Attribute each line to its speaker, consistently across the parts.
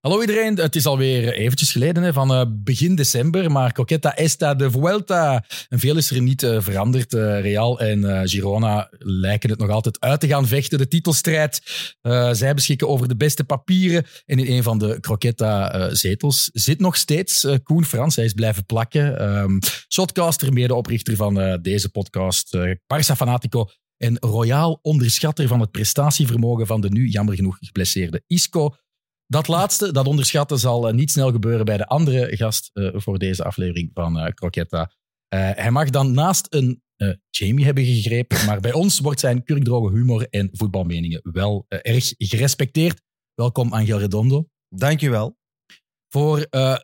Speaker 1: Hallo iedereen, het is alweer eventjes geleden hè, van eh, begin december, maar Coqueta Esta de Vuelta. En veel is er niet eh, veranderd. Eh, Real en eh, Girona lijken het nog altijd uit te gaan vechten, de titelstrijd. Eh, zij beschikken over de beste papieren en in een van de Croqueta-zetels zit nog steeds eh, Koen Frans. Hij is blijven plakken. Ehm, shotcaster, medeoprichter van eh, deze podcast, eh Barça Fanatico en royaal onderschatter van het prestatievermogen van de nu jammer genoeg geblesseerde Isco. Dat laatste, dat onderschatten, zal eh, niet snel gebeuren bij de andere gast eh, voor deze aflevering van eh Croquetta. Eh, hij mag dan naast een eh, Jamie hebben gegrepen, maar bij ons wordt zijn kurkdroge humor en voetbalmeningen wel eh, erg gerespecteerd. Welkom, Angel Redondo.
Speaker 2: Dankjewel.
Speaker 1: Voor eh,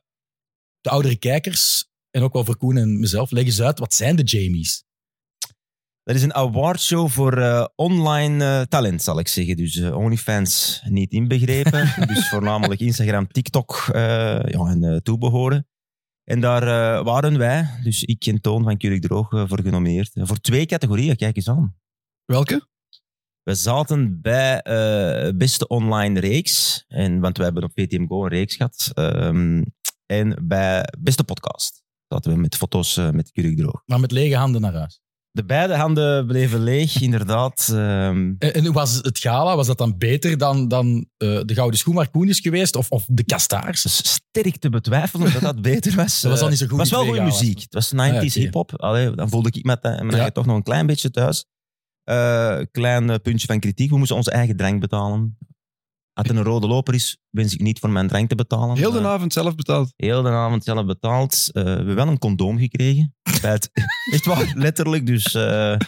Speaker 1: de oudere kijkers, en ook wel voor Koen en mezelf, leg eens uit, wat zijn de Jamies?
Speaker 2: Dat is een awardshow voor eh, online eh, talent, zal ik zeggen. Dus eh, OnlyFans niet inbegrepen. dus voornamelijk Instagram, TikTok eh, ja, en eh, toebehoren. En daar eh, waren wij, dus ik en Toon van Kurk Droog, eh, voor genomineerd. Eh, voor twee categorieën, kijk eens aan.
Speaker 3: Welke?
Speaker 2: We zaten bij eh, beste online reeks. En, want we hebben op PTM Go een reeks gehad. Ehm, en bij beste podcast. Zaten we met foto's eh, met Kurk Droog.
Speaker 1: Maar met lege handen naar huis.
Speaker 2: De beide handen bleven leeg, inderdaad. Ehm,
Speaker 1: En, Eh, en hoe was het gala? Was dat dan beter dan, dan eh, de Gouden Schoen waar Koen is geweest? Of, of de Kastaars?
Speaker 2: s- sterk te betwijfelen dat dat beter was.
Speaker 1: Dat was al niet zo goed.
Speaker 2: Het was wel
Speaker 1: die
Speaker 2: goede
Speaker 1: twee gala's.
Speaker 2: muziek. Het was 90s
Speaker 1: Ah, ja,
Speaker 2: hip-hop. Allee, Dan voelde ik met mijn
Speaker 1: Ja.
Speaker 2: eigen toch nog een klein beetje thuis. Eh, klein eh, puntje van kritiek. We moesten onze eigen drank betalen. Als het een rode loper is, wens ik niet voor mijn drank te betalen.
Speaker 3: Heel de
Speaker 2: Eh,
Speaker 3: avond zelf betaald.
Speaker 2: heel de avond zelf betaald. Eh, we hebben wel een condoom gekregen. Bij het, echt waar, letterlijk. Dus eh, eh,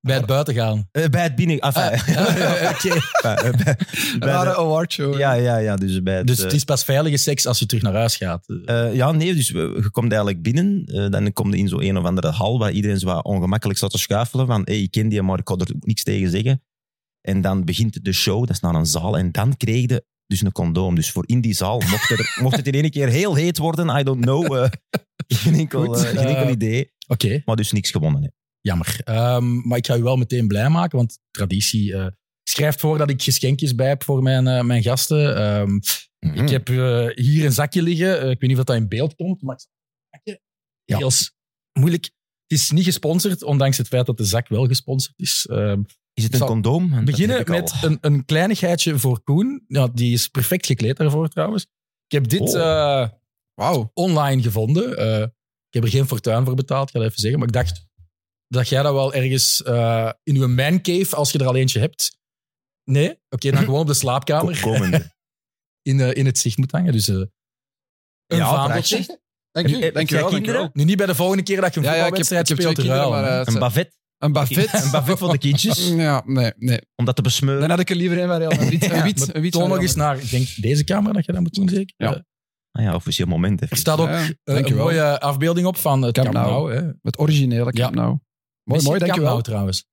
Speaker 1: Bij het buiten gaan.
Speaker 2: bij het binnen... Enfin,
Speaker 1: Ah, Oké.
Speaker 2: bij- eh, bij-
Speaker 3: Een
Speaker 2: bij
Speaker 3: rare
Speaker 2: de-
Speaker 3: awardshow.
Speaker 2: ja, ja, ja. Dus bij het,
Speaker 1: Dus
Speaker 2: eh,
Speaker 1: het is pas veilige seks als je terug naar huis gaat.
Speaker 2: Eh, ja, nee, dus we- je komt eigenlijk binnen. eh, dan kom je in zo'n een of andere hal waar iedereen zo wat ongemakkelijk zat te schuifelen. Van, hey, ik ken die, maar ik kan er niks tegen zeggen. En dan begint de show, dat is naar een zaal. En dan kreeg je dus een condoom. Dus voor in die zaal, mocht, er, mocht het in één keer heel heet worden, I don't know. eh, geen, enkel,
Speaker 1: Goed,
Speaker 2: eh, geen enkel
Speaker 1: eh,
Speaker 2: idee.
Speaker 1: Oké,
Speaker 2: Maar dus niks gewonnen. Hè.
Speaker 1: jammer. Ehm, maar ik ga u wel meteen blij maken, want traditie eh, schrijft voor dat ik geschenkjes bij heb voor mijn, eh, mijn gasten. Ehm,
Speaker 3: Hmm.
Speaker 1: Ik heb eh, hier een zakje liggen. Eh, ik weet niet of dat in beeld komt, maar ik zal het pakken.
Speaker 2: Ja.
Speaker 1: Heel s- moeilijk. Het is niet gesponsord, ondanks het feit dat de zak wel gesponsord is. Ehm,
Speaker 2: Is het een
Speaker 1: zal
Speaker 2: condoom? Want dat
Speaker 1: beginnen
Speaker 2: heb ik al.
Speaker 1: met een, een kleinigheidje voor Koen. Ja, die is perfect gekleed daarvoor trouwens. Ik heb dit
Speaker 2: Oh.
Speaker 1: eh,
Speaker 3: Wauw.
Speaker 1: online gevonden. Eh, ik heb er geen fortuin voor betaald, ik ga dat even zeggen. Maar ik dacht dat jij dat wel ergens eh, in uw mancave, als je er al eentje hebt. Nee? Oké, dan gewoon op de slaapkamer
Speaker 2: Ko- komende.
Speaker 1: in, eh, in het zicht moet hangen. Dus eh, een
Speaker 2: Ja,
Speaker 1: vaandeltje.
Speaker 2: prachtig.
Speaker 3: Dank
Speaker 2: Heb-
Speaker 3: je,
Speaker 2: heb
Speaker 3: dank je wel,
Speaker 2: jij
Speaker 3: dank je wel.
Speaker 1: Nu niet bij de volgende keer dat je een
Speaker 3: Ja, ja, ik heb, ik
Speaker 1: voetbalwedstrijd
Speaker 3: heb twee
Speaker 1: speelt te
Speaker 3: kinderen,
Speaker 1: ruilen.
Speaker 3: maar eh,
Speaker 2: Een buffet.
Speaker 3: een buffet.
Speaker 2: Een buffet voor de kindjes.
Speaker 3: Ja, nee, nee.
Speaker 2: Om dat te
Speaker 3: eh, Dan
Speaker 2: besmeuren.
Speaker 3: had ik er liever in bij Real Madrid. Een wiet,
Speaker 1: maar
Speaker 3: een wiet
Speaker 1: toon
Speaker 3: van
Speaker 1: nog
Speaker 3: Real
Speaker 1: eens naar, ik denk, deze camera dat je dat moet doen, zeker?
Speaker 3: Ja.
Speaker 1: Eh,
Speaker 2: Ah ja, officieel moment.
Speaker 1: er
Speaker 2: Even.
Speaker 1: staat ook
Speaker 3: Ja,
Speaker 1: eh, een
Speaker 3: dankjewel.
Speaker 1: mooie afbeelding op van het Camp
Speaker 3: Camp Nou.
Speaker 1: Nou. hè.
Speaker 3: Madrid. Het originele
Speaker 1: Ja.
Speaker 3: Camp Nou. Mooi,
Speaker 1: Misschien
Speaker 3: mooi,
Speaker 1: Camp Nou,
Speaker 3: dankjewel.
Speaker 1: trouwens.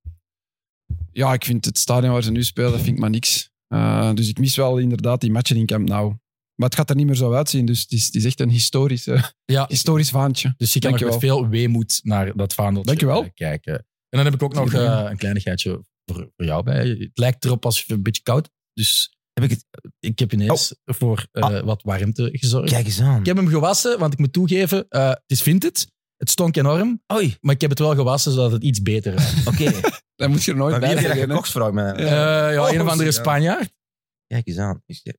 Speaker 3: Ja, ik vind het stadion waar ze nu spelen, dat vind ik maar niks. Eh, dus ik mis wel inderdaad die matchen in Camp Nou. Maar het gaat er niet meer zo uitzien, dus het is, het is echt een historisch, eh,
Speaker 1: Ja,
Speaker 3: historisch vaantje.
Speaker 1: dus je kan nog met
Speaker 3: Dankjewel.
Speaker 1: veel weemoed naar dat vaandeltje
Speaker 3: Dankjewel.
Speaker 1: eh, kijken. En dan heb ik ook nog
Speaker 3: Dankjewel.
Speaker 1: eh, een kleinigheidje voor, voor jou bij. Het lijkt erop als je een beetje koud Dus
Speaker 2: Heb ik het...
Speaker 1: ik heb ineens
Speaker 3: Oh.
Speaker 1: voor eh,
Speaker 3: Ah.
Speaker 1: wat warmte gezorgd.
Speaker 2: Kijk eens aan.
Speaker 1: Ik heb hem gewassen, want ik moet toegeven, eh, het is vintage. Het stonk enorm,
Speaker 2: Oei,
Speaker 1: maar ik heb het wel gewassen zodat het iets beter ruikt.
Speaker 2: oké.
Speaker 3: Dan moet je er nooit
Speaker 2: Maar wie heb
Speaker 3: bij
Speaker 2: je dat
Speaker 3: zeggen. hè.
Speaker 2: gekocht, vraag ik me dan.
Speaker 3: Ja.
Speaker 1: Eh, ja,
Speaker 2: Oh,
Speaker 1: een of andere
Speaker 2: ja.
Speaker 1: Spanjaard.
Speaker 2: Kijk eens aan. Is die-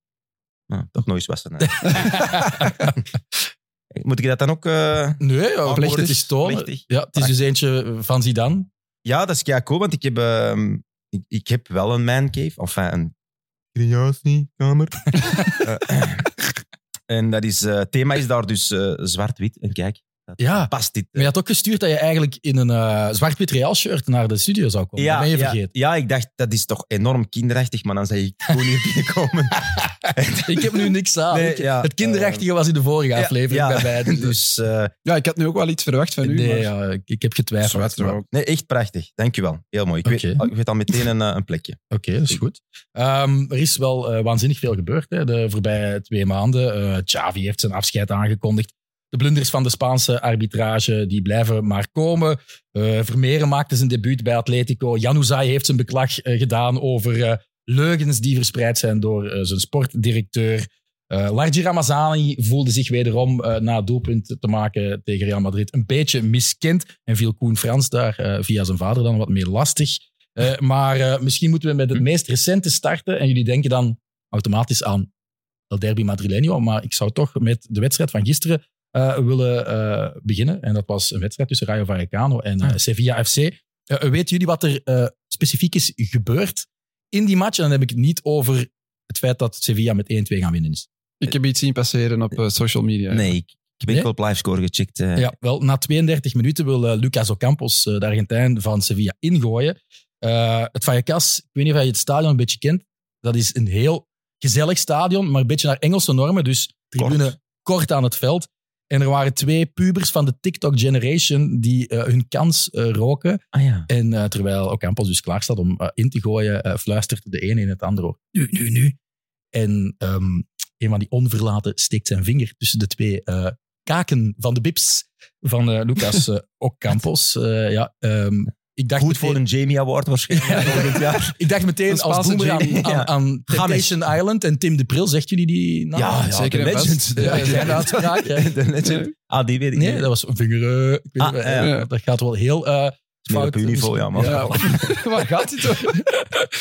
Speaker 2: Nou, toch nooit wassen. hè. Moet ik dat dan ook...
Speaker 1: Oh,
Speaker 2: eh,
Speaker 1: Nee, ja,
Speaker 2: Ah,
Speaker 1: plichtig
Speaker 2: plichtig.
Speaker 1: is tonen.
Speaker 2: Plichtig.
Speaker 1: Ja, het is dus eentje van Zidane.
Speaker 2: Ja, dat is kei cool, want ik heb, ehm, ik, ik heb wel een mancave. Enfin, een creatiekamer. Eh, en dat is... eh, Het thema is daar dus eh, zwart-wit. En kijk, dat
Speaker 1: Ja, maar
Speaker 2: past dit. eh,
Speaker 1: je had ook gestuurd dat je eigenlijk in een eh, zwart-wit Real shirt naar de studio zou komen. dat ben je
Speaker 2: ja,
Speaker 1: vergeten.
Speaker 2: ja, ik dacht, dat is toch enorm kinderachtig, maar dan zei ik, gewoon hier binnenkomen.
Speaker 1: Ik heb nu niks aan.
Speaker 2: Nee,
Speaker 1: Ik-
Speaker 2: ja,
Speaker 1: het kinderachtige was in de vorige
Speaker 2: Ja,
Speaker 1: aflevering
Speaker 2: ja.
Speaker 1: bij beiden. Dus,
Speaker 2: dus... eh,
Speaker 3: Ja, ik had nu ook wel iets verwacht van u.
Speaker 1: nee,
Speaker 3: maar-
Speaker 1: ja, ik, ik heb getwijfeld.
Speaker 3: Zwart
Speaker 1: maar-
Speaker 3: er
Speaker 1: Oké,
Speaker 3: ook.
Speaker 2: Nee, echt prachtig. Dankjewel. Heel mooi. Ik,
Speaker 1: Oké.
Speaker 2: weet, ik weet al meteen een, eh, een plekje.
Speaker 1: dat is goed. Ehm, er is wel eh, waanzinnig veel gebeurd hè, de voorbije twee maanden. Eh Xavi heeft zijn afscheid aangekondigd. De blunders van de Spaanse arbitrage die blijven maar komen. Eh, Vermeeren maakte zijn debuut bij Atletico. Januzaj heeft zijn beklag eh, gedaan over eh, leugens die verspreid zijn door eh, zijn sportdirecteur. Eh Largi Ramazani voelde zich wederom eh, na het doelpunt te maken tegen Real Madrid een beetje miskend. En viel Koen Frans daar eh, via zijn vader dan wat meer lastig. Eh, maar eh, misschien moeten we met het meest recente starten. En jullie denken dan automatisch aan El Derby Madrileño. Maar ik zou toch met de wedstrijd van gisteren eh, willen eh, beginnen. En dat was een wedstrijd tussen Rayo Vallecano en eh, Sevilla FC. Eh, weten jullie wat er eh, specifiek is gebeurd in die match? En dan heb ik het niet over het feit dat Sevilla met 1-2 gaan winnen is.
Speaker 3: Ik heb iets zien passeren op eh, social media.
Speaker 2: Nee, ik, ik heb
Speaker 1: Nee?
Speaker 2: enkel op livescore gecheckt. eh.
Speaker 1: Ja, wel, na 32 minuten wil eh, Lucas Ocampos, eh, de Argentijn van Sevilla, ingooien. Eh, het Vallecas, ik weet niet of je het stadion een beetje kent, dat is een heel gezellig stadion, maar een beetje naar Engelse normen, dus tribune kort,
Speaker 2: Kort.
Speaker 1: aan het veld. En er waren twee pubers van de TikTok generation die eh, hun kans eh, roken.
Speaker 2: Ah ja.
Speaker 1: En eh, terwijl Ocampos dus klaar staat om eh, in te gooien, eh, fluistert de ene in het andere oor, nu, nu, nu. En ehm, een van die onverlaten steekt zijn vinger tussen de twee eh, kaken van de bips van eh, Lucas eh, Ocampos. Eh, ja, ehm, ik, dacht
Speaker 2: Goed voor
Speaker 1: meteen,
Speaker 2: een Jamie Award waarschijnlijk
Speaker 1: Ja.
Speaker 2: volgend jaar.
Speaker 1: ik dacht meteen als
Speaker 3: Een Spaanse
Speaker 1: boemer aan,
Speaker 2: Jamie,
Speaker 1: aan,
Speaker 2: ja.
Speaker 1: aan Temptation Island en Tim de Pril. Zegt jullie die naam?
Speaker 2: Ja,
Speaker 3: ja, zeker
Speaker 2: de
Speaker 3: en
Speaker 2: legend.
Speaker 3: vast.
Speaker 2: De
Speaker 1: Ja,
Speaker 2: legend.
Speaker 1: ja, Eh, inderdaad. Ja, ja.
Speaker 2: De legend. Ah, die weet ik
Speaker 1: Nee,
Speaker 2: niet.
Speaker 1: dat was een vinger. eh, ik weet
Speaker 2: Ah,
Speaker 1: niet,
Speaker 2: ja.
Speaker 1: eh, Dat gaat wel heel eh,
Speaker 2: Meer
Speaker 1: fout.
Speaker 2: op uw niveau, ja, man.
Speaker 1: Ja,
Speaker 3: Waar gaat dit over?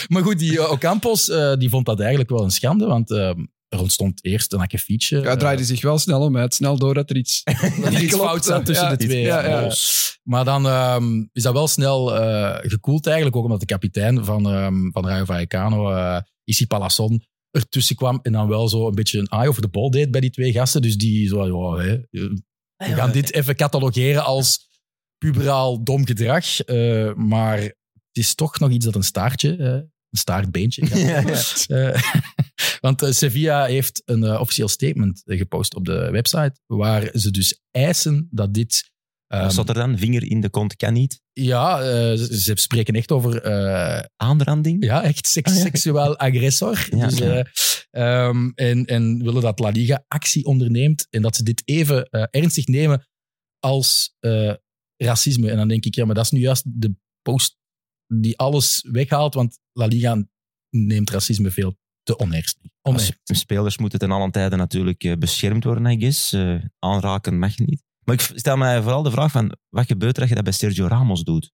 Speaker 1: Maar goed, die eh, Ocampos eh, die vond dat eigenlijk wel een schande, want eh, er ontstond eerst een akkefietje.
Speaker 3: Ja, het draaide zich wel snel om. Hij had snel door dat er iets...
Speaker 1: dat er iets
Speaker 3: Klopt,
Speaker 1: fout zat tussen
Speaker 3: ja.
Speaker 1: de twee.
Speaker 3: Ja, ja.
Speaker 1: Eh, Maar dan ehm, is dat wel snel eh, gekoeld eigenlijk, ook omdat de kapitein van, ehm van Rayo Vallecano, eh Issy Palazon, ertussen kwam en dan wel zo een beetje een eye over de bal deed bij die twee gasten. Dus die zo, ja, hè, eh, we gaan dit even catalogeren als puberaal dom gedrag. eh, maar het is toch nog iets dat een staartje, eh, een staartbeentje. ja.
Speaker 2: Ja, ja.
Speaker 1: Eh, want eh, Sevilla heeft een eh, officieel statement eh, gepost op de website, waar ze dus eisen dat dit... ehm,
Speaker 2: Wat zat er dan? Vinger in de kont kan niet.
Speaker 1: ja, eh, ze, ze spreken echt over eh,
Speaker 2: Aanranding?
Speaker 1: ja, echt seks-
Speaker 2: Ah, ja.
Speaker 1: seksueel agressor.
Speaker 2: Ja,
Speaker 1: dus,
Speaker 2: ja.
Speaker 1: eh, ehm, en, en willen dat La Liga actie onderneemt en dat ze dit even eh, ernstig nemen als eh, racisme. En dan denk ik, ja, maar dat is nu juist de post die alles weghaalt, want La Liga neemt racisme veel te oneerst.
Speaker 2: Als Spelers moeten ten allen tijde natuurlijk eh, beschermd worden, I guess. Eh, aanraken mag niet. Maar ik stel mij vooral de vraag van, wat gebeurt er als je dat bij Sergio Ramos doet?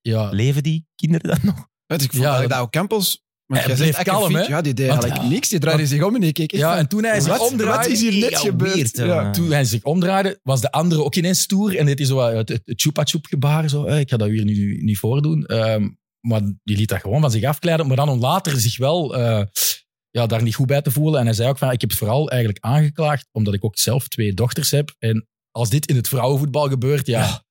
Speaker 1: Ja,
Speaker 2: Leven die kinderen dan nog?
Speaker 3: Weet ik vond
Speaker 1: Ja,
Speaker 3: eigenlijk
Speaker 1: dat-
Speaker 3: dat ook Campos...
Speaker 1: Hij
Speaker 3: jij
Speaker 1: bleef
Speaker 3: zegt, Akefiet,
Speaker 1: kalm, hè?
Speaker 3: Ja, die deed
Speaker 1: Want-
Speaker 3: eigenlijk niks. Die draaide zich om en ik keek echt
Speaker 1: ja,
Speaker 3: van,
Speaker 1: en toen hij zich
Speaker 3: wat,
Speaker 1: omdraaide...
Speaker 3: wat is hier net
Speaker 2: Ja,
Speaker 3: gebeurd?
Speaker 2: weird, hè,
Speaker 3: Ja.
Speaker 2: man.
Speaker 1: toen hij zich omdraaide, was de andere ook ineens stoer. En dit is zo wat het, het, het chupa chup gebaar. Zo. eh, Ik ga dat hier nu niet voordoen. Ehm, maar die liet dat gewoon van zich afkleiden. Maar dan om later zich wel eh, ja, daar niet goed bij te voelen. En hij zei ook van, ik heb het vooral eigenlijk aangeklaagd, omdat ik ook zelf twee dochters heb. En als dit in het vrouwenvoetbal gebeurt, ja,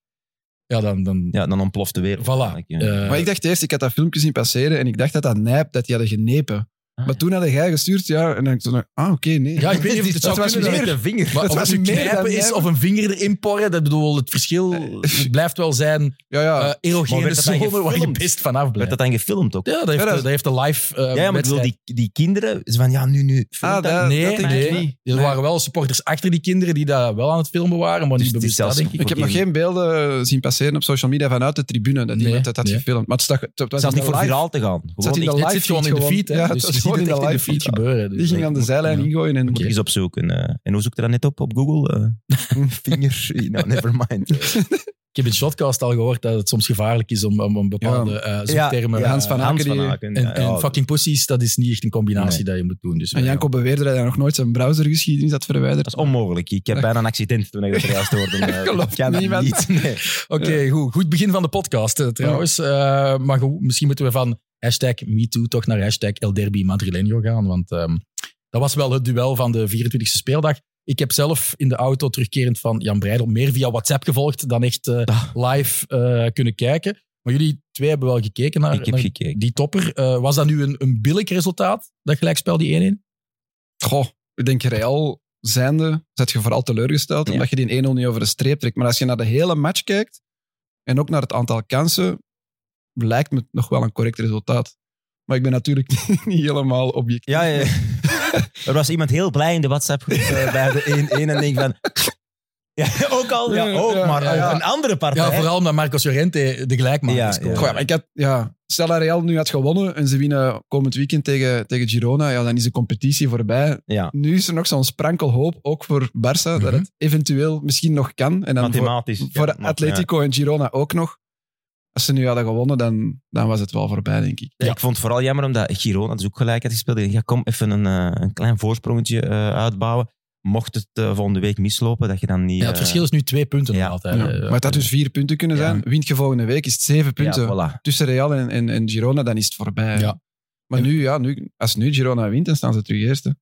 Speaker 1: ja. dan... dan
Speaker 2: Ja, dan ontploft de wereld.
Speaker 1: Voilà.
Speaker 2: eigenlijk, ja.
Speaker 1: Eh,
Speaker 3: Maar ik dacht eerst, ik had dat filmpje zien passeren en ik dacht dat dat nijp, dat die hadden genepen. maar toen had jij gestuurd, ja, en dan dacht ik, ah, oké, nee.
Speaker 1: Ah, ja, ik weet niet of het
Speaker 3: Dat
Speaker 1: zou
Speaker 3: was
Speaker 1: kunnen
Speaker 3: meer-
Speaker 1: dat-
Speaker 2: de vinger.
Speaker 1: Maar
Speaker 3: dat
Speaker 1: of
Speaker 3: was
Speaker 1: het een
Speaker 3: meer dan
Speaker 1: knijpen is
Speaker 3: jij-
Speaker 1: of een vinger erin porren, dat bedoel, het verschil blijft wel zijn.
Speaker 3: Ja, ja.
Speaker 1: eh
Speaker 2: Maar
Speaker 1: erogene
Speaker 2: werd dat dan
Speaker 1: zone waar je
Speaker 2: gefilmd?
Speaker 1: best vanaf
Speaker 2: Werd
Speaker 1: blijft.
Speaker 2: dat dan gefilmd ook?
Speaker 1: Ja, dat heeft,
Speaker 3: Ja, dat is-
Speaker 1: dat heeft de live. eh
Speaker 2: Ja, ja, maar ik wil
Speaker 1: wedstrijd.
Speaker 2: die, die kinderen... Ze van, ja, nu, nu. filmt
Speaker 3: Ah,
Speaker 2: dat.
Speaker 3: dat-
Speaker 1: Nee,
Speaker 3: denk
Speaker 1: nee.
Speaker 3: ik niet.
Speaker 1: Er
Speaker 3: Nee.
Speaker 1: waren wel supporters achter die kinderen die daar wel aan het filmen waren, maar
Speaker 2: Dus
Speaker 1: niet
Speaker 2: het is
Speaker 1: bewust dat,
Speaker 2: zelfs-
Speaker 1: denk ik.
Speaker 3: Ik heb nog geen beelden zien passeren op social media vanuit de tribune dat
Speaker 1: Nee,
Speaker 3: iemand dat had
Speaker 1: nee.
Speaker 3: gefilmd. Maar het, stak, het was
Speaker 2: Zelfs
Speaker 3: in
Speaker 2: niet
Speaker 3: de
Speaker 2: voor
Speaker 3: live.
Speaker 2: viraal te gaan.
Speaker 3: zat
Speaker 2: Gewoon
Speaker 3: in de
Speaker 2: echt-
Speaker 1: Het
Speaker 3: live
Speaker 1: zit gewoon in
Speaker 3: feed
Speaker 1: de
Speaker 3: gewoon.
Speaker 1: feed, hè?
Speaker 3: Ja, het
Speaker 1: dus
Speaker 3: was
Speaker 1: je ziet
Speaker 3: gewoon
Speaker 1: het echt
Speaker 3: in de
Speaker 1: in de
Speaker 3: live
Speaker 1: feed
Speaker 3: feed.
Speaker 1: gebeuren. Dus
Speaker 3: Die ging
Speaker 1: ik-
Speaker 3: aan de zijlijn
Speaker 1: ja.
Speaker 3: ingooien. En,
Speaker 2: Moet ik eens opzoeken. eh. en hoe zoek je dat net op op Google? Eh, vinger. Nou, never mind.
Speaker 1: Ik heb in Shotcast al gehoord dat het soms gevaarlijk is om, om, om bepaalde eh zoektermen...
Speaker 3: ja, Hans
Speaker 1: eh,
Speaker 3: van Aken
Speaker 2: Hans van
Speaker 3: die-
Speaker 2: Aken.
Speaker 1: en,
Speaker 2: ja,
Speaker 1: en
Speaker 2: ja.
Speaker 1: fucking pussies, dat is niet echt een combinatie
Speaker 2: Nee.
Speaker 1: dat je moet doen. Dus,
Speaker 3: en
Speaker 1: eh,
Speaker 3: Janko beweerde dat hij nog nooit zijn browsergeschiedenis had verwijderd.
Speaker 2: Dat is onmogelijk. Ik heb bijna een accident toen ik dat juist hoorde. Eh,
Speaker 3: Ik geloof
Speaker 2: ik kan dat niet.
Speaker 3: niemand.
Speaker 2: Nee.
Speaker 1: Oké, goed. Goed begin van de podcast eh, trouwens. Eh, maar goed, misschien moeten we van hashtag MeToo toch naar hashtag El Derby Madrileño gaan. Want ehm, dat was wel het duel van de 24e speeldag. Ik heb zelf in de auto terugkerend van Jan Breidel meer via WhatsApp gevolgd dan echt eh,
Speaker 2: Ah.
Speaker 1: live eh, kunnen kijken. Maar jullie twee hebben wel gekeken
Speaker 3: Ah,
Speaker 1: naar,
Speaker 2: Ik heb
Speaker 1: naar
Speaker 2: gekeken.
Speaker 1: die topper. Eh, was dat nu een, een billig resultaat, dat gelijkspel, die 1-1?
Speaker 3: Goh, ik denk Real zijnde, zet je vooral teleurgesteld
Speaker 2: Ja.
Speaker 3: omdat je die 1-0 niet over de streep trekt. Maar als je naar de hele match kijkt en ook naar het aantal kansen, lijkt me het nog wel een correct resultaat. Maar ik ben natuurlijk niet helemaal objectief.
Speaker 2: Ja, ja. er was iemand heel blij in de WhatsApp-groep eh, bij de 1-1 en denk van... Ja, ook al. Ja,
Speaker 3: Ja,
Speaker 2: ook,
Speaker 3: ja,
Speaker 2: maar
Speaker 1: ja, ja.
Speaker 2: een andere partij.
Speaker 1: Ja, vooral omdat Marcos Llorente de gelijkmaker
Speaker 2: Ja,
Speaker 1: is.
Speaker 2: ja.
Speaker 3: Goh, ja, maar ik had, ja, stel dat Real nu had gewonnen en ze winnen komend weekend tegen, tegen Girona, ja, dan is de competitie voorbij.
Speaker 2: Ja.
Speaker 3: Nu is er nog zo'n sprankel hoop, ook voor Barça, dat
Speaker 1: Mhm.
Speaker 3: het eventueel misschien nog kan. En dan voor-
Speaker 2: Mathematisch. ja,
Speaker 3: voor
Speaker 2: maar-
Speaker 3: Atletico en Girona ook nog. Als ze nu hadden gewonnen, dan, dan was het wel voorbij, denk ik.
Speaker 2: Ja. Ik vond het vooral jammer omdat Girona dus ook gelijk had gespeeld. Ik dacht, Ja, kom even een, eh, een klein voorsprongetje eh, uitbouwen. Mocht het eh, volgende week mislopen, dat je dan niet...
Speaker 1: Ja, het
Speaker 2: eh,
Speaker 1: verschil is nu twee punten
Speaker 2: ja.
Speaker 1: nog altijd. eh.
Speaker 3: Ja. Maar het had dus vier punten kunnen
Speaker 2: Ja.
Speaker 3: zijn. Wint je volgende week, is het zeven
Speaker 2: ja,
Speaker 3: punten.
Speaker 2: voilà.
Speaker 3: Tussen Real en, en, en Girona, dan is het voorbij.
Speaker 1: Ja.
Speaker 3: Maar nu, ja, nu, als nu Girona wint, dan staan ze terug eerste.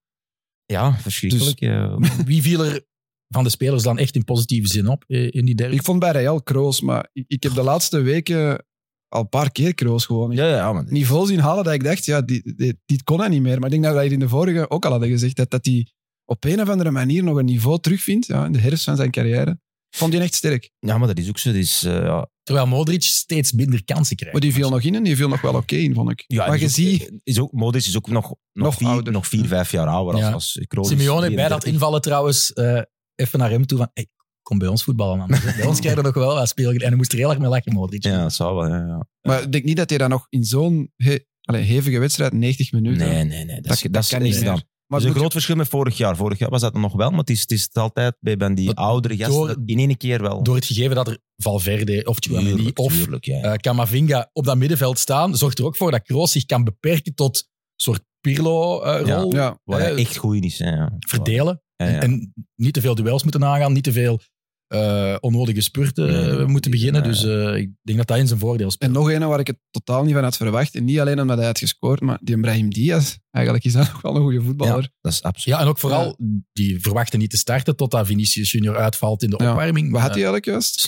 Speaker 2: Ja, verschrikkelijk. eh,
Speaker 1: Wie viel er van de spelers dan echt in positieve zin op eh, in die derby?
Speaker 3: Ik vond bij Real Kroos, maar ik, ik heb de laatste weken al een paar keer Kroos gewoon.
Speaker 2: ja, ja, maar...
Speaker 3: Niveau zien halen dat ik dacht, ja, dit, dit, dit kon hij niet meer. Maar ik denk dat wij het in de vorige ook al hadden gezegd, dat, dat hij op een of andere manier nog een niveau terugvindt ja, in de herfst van zijn carrière. Vond hij echt sterk.
Speaker 2: ja, maar dat is ook zo. Dat is, eh, ja,
Speaker 1: Terwijl Modric steeds minder kansen krijgt.
Speaker 3: Maar die viel nog in en die viel nog wel oké in, vond ik.
Speaker 2: ja,
Speaker 3: maar
Speaker 2: die
Speaker 3: je
Speaker 2: is ook- eh,
Speaker 3: ziet...
Speaker 2: Is ook, Modric is ook nog, nog,
Speaker 3: Nog
Speaker 2: vier,
Speaker 3: ouder.
Speaker 2: nog vier, vijf jaar ouder
Speaker 1: Ja.
Speaker 2: als, als Dus Kroos.
Speaker 1: Simeone bij dat
Speaker 2: 33.
Speaker 1: invallen trouwens eh, even naar hem toe van hey, kom bij ons voetballen man. Bij ons krijg je nog wel wat speelgeld. En hij moest er heel erg mee lachen, Modric.
Speaker 2: Ja, dat zou wel, ja, ja.
Speaker 3: Maar ik denk niet dat hij dan nog in zo'n he- allee, hevige wedstrijd 90 minuten...
Speaker 2: Nee, nee, nee. Dat,
Speaker 3: dat,
Speaker 2: is- dat,
Speaker 3: dat kan niet
Speaker 2: is dan.
Speaker 3: meer. Maar
Speaker 2: dat is een
Speaker 3: bedoel-
Speaker 2: groot verschil met vorig jaar. Vorig jaar was dat nog wel, maar het is, het is altijd bij bij die
Speaker 1: Dat-
Speaker 2: oudere gasten
Speaker 1: door-
Speaker 2: dat in één keer wel.
Speaker 1: Door het gegeven dat er Valverde of Tchouameni
Speaker 2: Tuurlijk,
Speaker 1: of
Speaker 2: tuurlijk, ja.
Speaker 1: eh, Camavinga op dat middenveld staan, zorgt er ook voor dat Kroos zich kan beperken tot een soort Pirlo-rol.
Speaker 3: Ja,
Speaker 2: Waar hij
Speaker 1: eh,
Speaker 2: echt goed in is. hè, Ja.
Speaker 1: Verdelen.
Speaker 2: Ja, ja.
Speaker 1: En niet te veel duels moeten aangaan, niet te veel eh, onnodige spurten
Speaker 2: Nee, dat
Speaker 1: eh,
Speaker 2: moet
Speaker 1: moeten
Speaker 2: niet,
Speaker 1: beginnen.
Speaker 2: nee.
Speaker 1: Dus eh, ik denk dat dat in zijn voordeel speelt.
Speaker 3: En nog een waar ik het totaal niet van had verwacht. En niet alleen omdat hij had gescoord, maar die Brahim Diaz. Eigenlijk is dat nog wel een goede voetballer.
Speaker 2: Dat is absoluut.
Speaker 1: Ja, en ook vooral, die verwachten niet te starten totdat Vinicius Junior uitvalt in de
Speaker 3: Ja.
Speaker 1: opwarming.
Speaker 3: Wat had
Speaker 1: Eh,
Speaker 3: hij eigenlijk juist?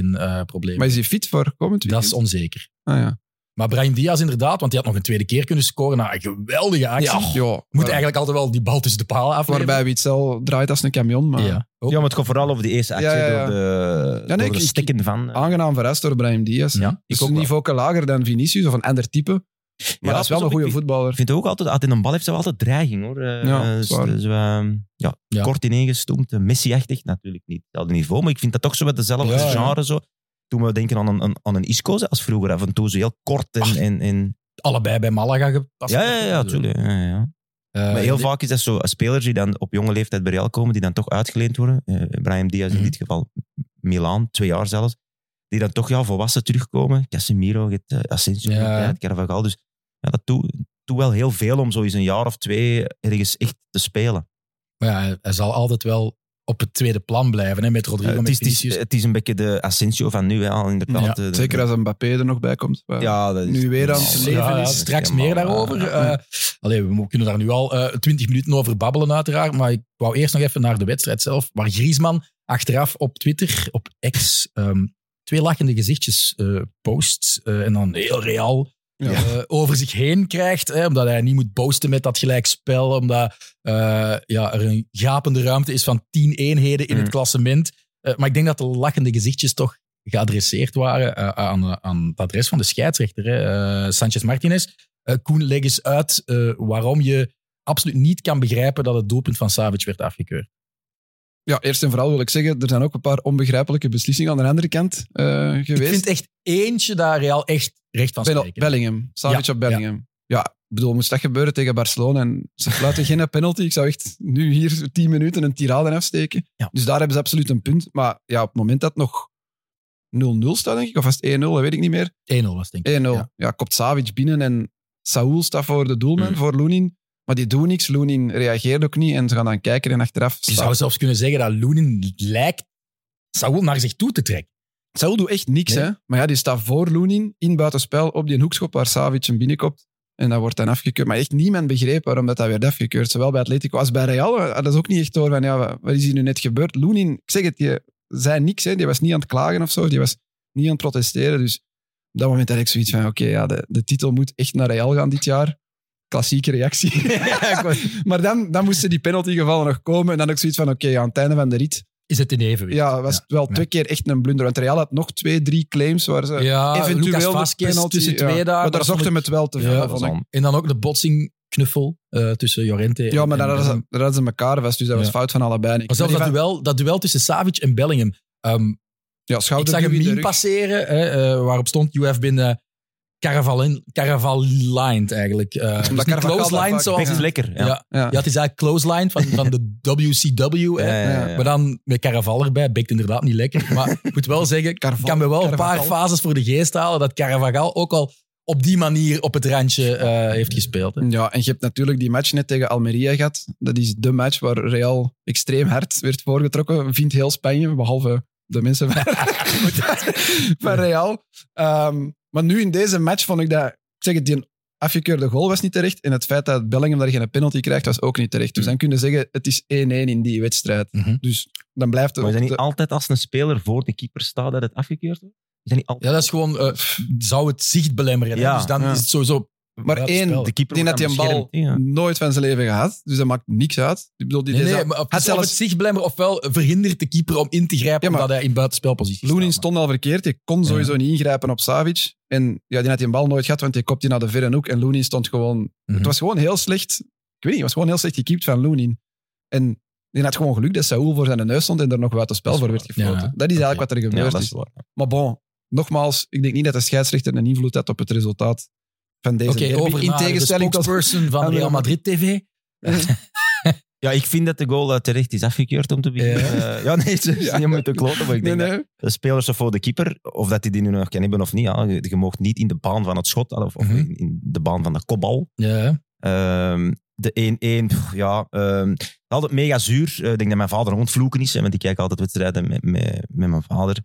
Speaker 1: Sleutelbeenprobleem.
Speaker 3: Maar is hij fit voor komend
Speaker 1: dat
Speaker 3: weekend?
Speaker 1: is onzeker.
Speaker 3: Ah, ja.
Speaker 1: Maar Brahim Diaz inderdaad, want die had nog een tweede keer kunnen scoren na een geweldige actie.
Speaker 3: Ja,
Speaker 1: Moet
Speaker 3: ja, waar-
Speaker 1: eigenlijk altijd wel die bal tussen de palen afleveren.
Speaker 3: Waarbij Witzel draait als een camion, maar
Speaker 1: ja. ook.
Speaker 2: Ja, maar het gaat vooral over die eerste actie.
Speaker 3: Ja, ja, ja.
Speaker 2: Door de, door
Speaker 3: nee, ik-
Speaker 2: de
Speaker 3: ik- Ah,
Speaker 2: stikken van. eh,
Speaker 3: aangenaam verrast door Brahim Diaz.
Speaker 1: Ja,
Speaker 3: dus
Speaker 2: ook
Speaker 3: een niveau lager dan Vinicius of een ander type. Maar
Speaker 2: ja,
Speaker 3: dat is
Speaker 2: pas
Speaker 3: wel een
Speaker 2: op,
Speaker 3: goede
Speaker 2: ik vind-
Speaker 3: voetballer.
Speaker 2: Ik vind ook altijd, als hij een bal heeft, ze wel altijd dreiging hoor. Eh,
Speaker 3: Ja,
Speaker 2: eh,
Speaker 3: dat is
Speaker 2: zo-
Speaker 3: waar.
Speaker 2: zo, eh, ja,
Speaker 1: Ja.
Speaker 2: Kort ineengestoomd, eh, Messi-achtig natuurlijk niet. Hetzelfde niveau, maar ik vind dat toch zo met dezelfde
Speaker 1: Ja, ja.
Speaker 2: genre. Zo. Toen we denken aan een, aan- aan een Isco, als vroeger af en toe zo heel kort en.
Speaker 1: Ach,
Speaker 2: en, en
Speaker 1: Allebei bij Malaga gepast.
Speaker 2: ja, ja, ja, tuurlijk. Ja, ja.
Speaker 1: Eh,
Speaker 2: Maar heel vaak is dat zo, spelers die dan op jonge leeftijd bij Real komen, die dan toch uitgeleend worden. Eh, Brahim Diaz in
Speaker 1: Mhm.
Speaker 2: dit geval, Milaan, twee jaar zelfs. Die dan toch ja, volwassen terugkomen. Casemiro, je hebt, eh, Asensio,
Speaker 1: Ja.
Speaker 2: je hebt Carvajal. Dus ja, dat doet doet wel heel veel om zo eens een jaar of twee ergens echt te spelen.
Speaker 1: Maar ja, hij- hij zal altijd wel op het tweede plan blijven. Hè, met
Speaker 2: Eh,
Speaker 1: Rodrigo,
Speaker 2: het,
Speaker 1: met
Speaker 2: is, het, is,
Speaker 1: Vinicius.
Speaker 2: het is een beetje de Asensio van nu, hè, al inderdaad.
Speaker 1: Ja,
Speaker 2: de- de-
Speaker 3: Zeker als een Mbappé er nog bij komt. Maar-
Speaker 2: ja, dat is-
Speaker 3: nu weer aan het
Speaker 2: Ja,
Speaker 1: Ja,
Speaker 3: leven
Speaker 1: ja,
Speaker 3: is.
Speaker 1: straks
Speaker 2: helemaal,
Speaker 1: meer daarover.
Speaker 2: eh,
Speaker 1: Eh, allee, we mo- kunnen daar nu al eh, twintig minuten over babbelen, uiteraard. Maar ik wou eerst nog even naar de wedstrijd zelf. Waar Griezmann achteraf op Twitter, op X, ehm, twee lachende gezichtjes eh, post. eh, en dan heel real
Speaker 3: Ja.
Speaker 1: eh, over zich heen krijgt. Hè, omdat hij niet moet boosten met dat gelijkspel. Omdat eh, ja, er een gapende ruimte is van tien eenheden in
Speaker 2: Mm.
Speaker 1: het klassement. Eh, maar ik denk dat de lachende gezichtjes toch geadresseerd waren eh, aan, eh, aan het adres van de scheidsrechter, hè, eh, Sanchez Martinez. Eh, Koen, leg eens uit eh, waarom je absoluut niet kan begrijpen dat het doelpunt van Savic werd afgekeurd.
Speaker 3: Ja, eerst en vooral wil ik zeggen, er zijn ook een paar onbegrijpelijke beslissingen aan de andere kant eh, geweest.
Speaker 1: Ik vind echt eentje daar Real echt recht van
Speaker 3: Bell-
Speaker 1: spreken.
Speaker 3: Bellingham. Savic
Speaker 1: Ja,
Speaker 3: op Bellingham. Ja. ik bedoel, moest dat gebeuren tegen Barcelona en ze fluiten geen penalty. Ik zou echt nu hier tien minuten een tirade afsteken.
Speaker 1: Ja.
Speaker 3: Dus daar hebben ze absoluut een punt. Maar ja, op het moment dat het nog 0-0 staat, denk ik, of was het 1-0, dat weet ik niet meer.
Speaker 1: 1-0 was het, denk
Speaker 3: 1-0.
Speaker 1: ik.
Speaker 3: Ja.
Speaker 1: Ja.
Speaker 3: kopt Savic binnen en Saúl staat voor de doelman,
Speaker 2: Mm.
Speaker 3: voor Loenin. Maar die doen niks. Loenin reageert ook niet en ze gaan dan kijken en achteraf...
Speaker 1: Je zou zelfs kunnen zeggen dat Loenin lijkt Saúl naar zich toe te trekken.
Speaker 3: Saúl doet echt niks,
Speaker 1: Nee.
Speaker 3: hè. Maar ja, die staat voor Loenin in buitenspel op die hoekschop waar Savic hem binnenkomt. En dat wordt dan afgekeurd. Maar echt niemand begreep waarom dat, dat werd afgekeurd. Zowel bij Atletico als bij Real. eh, Dat is ook niet echt door van, ja, wat- wat is hier nu net gebeurd? Loenin, ik zeg het, die zei niks, hè. Die was niet aan het klagen of zo. Die was niet aan het protesteren. Dus op dat moment had ik zoiets van, oké, ja, de, de titel moet echt naar Real gaan dit jaar. Klassieke reactie. maar dan, dan moesten die penaltygevallen nog komen. En dan ook zoiets van, oké, ja, aan het einde van de rit
Speaker 1: Is het in evenwicht?
Speaker 3: ja, was
Speaker 1: Ja,
Speaker 3: het wel
Speaker 1: ja.
Speaker 3: twee keer echt een blunder. Want Real had nog twee, drie claims waar ze
Speaker 1: Ja,
Speaker 3: eh, eventueel
Speaker 1: Lucas
Speaker 3: de
Speaker 1: Vazquez
Speaker 3: penalty...
Speaker 1: tussen
Speaker 3: ja.
Speaker 1: twee daar.
Speaker 3: maar
Speaker 1: dat vond
Speaker 3: daar zochten
Speaker 1: ik-
Speaker 3: we het wel te
Speaker 2: ja,
Speaker 3: veel
Speaker 2: dat is
Speaker 3: van.
Speaker 2: al-
Speaker 1: En dan ook de botsing knuffel eh, tussen Jorente en
Speaker 3: Ja, maar
Speaker 1: en
Speaker 3: daar hadden,
Speaker 1: Bellingham.
Speaker 3: ze, daar hadden ze elkaar vast, dus dat was
Speaker 1: Ja.
Speaker 3: fout van allebei. En ik
Speaker 1: Maar zelfs
Speaker 3: ben
Speaker 1: dat
Speaker 3: niet
Speaker 1: duel, dat duel tussen Savic en Bellingham. Ehm,
Speaker 3: van- Ja,
Speaker 1: ik
Speaker 3: schouder
Speaker 1: zag een
Speaker 3: duw in de
Speaker 1: meme
Speaker 3: rug.
Speaker 1: passeren hè, eh, waarop stond UF binnen caravalin- caraval-lined eigenlijk. Eh, dus niet
Speaker 3: Carvajal dat
Speaker 1: close-lined
Speaker 3: vaak-
Speaker 1: zoals...
Speaker 2: Echt
Speaker 1: Ja.
Speaker 2: lekker.
Speaker 1: Ja.
Speaker 2: Ja.
Speaker 3: Ja.
Speaker 1: het is eigenlijk close-line van, van de WCW. Hè.
Speaker 2: Ja, ja, ja.
Speaker 1: Maar dan met Caraval erbij. Bekt inderdaad niet lekker. Maar ik moet wel zeggen, ik
Speaker 3: Carval-
Speaker 1: kan me wel een paar
Speaker 3: Carvajal.
Speaker 1: fases voor de geest halen dat Caraval ook al op die manier op het randje eh, heeft gespeeld. Hè.
Speaker 3: Ja, en je hebt natuurlijk die match net tegen Almeria gehad. Dat is de match waar Real extreem hard werd voorgetrokken. Vindt heel Spanje, behalve de mensen van, van Real. Ehm, maar nu in deze match vond ik dat... Ik zeg het, die afgekeurde goal was niet terecht. En het feit dat Bellingham daar geen penalty krijgt, was ook niet terecht. Dus dan kun je zeggen, het is 1-1 in die wedstrijd.
Speaker 1: Mm. Mhm.
Speaker 3: Dus dan blijft het...
Speaker 2: Maar is dat
Speaker 3: op
Speaker 2: niet
Speaker 3: de-
Speaker 2: altijd als een speler voor de keeper staat dat het afgekeurd wordt? Is dat niet altijd?
Speaker 1: Ja, dat is gewoon... eh, zou het zicht belemmeren. hè.
Speaker 2: Ja.
Speaker 1: Dus dan
Speaker 3: Ja.
Speaker 1: is het sowieso...
Speaker 3: Maar
Speaker 1: buiten
Speaker 3: één-
Speaker 1: spel.
Speaker 2: de keeper
Speaker 3: Ik denk
Speaker 2: wordt dan
Speaker 3: dat die een
Speaker 2: beschermd, ja.
Speaker 3: Nooit van zijn leven gehad. Dus dat maakt niks uit. Ik bedoel, die
Speaker 1: Nee,
Speaker 3: deze-
Speaker 1: nee, maar Dus het
Speaker 3: had
Speaker 1: is zelfs
Speaker 3: zelfs-
Speaker 1: het zichtblemmer ofwel verhindert de keeper om in te grijpen
Speaker 3: Ja, maar-
Speaker 1: omdat hij in buitenspelpositie
Speaker 3: Loenin
Speaker 1: staat.
Speaker 3: stond al verkeerd. Je kon sowieso niet ingrijpen op Savic. En ja, die had die bal nooit gehad, want die kopte die naar de verre hoek. En Loenin stond gewoon...
Speaker 2: Mhm.
Speaker 3: Het was gewoon heel slecht... Ik weet niet, het was gewoon heel slecht gekiept van Loenin. En die had gewoon geluk dat Saúl voor zijn neus stond en er nog buiten spel
Speaker 2: Dat is
Speaker 3: voor werd
Speaker 2: waar.
Speaker 3: gefloten.
Speaker 1: Ja.
Speaker 3: Dat is eigenlijk
Speaker 2: Oké.
Speaker 3: wat er
Speaker 2: Ja,
Speaker 3: gebeurd
Speaker 2: dat
Speaker 3: is.
Speaker 2: is waar.
Speaker 3: Maar bon, nogmaals, ik denk niet dat de scheidsrechter een invloed had op het resultaat van deze
Speaker 1: Oké,
Speaker 3: derby.
Speaker 1: over
Speaker 3: In tegenstelling tot...
Speaker 1: person van Real Madrid TV.
Speaker 2: Ja, ik vind dat de goal eh, terecht is afgekeurd om te beginnen.
Speaker 1: Ja.
Speaker 2: Ja, ja nee, dus ze is
Speaker 3: Ja.
Speaker 2: niet om mee te kloten, maar ik
Speaker 3: Nee,
Speaker 2: denk
Speaker 3: nee.
Speaker 2: dat de spelers of voor de keeper, of dat die die nu nog kan hebben of niet, ja, je, je mag niet in de baan van het schot of, of
Speaker 1: Mhm.
Speaker 2: in, in de baan van de kopbal.
Speaker 1: Ja.
Speaker 2: Ehm, de 1-1, pff, ja, ehm, altijd mega zuur. Eh, ik denk dat mijn vader rondvloeken is, hè, want ik kijk altijd wedstrijden met, met, met mijn vader.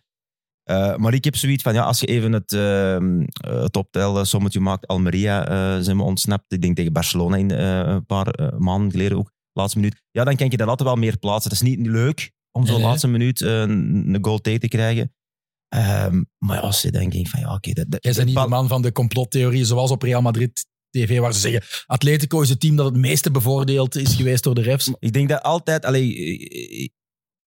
Speaker 2: Eh, maar ik heb zoiets van, ja, als je even het, ehm het optellen, sommetje maakt, Almeria eh, zijn we ontsnapt. Ik denk tegen Barcelona in, eh, een paar eh, maanden geleden ook, laatste minuut. Ja, dan kan je dat altijd wel meer plaatsen. Het is niet leuk om zo'n
Speaker 1: Nee, nee.
Speaker 2: laatste minuut eh, een een goal tegen te krijgen. Ehm, maar als je dan denkt van, ja, oké. dat, dat,
Speaker 1: Jij bent niet de man van de complottheorie, zoals op Real Madrid TV, waar ze zeggen Atletico is het team dat het meeste bevoordeeld is geweest door de refs.
Speaker 2: Ik denk dat altijd, allee,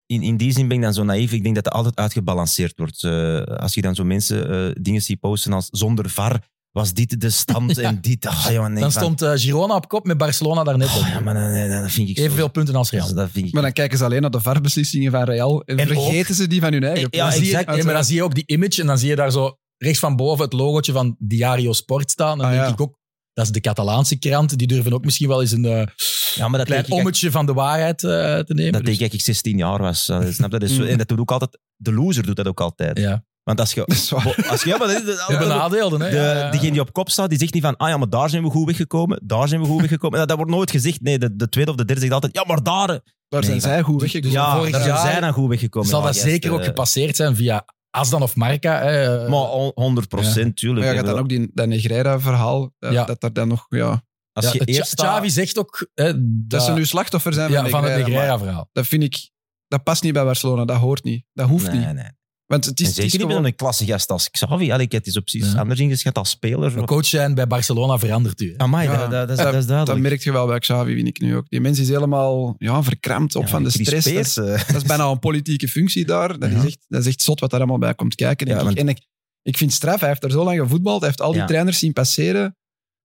Speaker 2: in, in die zin ben ik dan zo naïef, ik denk dat dat altijd uitgebalanceerd wordt. Eh, als je dan zo mensen eh, dingen ziet posten als zonder var was dit de stand en dit. Ah, jongen, denk
Speaker 1: Dan
Speaker 2: van,
Speaker 1: stond eh, Girona op kop met Barcelona daarnet
Speaker 2: oh, ja,
Speaker 1: op.
Speaker 2: maar dan, dan- dan vind ik zo-
Speaker 1: Evenveel punten als Real.
Speaker 2: dat- dat vind ik,
Speaker 3: Maar dan kijken ze alleen naar de VAR-beslissingen van Real en,
Speaker 2: En
Speaker 3: vergeten ze die van hun eigen.
Speaker 2: Ja,
Speaker 1: Dan
Speaker 3: ploeg.
Speaker 1: zie je-
Speaker 2: exact.
Speaker 1: nee, maar dan zie je ook die image en dan zie je daar zo rechts van boven het logootje van Diario Sport staan. Dan
Speaker 3: Ah,
Speaker 1: denk
Speaker 3: ja.
Speaker 1: ik ook, dat is de Catalaanse krant. Die durven ook misschien wel eens een eh,
Speaker 2: ja, maar dat denk
Speaker 1: klein
Speaker 2: ik, eigenlijk-
Speaker 1: ommetje van de waarheid eh, te nemen.
Speaker 2: dat
Speaker 1: Dus-
Speaker 2: denk ik, dat ik 16 jaar was. Eh, snap je? Dat is zo-
Speaker 3: Mm.
Speaker 2: en dat doet ook altijd, de loser doet dat ook altijd.
Speaker 1: Ja.
Speaker 2: Want als je...
Speaker 3: Dat is waar.
Speaker 2: bo- Als je ja, maar dat is- dat-
Speaker 1: De benadeelden, hè? Ja,
Speaker 2: De,
Speaker 1: ja.
Speaker 2: diegene die op kop staat, die zegt niet van, ah ja, maar daar zijn we goed weggekomen, daar zijn we goed weggekomen. Dat, dat wordt nooit gezegd. Nee, de, de tweede of de derde zegt altijd, ja, maar daar...
Speaker 3: Daar zijn
Speaker 2: Nee,
Speaker 3: zij goed weggekomen.
Speaker 1: Dus
Speaker 2: ja,
Speaker 1: vorig
Speaker 2: daar
Speaker 1: jaar
Speaker 2: zijn zij dan goed weggekomen.
Speaker 1: zal
Speaker 2: Ja,
Speaker 1: dat
Speaker 2: yes,
Speaker 1: zeker
Speaker 2: eh,
Speaker 1: ook gepasseerd zijn via Asdan of Marca. Hè, eh,
Speaker 2: Maar on- 100 procent,
Speaker 3: Maar
Speaker 2: tuurlijk.
Speaker 3: ja,
Speaker 2: Ik
Speaker 3: je gaat dan
Speaker 2: bedoel,
Speaker 3: ook die, dat Negreira-verhaal, dat,
Speaker 1: Ja.
Speaker 3: dat er dan nog... Ja,
Speaker 2: als
Speaker 1: ja,
Speaker 2: je
Speaker 1: Ch-
Speaker 2: eerst staat-
Speaker 1: Xavi zegt ook hè,
Speaker 3: Dat
Speaker 1: dat,
Speaker 3: ze nu slachtoffer zijn
Speaker 1: ja, van het
Speaker 3: Negreira, maar
Speaker 1: Negreira-verhaal.
Speaker 3: Dat vind ik... Dat past niet bij Barcelona. Dat hoort niet. Dat hoeft
Speaker 2: Nee,
Speaker 3: niet.
Speaker 2: nee. En
Speaker 3: Want het is, het
Speaker 2: zeker
Speaker 3: is
Speaker 2: niet met
Speaker 3: gewoon-
Speaker 2: een klasse gast als Xavi. Allee, het is op precies
Speaker 1: Ja.
Speaker 2: anders ingeschat als speler.
Speaker 1: De coach zijn bij Barcelona verandert u. hè.
Speaker 2: Amai,
Speaker 3: Ja.
Speaker 2: dat, dat, dat is,
Speaker 3: Ja,
Speaker 2: dat is
Speaker 3: Dat
Speaker 2: duidelijk.
Speaker 3: merk je wel bij Xavi, vind ik nu ook. Die mens is helemaal ja, verkrampt op
Speaker 2: Ja,
Speaker 3: van de
Speaker 2: Chris
Speaker 3: stress. Dat,
Speaker 2: Peers, eh,
Speaker 3: dat is bijna een politieke functie daar. Dat, is
Speaker 2: Ja.
Speaker 3: echt, dat is echt zot wat daar allemaal bij komt kijken. denk
Speaker 2: Ja,
Speaker 3: ik.
Speaker 2: want-
Speaker 3: En ik, ik vind het straf. Hij heeft er zo lang gevoetbald. Hij heeft al die
Speaker 2: Ja.
Speaker 3: trainers zien passeren.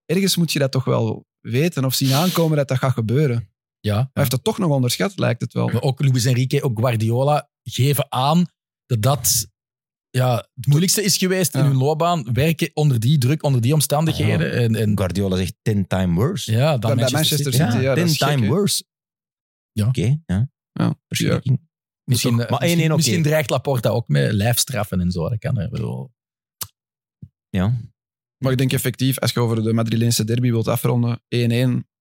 Speaker 3: Ergens moet je dat toch wel weten of zien aankomen dat dat gaat gebeuren. Hij
Speaker 1: Ja.
Speaker 3: heeft dat toch nog onderschat, lijkt het
Speaker 2: Oh.
Speaker 3: wel.
Speaker 1: Maar ook Luis Enrique, ook Guardiola geven aan dat dat ja, het moeilijkste is geweest in
Speaker 3: Ja.
Speaker 1: hun loopbaan. Werken onder die druk, onder die omstandigheden.
Speaker 2: Ah,
Speaker 1: En, en
Speaker 2: Guardiola zegt 10 time worse.
Speaker 1: ja, dan
Speaker 3: bij
Speaker 1: Manchester,
Speaker 3: Manchester
Speaker 1: City.
Speaker 3: City.
Speaker 2: Ja,
Speaker 3: ja, dat
Speaker 2: 10
Speaker 3: is gek,
Speaker 2: time
Speaker 3: hè.
Speaker 2: worse.
Speaker 1: Ja.
Speaker 2: Oké, ja.
Speaker 3: Ja.
Speaker 2: Verschrikking.
Speaker 1: Misschien,
Speaker 2: Maar
Speaker 1: eh, misschien,
Speaker 2: 1-1 oké.
Speaker 1: misschien dreigt Laporta ook met lijfstraffen en zo. Dat kan, hè. Ik bedoel,
Speaker 2: Ja.
Speaker 3: Maar ik denk effectief, als je over de Madrileense derby wilt afronden, 1-1.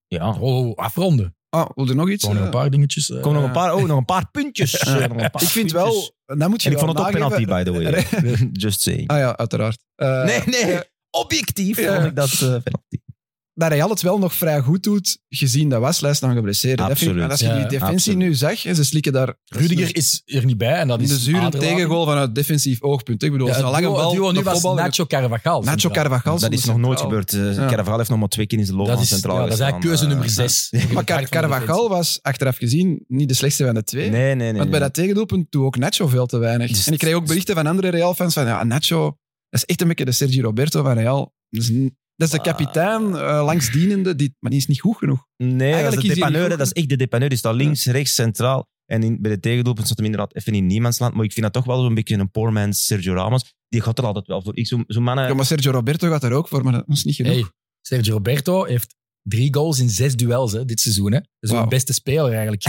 Speaker 2: ja.
Speaker 1: oh, afronden.
Speaker 3: Ah, wil je nog iets?
Speaker 1: Gewoon nog
Speaker 3: Eh,
Speaker 1: een paar dingetjes. eh,
Speaker 2: Er komen nog een paar, oh, nog een paar puntjes.
Speaker 3: Ja.
Speaker 2: Eh, nog een paar
Speaker 3: Ik
Speaker 2: puntjes.
Speaker 3: vind wel, en dat moet je
Speaker 2: En ik
Speaker 3: wel
Speaker 2: vond het ook penalty,
Speaker 3: nageven.
Speaker 2: by the way. Just saying.
Speaker 3: Ah ja, uiteraard. Eh,
Speaker 2: nee, nee.
Speaker 3: ja.
Speaker 2: Objectief
Speaker 3: Ja.
Speaker 2: vond ik dat eh, penalty.
Speaker 3: Dat Real het wel nog vrij goed doet, gezien dat Waslijst dan geblesseerd is. Dat vind ik-
Speaker 2: Absoluut.
Speaker 3: En als je
Speaker 1: Ja,
Speaker 3: die defensie
Speaker 2: absoluut.
Speaker 3: nu zag, en ze slikken daar...
Speaker 1: Rudiger is er niet bij. En dat
Speaker 3: dus in
Speaker 1: is
Speaker 3: de zure
Speaker 1: Adelaar.
Speaker 3: tegengoal vanuit defensief oogpunt. Ik bedoel,
Speaker 1: Ja,
Speaker 3: het is een
Speaker 1: het
Speaker 3: lange
Speaker 1: duo-
Speaker 3: bal,
Speaker 1: het duo
Speaker 3: een
Speaker 1: nu was
Speaker 3: kopbal.
Speaker 1: Nacho Carvajal.
Speaker 3: Nacho
Speaker 1: centraal.
Speaker 3: Carvajal.
Speaker 2: Dat is nog
Speaker 3: stond
Speaker 2: nooit
Speaker 3: centraal.
Speaker 2: gebeurd. Eh,
Speaker 3: Ja.
Speaker 2: Carvajal heeft nog maar twee keer in zijn loop
Speaker 1: Dat
Speaker 2: aan
Speaker 1: is,
Speaker 2: centraal
Speaker 1: ja, dat is
Speaker 2: gestaan.
Speaker 1: eigenlijk keuze
Speaker 2: Eh,
Speaker 1: nummer zes.
Speaker 3: Maar Car- Carvajal was, achteraf gezien, niet de slechtste van de twee.
Speaker 2: Nee, nee, nee.
Speaker 3: Want bij
Speaker 2: nee.
Speaker 3: dat tegendoelpunt doe ook Nacho veel te weinig.
Speaker 2: Dus-
Speaker 3: en ik kreeg ook berichten van andere Real-fans van ja, Nacho, dat is echt een beetje de Sergio Roberto van Real. Dat is, n- Dat is
Speaker 2: Ah.
Speaker 3: de kapitein, eh, langsdienende, die, maar die is niet goed genoeg.
Speaker 2: Nee, dat
Speaker 3: Eigenlijk
Speaker 2: is
Speaker 3: is
Speaker 2: de
Speaker 3: hij
Speaker 2: depaneur.
Speaker 3: niet
Speaker 2: hè.
Speaker 3: goed.
Speaker 2: Dat is echt de depaneur. Die staat links, rechts, centraal. En in, bij de tegendoelpunt staat hem inderdaad even in niemandsland. Maar ik vind dat toch wel zo'n beetje een poor man's Sergio Ramos. Die gaat er altijd wel voor. Ik, zo'n zo'n mannen...
Speaker 3: Ja, maar Sergio Roberto gaat er ook voor, maar dat is niet genoeg.
Speaker 1: Hey, Sergio Roberto heeft drie goals in zes duels hè, dit seizoen. Hè. Dat is
Speaker 3: Wauw.
Speaker 1: ook de beste speler eigenlijk.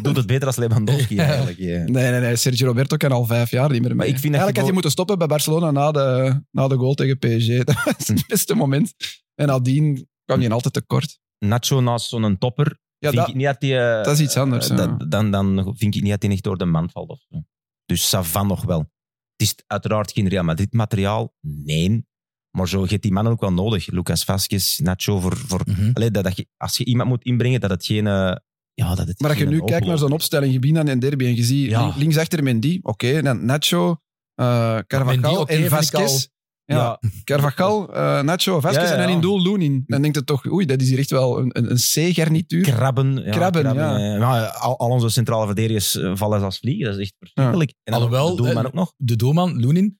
Speaker 2: doet het beter als Lewandowski
Speaker 1: Ja.
Speaker 2: eigenlijk. ja.
Speaker 3: Nee, nee, nee. Sergio Roberto kan al vijf jaar niet meer mee.
Speaker 2: Maar ik vind dat
Speaker 3: Eigenlijk
Speaker 2: je
Speaker 3: had
Speaker 2: wel-
Speaker 3: hij moeten stoppen bij Barcelona na de, na de goal tegen PSG. Dat was
Speaker 2: Hm.
Speaker 3: het beste moment. En nadien kwam hij altijd tekort.
Speaker 2: Nacho naast zo'n topper.
Speaker 3: Ja,
Speaker 2: vind
Speaker 3: dat,
Speaker 2: ik niet dat, die, eh,
Speaker 3: dat is iets anders.
Speaker 2: eh,
Speaker 3: ja.
Speaker 2: dat- dan, dan vind ik niet dat hij echt door de mand valt. Of zo. Dus Savan nog wel. Het is uiteraard geen Real Madrid materiaal. Nee. Maar zo je hebt die mannen ook wel nodig. Lucas Vasquez, Nacho voor, voor
Speaker 1: Mhm.
Speaker 2: Allee, dat, dat je, als je iemand moet inbrengen, dat het geen... eh, ja, dat het
Speaker 3: maar als je
Speaker 2: geen
Speaker 3: nu kijkt naar zo'n
Speaker 2: oplossing-
Speaker 3: opstelling, Gebinan en Derby, en je ziet
Speaker 2: Ja.
Speaker 3: link- linksachter Mendy, oké, en dan Nacho, eh
Speaker 1: Mendy,
Speaker 3: Carvajal
Speaker 1: oké,
Speaker 3: en
Speaker 1: vind ik
Speaker 3: Vasquez. Ja,
Speaker 2: Ja,
Speaker 3: Carvajal, eh, Nacho, Vasquez
Speaker 2: Ja, ja,
Speaker 3: en dan
Speaker 2: ja.
Speaker 3: in doel Loenin. Dan denkt het toch, oei, dat is hier echt wel een, een, een C-garnituur.
Speaker 2: krabben. Ja,
Speaker 3: Krabben, ja.
Speaker 2: eh, maar al, al onze centrale verdedigers eh, vallen als vliegen. Dat is echt verschrikkelijk. En dan
Speaker 1: Alhoewel,
Speaker 2: de doelman
Speaker 1: eh,
Speaker 2: ook nog.
Speaker 1: De doelman, Loenin,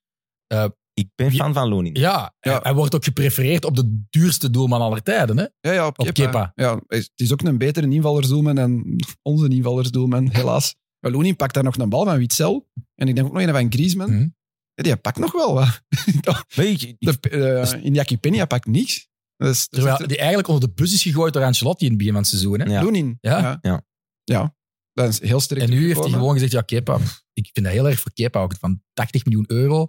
Speaker 2: Ik ben fan van Loning.
Speaker 1: ja,
Speaker 3: Ja.
Speaker 1: hij wordt ook geprefereerd op de duurste doelman aller tijden. Hè.
Speaker 3: Ja, ja, op,
Speaker 1: Op
Speaker 3: Kepa.
Speaker 1: Kepa.
Speaker 3: Ja, het is ook een betere invallersdoelman dan onze invallersdoelman, helaas. Maar Loenin pakt daar nog een bal van Witzel. En ik denk ook nog een van Griezmann.
Speaker 1: Mhm.
Speaker 3: Ja, die pakt nog wel wat.
Speaker 2: Weet je, ik-
Speaker 3: De, eh Iñaki Peña pakt niks. Dus, dus
Speaker 1: Terwijl
Speaker 3: het-
Speaker 1: die eigenlijk onder de bus is gegooid door Ancelotti in het begin van het seizoen. Hè.
Speaker 2: Ja.
Speaker 3: Loenin.
Speaker 1: Ja.
Speaker 3: Ja.
Speaker 2: Ja.
Speaker 3: Ja. Dat is heel sterk.
Speaker 1: En nu heeft hij
Speaker 3: teruggekomen.
Speaker 1: gewoon gezegd, ja, Kepa, pff, ik vind dat heel erg voor Kepa ook. Van 80 miljoen euro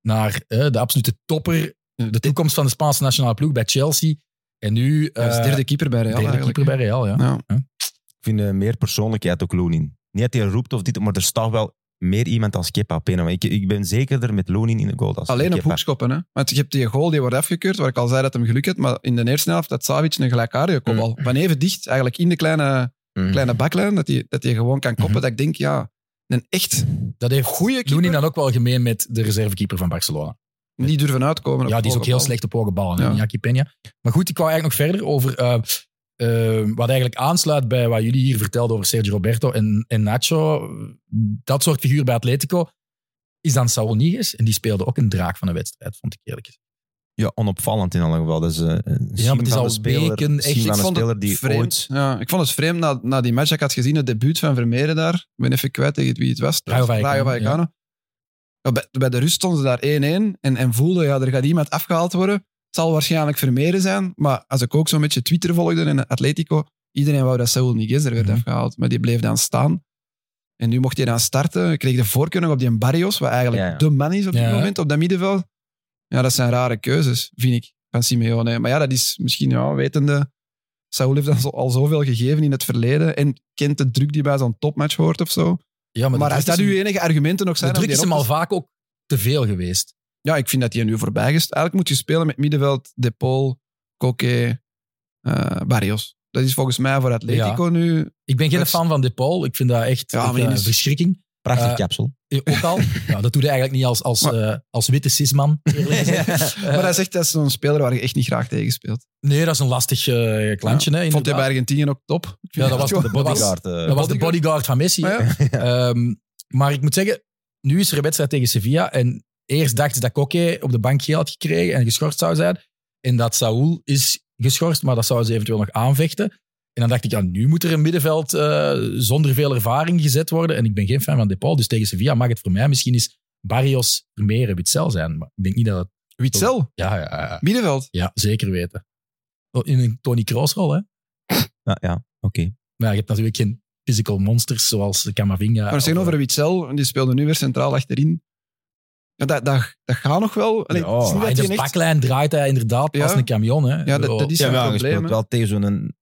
Speaker 1: naar eh, de absolute topper, de toekomst van de Spaanse nationale ploeg bij Chelsea. En nu
Speaker 3: Ja, dat is
Speaker 1: eh,
Speaker 3: derde keeper bij Real
Speaker 1: derde
Speaker 3: eigenlijk.
Speaker 1: keeper bij Real, ja.
Speaker 3: Ja.
Speaker 2: ik vind eh, meer persoonlijkheid ook Loning. Niet dat hij roept of dit, maar er staat wel meer iemand als Kepa op een of andere- Ik, ik ben zekerder met Loning in de goal. Als
Speaker 3: Alleen op
Speaker 2: Kepa.
Speaker 3: hoekschoppen. Hè? Want je hebt die goal, die wordt afgekeurd, waar ik al zei dat hem geluk had. Maar in de eerste helft had Savic een gelijkaardige kopbal.
Speaker 1: Mm.
Speaker 3: Van even dicht, eigenlijk in de kleine,
Speaker 2: Mm.
Speaker 3: kleine baklijn, dat hij dat die gewoon kan koppen.
Speaker 1: Mhm.
Speaker 3: Dat ik denk, ja, een echt
Speaker 1: Dat heeft
Speaker 3: goede
Speaker 1: Loenin
Speaker 3: keeper.
Speaker 1: dan ook wel gemeen met de reservekeeper van Barcelona.
Speaker 3: Niet durven uitkomen. op
Speaker 1: Ja, die is ook heel
Speaker 3: hoge
Speaker 1: slecht op hoge ballen,
Speaker 3: Ja.
Speaker 1: ja. Jackie Peña. Maar goed, ik wou eigenlijk nog verder over eh, eh, wat eigenlijk aansluit bij wat jullie hier vertelden over Sergio Roberto en, en Nacho. Dat soort figuur bij Atletico is dan Saul Niges. En die speelde ook een draak van een wedstrijd, vond ik eerlijk gezegd.
Speaker 2: Ja, onopvallend in alle geval. Dat is, eh, een
Speaker 1: Ja, maar het is
Speaker 2: van
Speaker 1: al
Speaker 2: een speler,
Speaker 1: weken echt-
Speaker 2: zien
Speaker 1: ik
Speaker 2: van een
Speaker 3: vond het
Speaker 2: speler die
Speaker 3: vreemd.
Speaker 2: ooit...
Speaker 3: Ja, ik vond het vreemd na, na die match. Ik had gezien het debuut van Vermeeren daar. Ik ben even kwijt tegen wie het was.
Speaker 1: Rayo Vallecano,
Speaker 3: Rayo Vallecano. Ja, bij, bij de rust stonden ze daar 1-1 en, en voelden, ja, er gaat iemand afgehaald worden. Het zal waarschijnlijk Vermeeren zijn. Maar als ik ook zo'n beetje Twitter volgde en Atletico, iedereen wou dat Saul Niguez er werd
Speaker 1: Mhm.
Speaker 3: afgehaald. Maar die bleef dan staan. En nu mocht hij dan starten. Ik kreeg de voorkeur nog op die Barrios, wat eigenlijk
Speaker 2: Ja, ja.
Speaker 3: de man is op dit
Speaker 1: Ja.
Speaker 3: moment, op dat middenveld. Ja, dat zijn rare keuzes, vind ik, van Simeone. Maar ja, dat is misschien, ja, wetende... Saul heeft dan zo- al zoveel gegeven in het verleden en kent de druk die bij zo'n topmatch hoort of zo.
Speaker 1: Ja,
Speaker 3: Maar,
Speaker 1: de
Speaker 3: als
Speaker 1: druk
Speaker 3: dat
Speaker 1: is
Speaker 3: uw
Speaker 1: hem-
Speaker 3: enige argumenten nog zijn...
Speaker 1: De
Speaker 3: om
Speaker 1: druk
Speaker 3: die
Speaker 1: is hem al
Speaker 3: op te-
Speaker 1: vaak ook te veel geweest.
Speaker 3: Ja, ik vind dat hij er nu voorbij is. Eigenlijk moet je spelen met middenveld, De Paul, Koke, eh, Barrios. Dat is volgens mij voor Atletico nu...
Speaker 1: Ik ben geen
Speaker 3: Dat is-
Speaker 1: fan van De Paul. Ik vind dat echt
Speaker 3: Ja, maar
Speaker 1: een eh,
Speaker 3: die is-
Speaker 1: verschrikking.
Speaker 2: Prachtig
Speaker 1: Eh,
Speaker 2: kapsel.
Speaker 1: Eh, Ook al. ja, dat doet hij eigenlijk niet als, als,
Speaker 3: Maar-
Speaker 1: eh, als witte cisman. eerlijk gezegd. Eh,
Speaker 3: Maar dat is echt dat is zo'n speler waar je echt niet graag tegen speelt.
Speaker 1: nee, dat is een lastig eh, klantje. hè,
Speaker 3: Ik vond hij
Speaker 1: inderdaad.
Speaker 3: bij Argentinië ook top. Ik vind
Speaker 1: Ja, dat was
Speaker 3: gewoon-
Speaker 1: de bodyguard.
Speaker 2: Bodyguard, eh,
Speaker 1: Dat was de bodyguard Ah, van Messi.
Speaker 3: Maar
Speaker 1: hè.
Speaker 3: ja,
Speaker 1: Ehm, maar ik moet zeggen, nu is er een wedstrijd tegen Sevilla. En eerst dacht ik dat Koke op de bank geel had gekregen en geschorst zou zijn. En dat Saúl is geschorst, maar dat zouden ze eventueel nog aanvechten. En dan dacht ik, ja, nu moet er een middenveld eh, zonder veel ervaring gezet worden. En ik ben geen fan van Depal, dus tegen Sevilla mag het voor mij misschien eens Barrios, Vermeer en Witzel zijn. Maar ik denk niet dat het...
Speaker 3: Witzel,
Speaker 1: Ja, ja, ja,
Speaker 3: middenveld.
Speaker 1: ja zeker weten. Oh, In een Tony Kroos-rol, hè.
Speaker 2: Ja, ja. oké.
Speaker 1: Maar ja, je hebt natuurlijk geen physical monsters zoals Camavinga.
Speaker 3: Maar
Speaker 1: of, eh,
Speaker 3: zeggen over Witzel, die speelde nu weer centraal achterin. Ja, dat, dat, dat gaat nog wel. Allee,
Speaker 2: Ja,
Speaker 3: het is niet
Speaker 1: Maar
Speaker 3: dat
Speaker 1: in
Speaker 3: hij
Speaker 1: de
Speaker 3: echt-
Speaker 1: baklijn draait hij inderdaad pas
Speaker 3: Ja.
Speaker 1: een camion. Hè. Oh,
Speaker 3: Ja, dat, dat is
Speaker 2: Ja,
Speaker 3: zijn
Speaker 2: maar je
Speaker 3: probleem.
Speaker 2: speelt
Speaker 3: hè.
Speaker 2: wel tegen zo'n...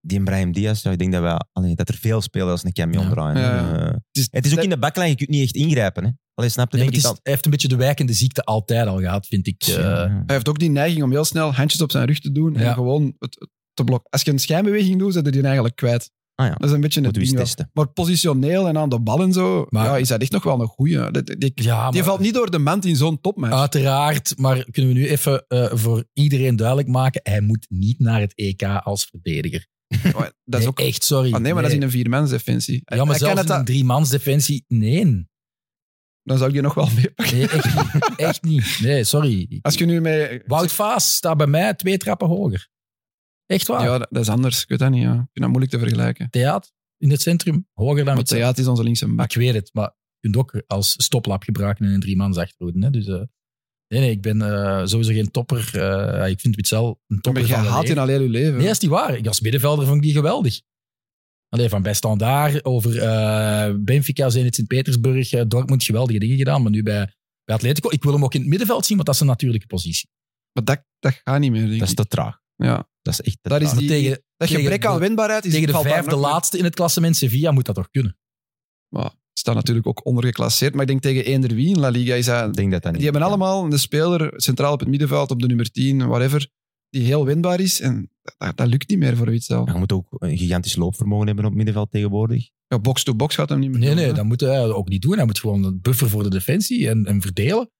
Speaker 2: Die Brahim Diaz, ja, ik denk dat, wij, allee, dat er veel spelers als een camion
Speaker 1: Ja.
Speaker 2: draaien.
Speaker 3: Ja.
Speaker 2: Eh,
Speaker 3: Het is,
Speaker 2: het is ook
Speaker 3: dat-
Speaker 2: in de backlijn, je kunt niet echt ingrijpen. Hè. Allee, snap je?
Speaker 1: Nee, maar
Speaker 2: Denk
Speaker 1: het is-
Speaker 2: ik
Speaker 1: hij heeft een beetje de wijkende ziekte altijd al gehad, vind ik.
Speaker 2: al.
Speaker 1: eh.
Speaker 2: Ja.
Speaker 3: Hij heeft ook die neiging om heel snel handjes op zijn rug te doen en
Speaker 1: Ja.
Speaker 3: gewoon het, het te blokken. Als je een schijnbeweging doet, zit je die eigenlijk kwijt.
Speaker 2: Ah ja,
Speaker 3: Dat is een beetje het
Speaker 2: moeten we
Speaker 3: ding.
Speaker 2: eens
Speaker 3: wel.
Speaker 2: testen.
Speaker 3: Maar positioneel en aan de bal en zo,
Speaker 1: Maar-
Speaker 3: ja, is dat echt nog wel een goeie. Dat- dat- Die, die,
Speaker 1: ja, maar, Ah,
Speaker 3: valt niet door de mand in zo'n topmatch.
Speaker 1: Uiteraard, maar kunnen we nu even eh, voor iedereen duidelijk maken: hij moet niet naar het EK als verdediger.
Speaker 3: Maar dat is
Speaker 1: Nee,
Speaker 3: ook...
Speaker 1: echt, sorry.
Speaker 3: Ah, nee, maar dat is in een viermans defensie.
Speaker 1: ja, maar zelfs in een driemans defensie, nee.
Speaker 3: dan zou ik die nog wel meepakken.
Speaker 1: Nee, echt niet. Echt niet. Nee, sorry. Ik-
Speaker 3: Als je nu mee...
Speaker 1: Wout Vaas staat bij mij twee trappen hoger. Echt waar.
Speaker 3: Ja, dat, dat is anders. Ik weet dat niet. Ja. Ik vind dat moeilijk te vergelijken.
Speaker 1: Theater in het centrum, hoger dan
Speaker 3: Want
Speaker 1: het
Speaker 3: Theaat is onze linkse
Speaker 1: Maar
Speaker 3: bak.
Speaker 1: ik weet het, maar je kunt ook als stoplap gebruiken in een driemans achterhoede. Hè? Dus, eh, nee, nee, ik ben eh, sowieso geen topper. Eh, ik vind Witzel een topper
Speaker 3: Maar je
Speaker 1: van de
Speaker 3: haat
Speaker 1: leer.
Speaker 3: in al heel je leven.
Speaker 1: Nee, dat is niet waar. Ik als middenvelder vond ik die geweldig. Alleen van bij Standaard over eh Benfica, Zenit Sint-Petersburg, eh, Dortmund, geweldige dingen gedaan. Maar nu bij, bij Atletico, ik wil hem ook in het middenveld zien, want dat is een natuurlijke positie.
Speaker 3: Maar dat, dat gaat niet meer, denk
Speaker 2: Dat is
Speaker 3: ik.
Speaker 2: te traag.
Speaker 3: Ja.
Speaker 2: Dat is echt te
Speaker 3: Dat is
Speaker 2: traag.
Speaker 3: die-
Speaker 1: tegen,
Speaker 3: Dat
Speaker 1: tegen
Speaker 3: gebrek
Speaker 1: de-
Speaker 3: aan winbaarheid is
Speaker 1: tegen de
Speaker 3: valt daar
Speaker 1: vijfde
Speaker 3: nog mee.
Speaker 1: laatste in het klassement Sevilla moet dat toch kunnen.
Speaker 3: Maar is dat natuurlijk ook ondergeclasseerd. Maar ik denk tegen eender wie in La Liga is dat...
Speaker 2: Ik denk dat dat niet
Speaker 3: Die
Speaker 2: kan.
Speaker 3: hebben allemaal een speler centraal op het middenveld, op de nummer 10, whatever, die heel winbaar is. En dat, dat lukt niet meer voor Witzel.
Speaker 2: Maar Je moet ook een gigantisch loopvermogen hebben op het middenveld tegenwoordig.
Speaker 3: Ja, box-to-box gaat hem niet meer
Speaker 1: Nee,
Speaker 3: doen,
Speaker 1: nee,
Speaker 3: hè.
Speaker 1: dat moet hij ook niet doen. Hij moet gewoon een buffer voor de defensie en, en verdelen.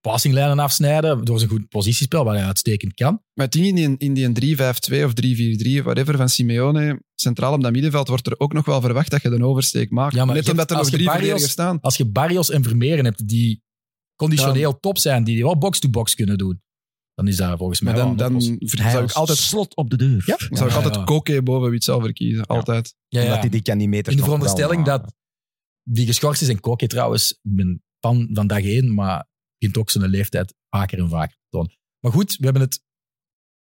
Speaker 1: Passinglijnen afsnijden door zijn goed positiespel, wat hij uitstekend kan.
Speaker 3: Maar het ding in die, in die 3-5-2 of 3-4-3, whatever, van Simeone, centraal op dat middenveld wordt er ook nog wel verwacht dat je een oversteek maakt.
Speaker 1: Ja, maar
Speaker 3: Net
Speaker 1: je hebt-
Speaker 3: omdat er nog
Speaker 1: als je
Speaker 3: drie
Speaker 1: Barrios-
Speaker 3: verdedigers staan.
Speaker 1: Als je Barrios en Vermeeren hebt die conditioneel top zijn, die wel box-to-box kunnen doen, dan is dat volgens mij
Speaker 3: Maar dan,
Speaker 1: wel een
Speaker 3: dan
Speaker 1: oplossing.
Speaker 3: zou ik altijd,
Speaker 2: slot op de deur.
Speaker 1: Ja.
Speaker 3: zou ik
Speaker 1: Ja,
Speaker 3: altijd
Speaker 1: ja.
Speaker 3: Koke boven Witzel verkiezen. Altijd.
Speaker 1: Ja, ja.
Speaker 2: Omdat die, die kan die meters
Speaker 1: In de
Speaker 2: nog wel
Speaker 1: veronderstelling
Speaker 2: maken.
Speaker 1: dat die geschorst is en Koke trouwens, ik ben fan van dag één, maar begint ook zijn leeftijd vaker en vaker te tonen. Maar goed, we hebben het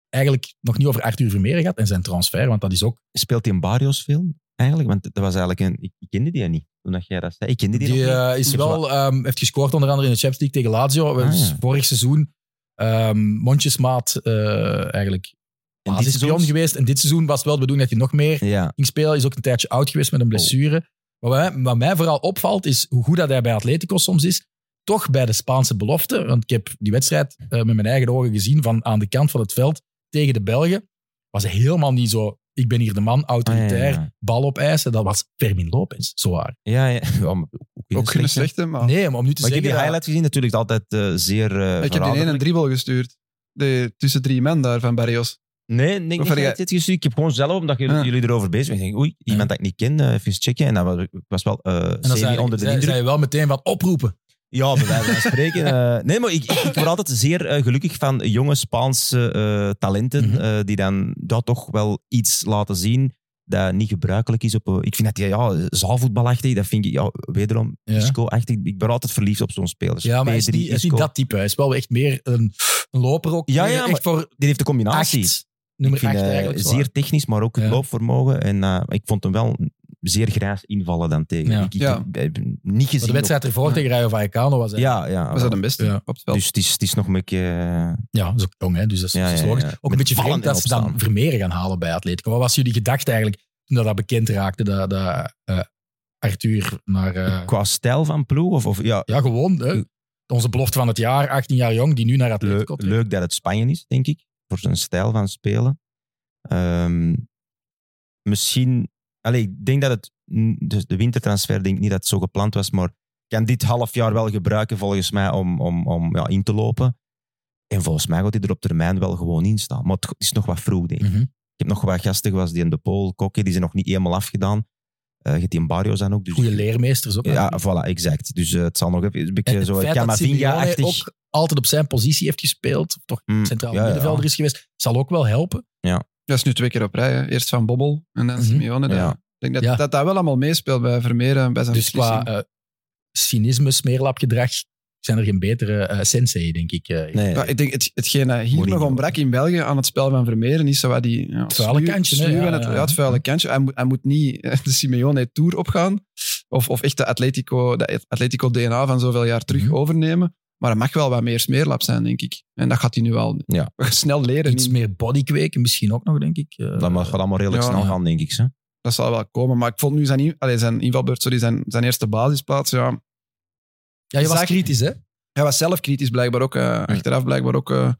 Speaker 1: eigenlijk nog niet over Arthur Vermeeren gehad en zijn transfer, want dat is ook...
Speaker 2: Speelt hij in Barrios veel eigenlijk? Want dat was eigenlijk een... Ik, ik kende die niet, toen dat jij dat zei. Ik kende die,
Speaker 1: Die
Speaker 2: nog niet.
Speaker 1: eh, is wel, ehm, heeft gescoord onder andere in de Champions League tegen Lazio.
Speaker 2: Ah,
Speaker 1: Dus
Speaker 2: ja.
Speaker 1: Vorig seizoen ehm, mondjesmaat eh eigenlijk
Speaker 2: En dit
Speaker 1: basispion
Speaker 2: seizoen-
Speaker 1: geweest. En dit seizoen was het wel de bedoeling dat hij nog meer
Speaker 2: Ja,
Speaker 1: ging spelen. Is ook een tijdje oud geweest
Speaker 2: Oh.
Speaker 1: met een blessure. Maar wat mij, wat mij vooral opvalt, is hoe goed dat hij bij Atletico soms is. Toch bij de Spaanse belofte. Want ik heb die wedstrijd eh, met mijn eigen ogen gezien van aan de kant van het veld tegen de Belgen. Was hij helemaal niet zo, ik ben hier de man,
Speaker 2: Ah,
Speaker 1: autoritair,
Speaker 2: ja, ja.
Speaker 1: bal opeisen. Dat was Fermin Lopez, zo waar.
Speaker 2: Ja, ja. ja maar ook heel
Speaker 3: Ook geen
Speaker 2: slecht, hè.
Speaker 3: slechte, maar...
Speaker 1: Nee, maar om nu te
Speaker 2: Ah. Maar
Speaker 1: zeggen...
Speaker 2: ik heb die
Speaker 1: ja,
Speaker 2: highlight gezien, natuurlijk altijd eh, zeer eh
Speaker 3: ik heb die ene een
Speaker 2: verraderlijk.
Speaker 3: dribbel gestuurd. De, tussen drie men daar van Barrios.
Speaker 2: Nee, nee,
Speaker 3: Of
Speaker 2: ik,
Speaker 3: heb jij-
Speaker 2: heb dit gestuurd. ik heb gewoon zelf, omdat jullie,
Speaker 3: Ah.
Speaker 2: jullie erover bezig waren, ik denk, oei, iemand dat ik niet ken, eh, even checken. En dat was, ik was wel eh,
Speaker 1: en dan
Speaker 2: semi
Speaker 1: zei,
Speaker 2: onder de
Speaker 1: zei-
Speaker 2: indruk.
Speaker 1: zei je wel meteen van oproepen.
Speaker 2: Ja, bij wijze van spreken. eh, nee, maar ik, ik, ik word altijd zeer eh, gelukkig van jonge Spaanse eh, talenten
Speaker 1: Mhm.
Speaker 2: eh, die dan dat toch wel iets laten zien dat niet gebruikelijk is. Op, eh, ik vind dat die ja, zaalvoetbalachtig, dat vind ik ja, wederom
Speaker 1: Ja.
Speaker 2: disco-achtig. Ik ben altijd verliefd op zo'n speler.
Speaker 1: Ja, maar hij is
Speaker 2: Pedri,
Speaker 1: niet, hij is niet
Speaker 2: Isco.
Speaker 1: dat type. Hij is wel echt meer een, een loper ook.
Speaker 2: Ja,
Speaker 1: Meer
Speaker 2: ja,
Speaker 1: echt
Speaker 2: maar-
Speaker 1: voor
Speaker 2: Die heeft de combinatie.
Speaker 1: acht. Nummer
Speaker 2: ik vind,
Speaker 1: acht
Speaker 2: eh,
Speaker 1: eigenlijk. zo waar.
Speaker 2: zeer technisch, maar ook het
Speaker 1: Ja.
Speaker 2: loopvermogen. En eh, ik vond hem wel zeer graag invallen dan tegen.
Speaker 1: Ja.
Speaker 2: Ik, ik
Speaker 3: Ja.
Speaker 2: heb hem niet gezien.
Speaker 1: Maar de wedstrijd ervoor
Speaker 3: Ja.
Speaker 1: tegen Rayo Vallecano was
Speaker 2: op-
Speaker 1: hij.
Speaker 2: Ja, ja.
Speaker 3: Was dat een beste
Speaker 1: Ah, Ja.
Speaker 3: op het veld?
Speaker 2: dus het is, het is nog een beetje... eh,
Speaker 1: Ja, dat is ook jong, hè? dus dat is,
Speaker 2: Ja,
Speaker 1: dat is
Speaker 2: ja, ja.
Speaker 1: logisch. Ook
Speaker 2: Met
Speaker 1: een beetje
Speaker 2: vallen
Speaker 1: vreemd dat
Speaker 2: en
Speaker 1: ze dan
Speaker 2: opstaan.
Speaker 1: Vermeeren gaan halen bij Atletico. Wat was jullie gedachte eigenlijk toen dat, dat bekend raakte, dat, dat eh, Arthur naar... eh,
Speaker 2: qua stijl van ploeg? Of, of, ja,
Speaker 1: ja, gewoon, hè? onze belofte van het jaar, 18 jaar jong, die nu naar Atletico
Speaker 2: leuk,
Speaker 1: trekt.
Speaker 2: leuk dat het Spanje is, denk ik. Voor zijn stijl van spelen. Ehm, misschien... Allee, ik denk dat het... Dus de wintertransfer, denk ik niet dat het zo gepland was, maar ik kan dit half jaar wel gebruiken volgens mij om, om, om ja, in te lopen. En volgens mij gaat hij er op termijn wel gewoon in staan. Maar het is nog wat vroeg, denk ik.
Speaker 1: Mhm.
Speaker 2: Ik heb nog wat gasten was die in de Pool, Kokke, die zijn nog niet helemaal afgedaan. Eh je hebt die in Barrios dan ook. Dus
Speaker 1: Goede leermeesters ook.
Speaker 2: Ja, voilà, exact. Dus eh, het zal nog even een
Speaker 1: En
Speaker 2: beetje
Speaker 1: het
Speaker 2: zo
Speaker 1: feit dat Simeone
Speaker 2: Camavinga-achtig.
Speaker 1: ook altijd op zijn positie heeft gespeeld, of toch
Speaker 2: Mm,
Speaker 1: centraal
Speaker 2: ja, ja.
Speaker 1: middenvelder is geweest, zal ook wel helpen.
Speaker 3: Dat is nu twee keer op rij. Hè. Eerst Van Bobbel en dan
Speaker 1: Mhm.
Speaker 3: Simeone. Dat-
Speaker 2: Ja.
Speaker 3: Ik denk dat,
Speaker 1: Ja.
Speaker 3: dat dat wel allemaal meespeelt bij Vermeeren, bij zijn
Speaker 1: Dus
Speaker 3: beslissing.
Speaker 1: qua eh, cynisme, smeerlapgedrag, zijn er geen betere eh, sensei, denk ik. eh.
Speaker 2: Nee,
Speaker 3: Ja, ik denk, het, hetgeen dat hier
Speaker 2: Mourinho.
Speaker 3: nog ontbrak in België aan het spel van Vermeeren is zo wat die... Ja,
Speaker 1: vuile
Speaker 3: sluw-
Speaker 1: kantje, hè?
Speaker 3: sluw
Speaker 1: Ja,
Speaker 3: en het,
Speaker 1: ja, ja.
Speaker 3: ja, het vuile kantje. Hij moet, hij moet niet eh, de Simeone Tour opgaan of, of echt de Atletico, de Atletico DNA van zoveel jaar terug
Speaker 1: Mhm.
Speaker 3: overnemen. Maar het mag wel wat meer smeerlap zijn, denk ik. En dat gaat hij nu wel
Speaker 2: Ja.
Speaker 3: snel leren.
Speaker 1: Iets
Speaker 3: Niet-
Speaker 1: meer body kweken misschien ook nog, denk ik. Eh,
Speaker 2: dat mag- gaat allemaal redelijk
Speaker 3: ja.
Speaker 2: snel gaan, denk ik. Hè.
Speaker 3: Dat zal wel komen. Maar ik vond nu zijn, in- allee, zijn invalbeurt, sorry, zijn, zijn eerste basisplaats, ja,
Speaker 1: ja, je was
Speaker 3: Zag-
Speaker 1: kritisch, hè?
Speaker 3: Hij was zelf kritisch, blijkbaar ook. eh, Achteraf blijkbaar ook eh,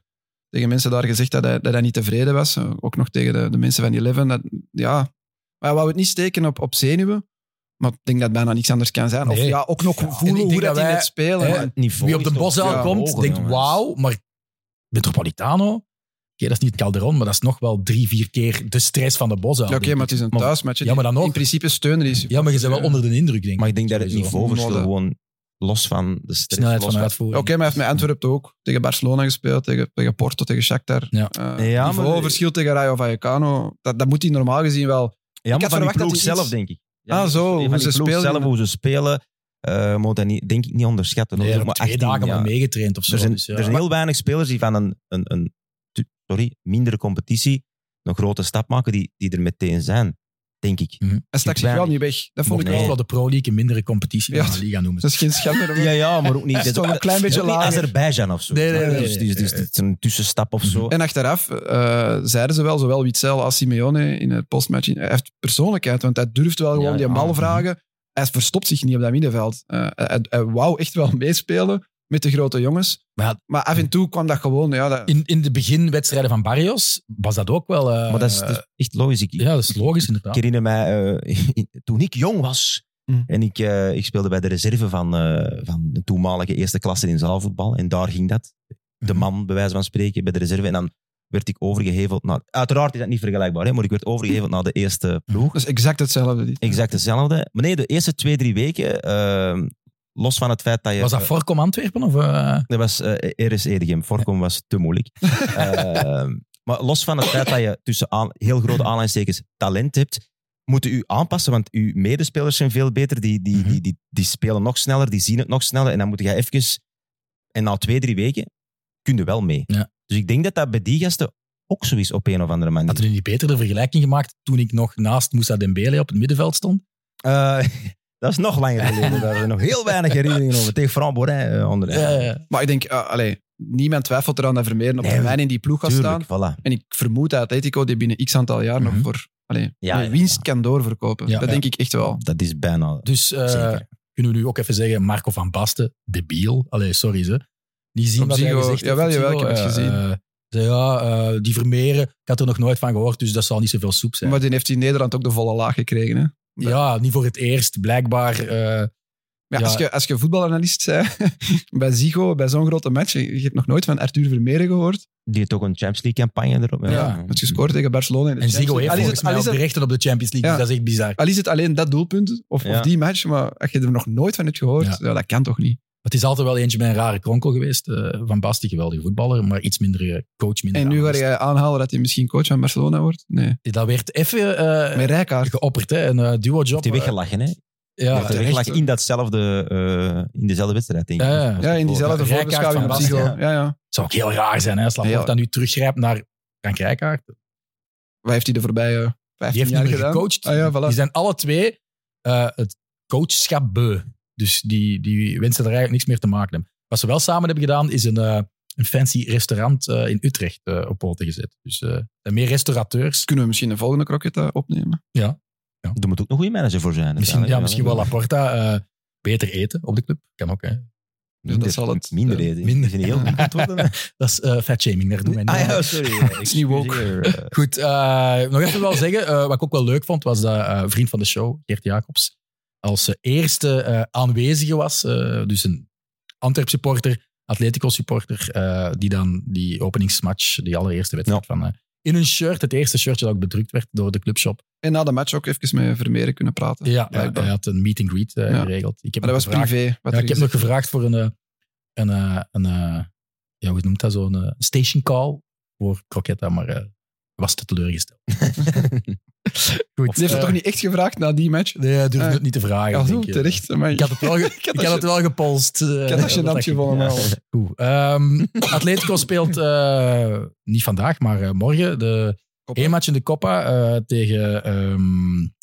Speaker 3: tegen mensen daar gezegd dat hij, dat hij niet tevreden was. Eh, ook nog tegen de, de mensen van die Eleven. Dat, ja. Maar hij wou het niet steken op, op zenuwen. Maar ik denk dat het bijna niks anders kan zijn.
Speaker 1: Nee.
Speaker 3: Of ja, ook nog
Speaker 1: Ja, en ik
Speaker 3: voelen
Speaker 1: denk
Speaker 3: hoe
Speaker 1: dat
Speaker 3: dat hij
Speaker 1: wij-
Speaker 3: het spelen.
Speaker 1: hè,
Speaker 3: Maar
Speaker 2: Het niveau
Speaker 1: Wie op de
Speaker 2: is toch
Speaker 1: bos
Speaker 2: veel
Speaker 1: komt,
Speaker 2: hoger,
Speaker 1: denkt
Speaker 2: jongens.
Speaker 1: wauw, maar Metropolitano, oké, dat is niet Calderon, maar dat is nog wel drie, vier keer de stress van de bos
Speaker 3: ja, Oké, maar het is een
Speaker 2: Maar-
Speaker 3: thuismatch. hè,
Speaker 1: ja, maar dan
Speaker 3: die
Speaker 1: ook.
Speaker 3: In principe steunen is.
Speaker 1: Ja, maar je bent wel onder de indruk, denk ik.
Speaker 2: Maar ik denk dat het
Speaker 1: Sowieso.
Speaker 2: niveauverschil
Speaker 3: Mode.
Speaker 2: gewoon Los van de stress,
Speaker 1: Snelheid
Speaker 2: los
Speaker 1: van uitvoering.
Speaker 3: Oké, maar hij heeft met Antwerpen ook tegen Barcelona gespeeld, tegen, tegen Porto, tegen Shakhtar.
Speaker 1: Ja.
Speaker 3: Eh,
Speaker 2: Ja, maar-
Speaker 3: niveauverschil tegen Rayo Vallecano. Dat, dat moet hij normaal gezien wel.
Speaker 2: Ja,
Speaker 3: Ik
Speaker 2: maar
Speaker 3: had
Speaker 2: van die
Speaker 3: verwacht dat
Speaker 2: ploeg
Speaker 3: hij
Speaker 2: zelf,
Speaker 3: iets-
Speaker 2: denk ik.
Speaker 3: Ah,
Speaker 2: die-
Speaker 3: zo,
Speaker 2: van
Speaker 3: hoe
Speaker 2: die
Speaker 3: ze
Speaker 2: ploeg
Speaker 3: spelen.
Speaker 2: zelf, hoe ze spelen, eh, moet dat niet, denk ik niet onderschatten.
Speaker 1: Nee,
Speaker 2: hoor.
Speaker 1: er
Speaker 2: Maar
Speaker 1: twee
Speaker 2: 18,
Speaker 1: dagen
Speaker 2: ja.
Speaker 1: maar meegetraind of zo.
Speaker 2: Er zijn,
Speaker 1: dus, ja.
Speaker 2: er zijn heel weinig spelers die van een, een, een tu- sorry, mindere competitie een grote stap maken die, die er meteen zijn, denk ik.
Speaker 3: Hij stak zich wel
Speaker 2: weinig.
Speaker 3: niet weg. Dat vond
Speaker 1: Vond
Speaker 3: ik
Speaker 1: ik
Speaker 2: Nee.
Speaker 1: wel
Speaker 3: wel.
Speaker 1: dat de Pro League een mindere competitie dan
Speaker 3: Ja.
Speaker 1: de Liga noemen.
Speaker 3: Dat is geen schande.
Speaker 2: Ja, ja, maar ook niet.
Speaker 3: Hij is
Speaker 2: dat-
Speaker 3: toch een klein beetje
Speaker 2: ook niet
Speaker 3: lager.
Speaker 2: Azerbeidzjan of zo.
Speaker 1: Nee, nee,
Speaker 2: snap je?
Speaker 1: nee,
Speaker 2: Dus,
Speaker 1: nee,
Speaker 2: dus, dus
Speaker 1: nee.
Speaker 2: het is een tussenstap of zo.
Speaker 3: En achteraf eh, zeiden ze wel, zowel Witzel als Simeone in het postmatch, hij heeft persoonlijkheid, want hij durft wel gewoon
Speaker 2: Ja,
Speaker 3: die
Speaker 2: ja.
Speaker 3: bal vragen. Hij verstopt zich niet op dat middenveld. Eh, hij, hij wou echt wel meespelen met de grote jongens.
Speaker 1: Maar ja,
Speaker 3: Maar af en toe kwam dat gewoon... Ja, dat,
Speaker 1: In, in de beginwedstrijden van Barrios was dat ook wel... eh,
Speaker 2: maar dat is, dat is echt logisch. Ik,
Speaker 1: ja, dat is logisch
Speaker 2: ik
Speaker 1: inderdaad.
Speaker 2: herinner mij, eh, in- toen ik jong was
Speaker 3: Mm.
Speaker 2: en ik, eh, ik speelde bij de reserve van, eh, van de toenmalige eerste klasse in zaalvoetbal. En daar ging dat. De man, bij wijze van spreken, bij de reserve. En dan werd ik overgeheveld naar... Uiteraard is dat niet vergelijkbaar, hè, maar ik werd overgeheveld naar de eerste ploeg.
Speaker 3: dat is exact hetzelfde. dit.
Speaker 2: Exact hetzelfde. Maar nee, de eerste twee, drie weken, eh, los van het feit dat je...
Speaker 1: Was dat Forcom Antwerpen? Of, eh,
Speaker 2: Dat was eh RS Edegem. Voorkom was te moeilijk. Eh, maar los van het feit dat je tussen aan, heel grote aanhalingstekens talent hebt, moeten u aanpassen, want uw medespelers zijn veel beter. Die, die,
Speaker 1: Mhm.
Speaker 2: die, die, die spelen nog sneller, die zien het nog sneller. En dan moet je even... En na twee, drie weken kun je wel mee.
Speaker 1: Ja.
Speaker 2: Dus ik denk dat dat bij die gasten ook zo is op een of andere manier.
Speaker 1: Had er nu niet beter de vergelijking gemaakt toen ik nog naast Moussa Dembele op het middenveld stond?
Speaker 2: Eh, dat is nog langer geleden. Daar zijn nog heel weinig herinneringen over. Tegen Fran Borin eh, onder andere.
Speaker 1: Eh,
Speaker 3: Maar ik denk, eh, allee, niemand twijfelt eraan dat Vermeeren op
Speaker 2: Nee,
Speaker 3: termijn in die ploeg gaat
Speaker 2: Tuurlijk,
Speaker 3: staan.
Speaker 2: voilà.
Speaker 3: En ik vermoed dat Atletico die binnen x aantal jaar
Speaker 1: Mhm.
Speaker 3: nog voor allee,
Speaker 2: Ja, ja,
Speaker 3: winst kan doorverkopen.
Speaker 1: Ja,
Speaker 3: dat
Speaker 1: ja.
Speaker 3: denk ik echt wel.
Speaker 2: Dat is bijna...
Speaker 1: dus eh,
Speaker 2: Zeker.
Speaker 1: kunnen we nu ook even zeggen, Marco van Basten, debiel. Allee, sorry ze. Die zien
Speaker 3: Op
Speaker 1: wat hij
Speaker 3: Ziggo,
Speaker 1: gezegd heeft.
Speaker 3: jawel,
Speaker 1: op
Speaker 3: jawel,
Speaker 1: Ziggo,
Speaker 3: ik heb het
Speaker 1: eh,
Speaker 3: gezien.
Speaker 1: eh, zei, ja, eh, die Vermeeren, ik had er nog nooit van gehoord, dus dat zal niet zoveel soep zijn.
Speaker 3: Maar die heeft in Nederland ook de volle laag gekregen. Hè?
Speaker 1: ja, niet voor het eerst, blijkbaar. eh,
Speaker 3: Maar
Speaker 1: Ja.
Speaker 3: Als, je, als je voetbalanalist bent bij Zigo, bij zo'n grote match, je je hebt nog nooit van Arthur Vermeeren gehoord.
Speaker 2: Die heeft ook een Champions League campagne erop.
Speaker 3: Ja. Heeft gescoord tegen Barcelona. In de
Speaker 1: en
Speaker 3: Champions
Speaker 1: Ziggo heeft
Speaker 3: League. al,
Speaker 1: volgens
Speaker 3: is het,
Speaker 1: mij
Speaker 3: al,
Speaker 1: ook
Speaker 3: is
Speaker 1: de
Speaker 3: het,
Speaker 1: rechten op de Champions League,
Speaker 3: Ja. Ah.
Speaker 1: dus dat is echt bizar.
Speaker 3: al is het alleen dat doelpunt of,
Speaker 2: Ja.
Speaker 3: of die match, maar als je er nog nooit van hebt gehoord,
Speaker 1: Ja.
Speaker 3: ja. dat kan toch niet.
Speaker 1: Het is altijd wel eentje bij een rare kronkel geweest. eh, van Basten, geweldige voetballer, maar iets minder eh, coach. Minder
Speaker 3: En nu ga
Speaker 1: analist.
Speaker 3: je aanhalen dat hij misschien coach van Barcelona wordt? Nee.
Speaker 1: Dat werd even eh,
Speaker 3: Met Rijkaard.
Speaker 1: geopperd, hè? een eh, duo-job.
Speaker 2: Die
Speaker 1: eh,
Speaker 2: weggelachen, hè?
Speaker 1: ja,
Speaker 2: Ja, die
Speaker 1: terecht.
Speaker 2: weggelachen in, datzelfde, eh in dezelfde wedstrijd, denk ik.
Speaker 1: Ja, ja.
Speaker 2: Als
Speaker 3: Ja, in diezelfde
Speaker 1: Rijkaard
Speaker 3: voorbeschouwing
Speaker 1: van
Speaker 3: op
Speaker 1: Basten,
Speaker 3: Zigo.
Speaker 2: ja.
Speaker 3: Ja, ja.
Speaker 1: zou ook heel raar zijn, hè, als Laporte
Speaker 3: Ja.
Speaker 1: dat nu teruggrijpt naar Frank Rijkaard.
Speaker 3: Wat heeft hij de voorbije
Speaker 1: Die
Speaker 3: 15
Speaker 1: heeft niet
Speaker 3: jaar
Speaker 1: meer
Speaker 3: gedaan?
Speaker 1: gecoacht.
Speaker 3: Ah ja, voilà.
Speaker 1: Die zijn alle twee eh, het coachschap beu. Dus die, die wensen er eigenlijk niks meer te maken hebben. Wat ze wel samen hebben gedaan, is een, eh, een fancy restaurant eh, in Utrecht eh, op poten gezet. Dus eh, er zijn meer restaurateurs.
Speaker 3: Dus Kunnen we misschien de volgende kroket eh, opnemen?
Speaker 2: Er moet ook een goede manager voor zijn.
Speaker 1: Misschien, ja,
Speaker 2: uiteindelijk.
Speaker 1: misschien wel Laporta eh, beter eten op de club. Kan ook, hè.
Speaker 2: Minder,
Speaker 3: Dat zal het-
Speaker 2: minder
Speaker 3: eh,
Speaker 2: eten.
Speaker 1: minder.
Speaker 2: Minder. Zijn heel goed worden.
Speaker 1: Dat is eh fat shaming, daar doen wij niet
Speaker 2: Ah
Speaker 1: aan.
Speaker 2: ja, sorry. ja.
Speaker 3: is niet woke.
Speaker 2: Excuseer, eh.
Speaker 1: Goed, eh, nog even wel zeggen, eh, wat ik ook wel leuk vond, was dat eh, vriend van de show, Geert Jacobs, als eh, eerste eh, aanwezige was. eh, dus een Antwerp supporter, Atletico supporter, eh, die dan die openingsmatch, die allereerste wedstrijd van... eh, in een shirt, het eerste shirtje dat ook bedrukt werd door de clubshop.
Speaker 3: En na de match ook even met Vermeeren kunnen praten.
Speaker 1: Ja,
Speaker 3: blijkbaar.
Speaker 1: hij had een meet and greet eh,
Speaker 3: Ja.
Speaker 1: geregeld. Ik heb
Speaker 3: Maar dat was
Speaker 1: hem gevraagd-
Speaker 3: privé. Wat
Speaker 1: Ja,
Speaker 3: er
Speaker 1: ik heb
Speaker 3: gezegd
Speaker 1: nog gevraagd voor een, eh, een, eh, een eh, ja, hoe noemt dat zo, een eh, station call voor Croquetta, maar eh, was te teleurgesteld. Goed,
Speaker 3: Die heeft
Speaker 1: eh,
Speaker 3: het toch niet echt gevraagd na die match?
Speaker 1: Nee, hij durfde
Speaker 3: Ah.
Speaker 1: het niet te vragen.
Speaker 3: Ja, zo,
Speaker 1: denk ik. eh,
Speaker 3: terecht. Maar
Speaker 1: Ik had het wel, ge- ik had het wel gepolst. eh,
Speaker 3: ik had dat gênant gevonden.
Speaker 2: ja.
Speaker 3: maar wel.
Speaker 1: Goed. Ehm, Atletico speelt eh, niet vandaag, maar eh, morgen de
Speaker 3: Coppa.
Speaker 1: één match in de Coppa eh, tegen ehm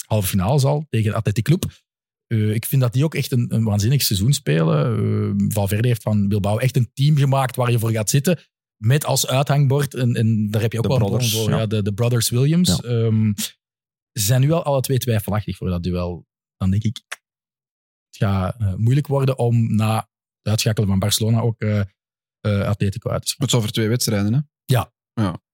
Speaker 1: halve finale zal, tegen Atletico Club. Eh, ik vind dat die ook echt een, een waanzinnig seizoen spelen. Eh, Valverde heeft van Bilbao echt een team gemaakt waar je voor gaat zitten. Met als uithangbord, en, en daar heb je ook
Speaker 2: De
Speaker 1: wel een
Speaker 2: brothers,
Speaker 1: bron voor,
Speaker 2: ja.
Speaker 1: ja, de, de Brothers Williams.
Speaker 2: Ja.
Speaker 1: Ehm, ze zijn nu al alle twee twijfelachtig voor dat duel. Dan denk ik, het gaat eh, moeilijk worden om na het uitschakelen van Barcelona ook eh, eh, Atletico uit te schakelen.
Speaker 3: Het is over twee wedstrijden, hè?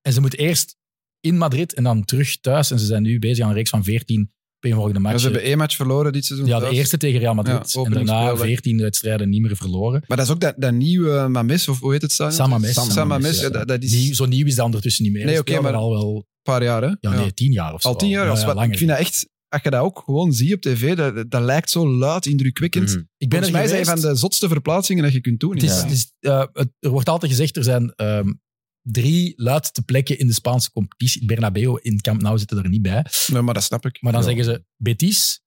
Speaker 1: En ze moeten eerst in Madrid en dan terug thuis. En ze zijn nu bezig aan een reeks van 14 opeenvolgende
Speaker 3: Ja,
Speaker 1: matchen.
Speaker 3: ze hebben één match verloren dit seizoen.
Speaker 1: eh, ja, de
Speaker 3: thuis.
Speaker 1: eerste tegen Real Madrid.
Speaker 3: Ja,
Speaker 1: en daarna
Speaker 3: openingsspeeldag.
Speaker 1: 14 wedstrijden niet meer verloren.
Speaker 3: Maar dat is ook dat, dat nieuwe Mames, of hoe heet het? stadion?
Speaker 1: Samames.
Speaker 3: San
Speaker 1: Samames,
Speaker 3: Mames,
Speaker 1: ja.
Speaker 3: ja, dat, dat is
Speaker 1: Nieuw- zo nieuw is dat ondertussen niet meer.
Speaker 3: Nee,
Speaker 1: Ze
Speaker 3: oké,
Speaker 1: spelen
Speaker 3: maar-
Speaker 1: er al wel
Speaker 3: een paar jaar, hè?
Speaker 1: ja,
Speaker 3: Ja.
Speaker 1: Nee, tien jaar of zo.
Speaker 3: Al tien jaar?
Speaker 1: Ja,
Speaker 3: als
Speaker 1: ja,
Speaker 3: wat-
Speaker 1: langer.
Speaker 3: ik vind dat echt... als je dat ook gewoon ziet op tv, dat, dat lijkt zo luid, indrukwekkend.
Speaker 2: Mhm.
Speaker 1: Ik ben
Speaker 3: Volgens mij
Speaker 1: er
Speaker 3: zijn
Speaker 1: geweest.
Speaker 3: van de zotste verplaatsingen dat je kunt doen.
Speaker 1: Het is,
Speaker 3: Ja.
Speaker 1: het is, eh, het- er wordt altijd gezegd, er zijn ehm, drie luidste plekken in de Spaanse competitie. Bernabeu in Camp Nou zitten er niet bij.
Speaker 3: Nee, maar dat snap ik.
Speaker 1: Maar dan
Speaker 2: Ja.
Speaker 1: zeggen ze Betis,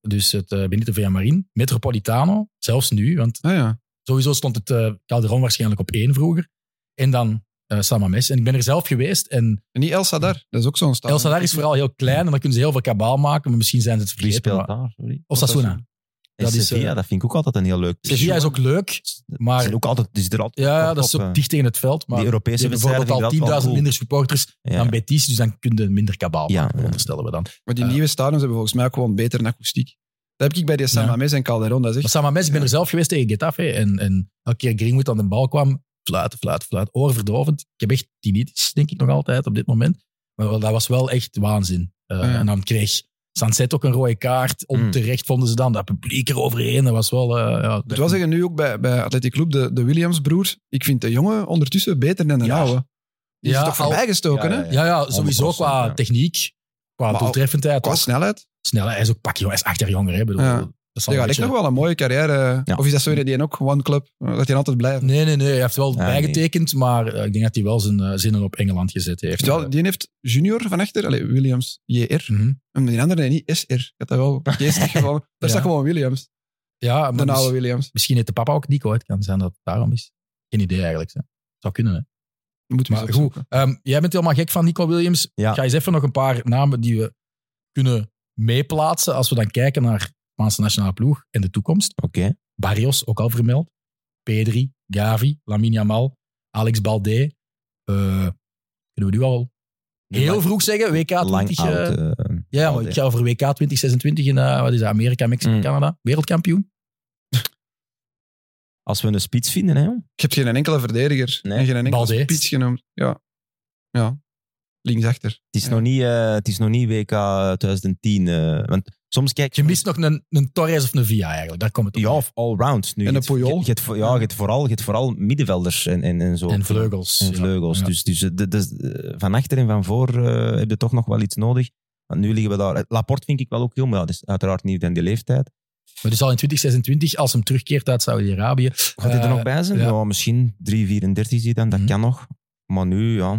Speaker 1: dus het eh, Benito Villamarín, Metropolitano, zelfs nu, want
Speaker 3: Ah, ja.
Speaker 1: sowieso stond het eh, Calderon waarschijnlijk op één vroeger. En dan eh Samames. En ik ben er zelf geweest en
Speaker 3: En niet El Sadar, dat is ook zo'n stad.
Speaker 1: El Sadar is vooral heel klein en dan kunnen ze heel veel kabaal maken, maar misschien zijn ze het
Speaker 2: Wie
Speaker 1: vergeten.
Speaker 2: speelt
Speaker 1: maar-
Speaker 2: daar? Sorry.
Speaker 1: Of Sasuna.
Speaker 2: En
Speaker 1: Dat is,
Speaker 2: Sevilla,
Speaker 1: eh,
Speaker 2: dat vind ik ook altijd een heel leuk.
Speaker 1: Sevilla is ook leuk,
Speaker 2: Ze
Speaker 1: maar
Speaker 2: zijn ook altijd, die zitten er altijd
Speaker 1: ja,
Speaker 2: op,
Speaker 1: dat is
Speaker 2: op,
Speaker 1: ook
Speaker 2: eh,
Speaker 1: dicht tegen het veld. Maar
Speaker 2: die Europese
Speaker 1: Je hebt bijvoorbeeld
Speaker 2: wedstrijden vind
Speaker 1: al
Speaker 2: ik dat
Speaker 1: 10.000
Speaker 2: wel cool.
Speaker 1: minder supporters
Speaker 2: Ja.
Speaker 1: dan Betis, dus dan kun je minder kabaal
Speaker 2: Ja,
Speaker 1: maken,
Speaker 2: ja.
Speaker 1: onderstellen we dan.
Speaker 3: Maar die
Speaker 1: Ja.
Speaker 3: nieuwe stadions hebben volgens mij ook gewoon betere akoestiek. Dat heb ik bij die San
Speaker 1: Ja.
Speaker 3: Mamés en Calderon. Dat is
Speaker 1: Maar
Speaker 3: echt...
Speaker 1: Samames, ik ben
Speaker 3: Ja.
Speaker 1: er zelf geweest tegen Getafe en, en elke keer Greenwood aan de bal kwam, fluiten, fluiten, fluiten, oorverdovend. Ik heb echt tinnitus, denk ik nog altijd op dit moment. Maar wel, dat was wel echt waanzin. Eh,
Speaker 3: Ja. Mm.
Speaker 1: En dan kreeg Sanset ook een rode kaart. Onterecht vonden ze dan dat publiek eroverheen. Dat was wel... eh, ja,
Speaker 3: Ik wil zeggen, nu ook bij, bij Athletic Club, de, de Williams-broer. Ik vind de jongen ondertussen beter dan de
Speaker 2: Ja.
Speaker 3: oude. Die
Speaker 1: Ja,
Speaker 3: is toch
Speaker 1: al-
Speaker 3: voorbij gestoken,
Speaker 2: Ja, ja,
Speaker 3: hè?
Speaker 1: ja, ja, sowieso
Speaker 2: 100%,
Speaker 1: qua
Speaker 2: ja.
Speaker 1: techniek, qua
Speaker 3: Maar al-
Speaker 1: doeltreffendheid.
Speaker 3: Qua
Speaker 1: ook.
Speaker 3: snelheid.
Speaker 1: Snel, hij is ook pakje, hij is acht jaar jonger. Hè, Ik bedoel,
Speaker 3: Ja.
Speaker 1: dat is al
Speaker 3: Die
Speaker 1: een
Speaker 3: gaat echt
Speaker 1: beetje-
Speaker 3: nog wel een mooie carrière.
Speaker 2: Ja.
Speaker 3: Of is dat zo in die ook One Club? eh, Dat hij altijd blijft.
Speaker 1: Nee, nee, nee. Hij heeft wel
Speaker 2: nee.
Speaker 1: bijgetekend, maar eh, ik denk dat hij wel zijn eh, zinnen op Engeland gezet heeft.
Speaker 3: Heeft wel, die heeft junior van achter, allez, Williams, JR.
Speaker 1: Mhm.
Speaker 3: En die andere, nee, niet SR. Ik had dat wel geestig gevallen. Daar
Speaker 1: Ja.
Speaker 3: staat gewoon Williams.
Speaker 1: Ja,
Speaker 3: De
Speaker 1: maar dus- mis-
Speaker 3: oude Williams.
Speaker 1: misschien heeft de papa ook Nico. hè. Het kan zijn dat het daarom is. Geen idee eigenlijk. Hè. Zou kunnen, hè.
Speaker 3: Moet
Speaker 1: Maar goed, ehm, jij bent helemaal gek van Nico Williams.
Speaker 2: Ja.
Speaker 1: Ik ga eens even nog een paar namen die we kunnen meeplaatsen als we dan kijken naar de Spaanse nationale ploeg en de toekomst.
Speaker 2: Oké.
Speaker 1: Barrios, ook al vermeld. Pedri, Gavi, Lamine Yamal, Alex Balde. Eh kunnen we nu al heel vroeg zeggen? WK 20.
Speaker 2: lang
Speaker 1: eh,
Speaker 2: oud. eh,
Speaker 1: Ja, maar
Speaker 2: Balde.
Speaker 1: ik ga over WK 2026 in eh, wat is dat, Amerika, Mexico,
Speaker 2: Mm.
Speaker 1: Canada. Wereldkampioen.
Speaker 2: Als we een spits vinden, hè, jong.
Speaker 3: Ik heb geen enkele verdediger.
Speaker 2: Nee.
Speaker 3: En geen enkele
Speaker 1: Balde.
Speaker 3: spits genoemd. Ja. Ja. Linksachter.
Speaker 2: Het is,
Speaker 3: Ja.
Speaker 2: nog niet, eh, het is nog niet WK 2010. eh, want soms kijk
Speaker 1: Je mist nog een, een Torres of een Via eigenlijk. Daar komt het op.
Speaker 2: Ja, of allround. Nu,
Speaker 3: En
Speaker 2: Je
Speaker 3: een
Speaker 2: hebt-
Speaker 3: Puyol.
Speaker 2: je hebt voor- ja, je hebt vooral, je hebt vooral middenvelders en, en, en zo.
Speaker 1: En vleugels.
Speaker 2: En
Speaker 1: Ja.
Speaker 2: vleugels.
Speaker 1: Ja.
Speaker 2: Dus, dus eh, de- de- eh, van achter en van voor eh, heb je toch nog wel iets nodig. Want nu liggen we daar. Laporte vind ik wel ook jong, maar dat is uiteraard niet aan die leeftijd.
Speaker 1: Maar dus al in 2026, als hem terugkeert uit Saudi-Arabië.
Speaker 2: Gaat hij
Speaker 1: Eh,
Speaker 2: er nog bij zijn?
Speaker 1: ja.
Speaker 2: Ja, misschien 3, 34 zie je dan, dat
Speaker 1: Mhm.
Speaker 2: kan nog. Maar nu, ja,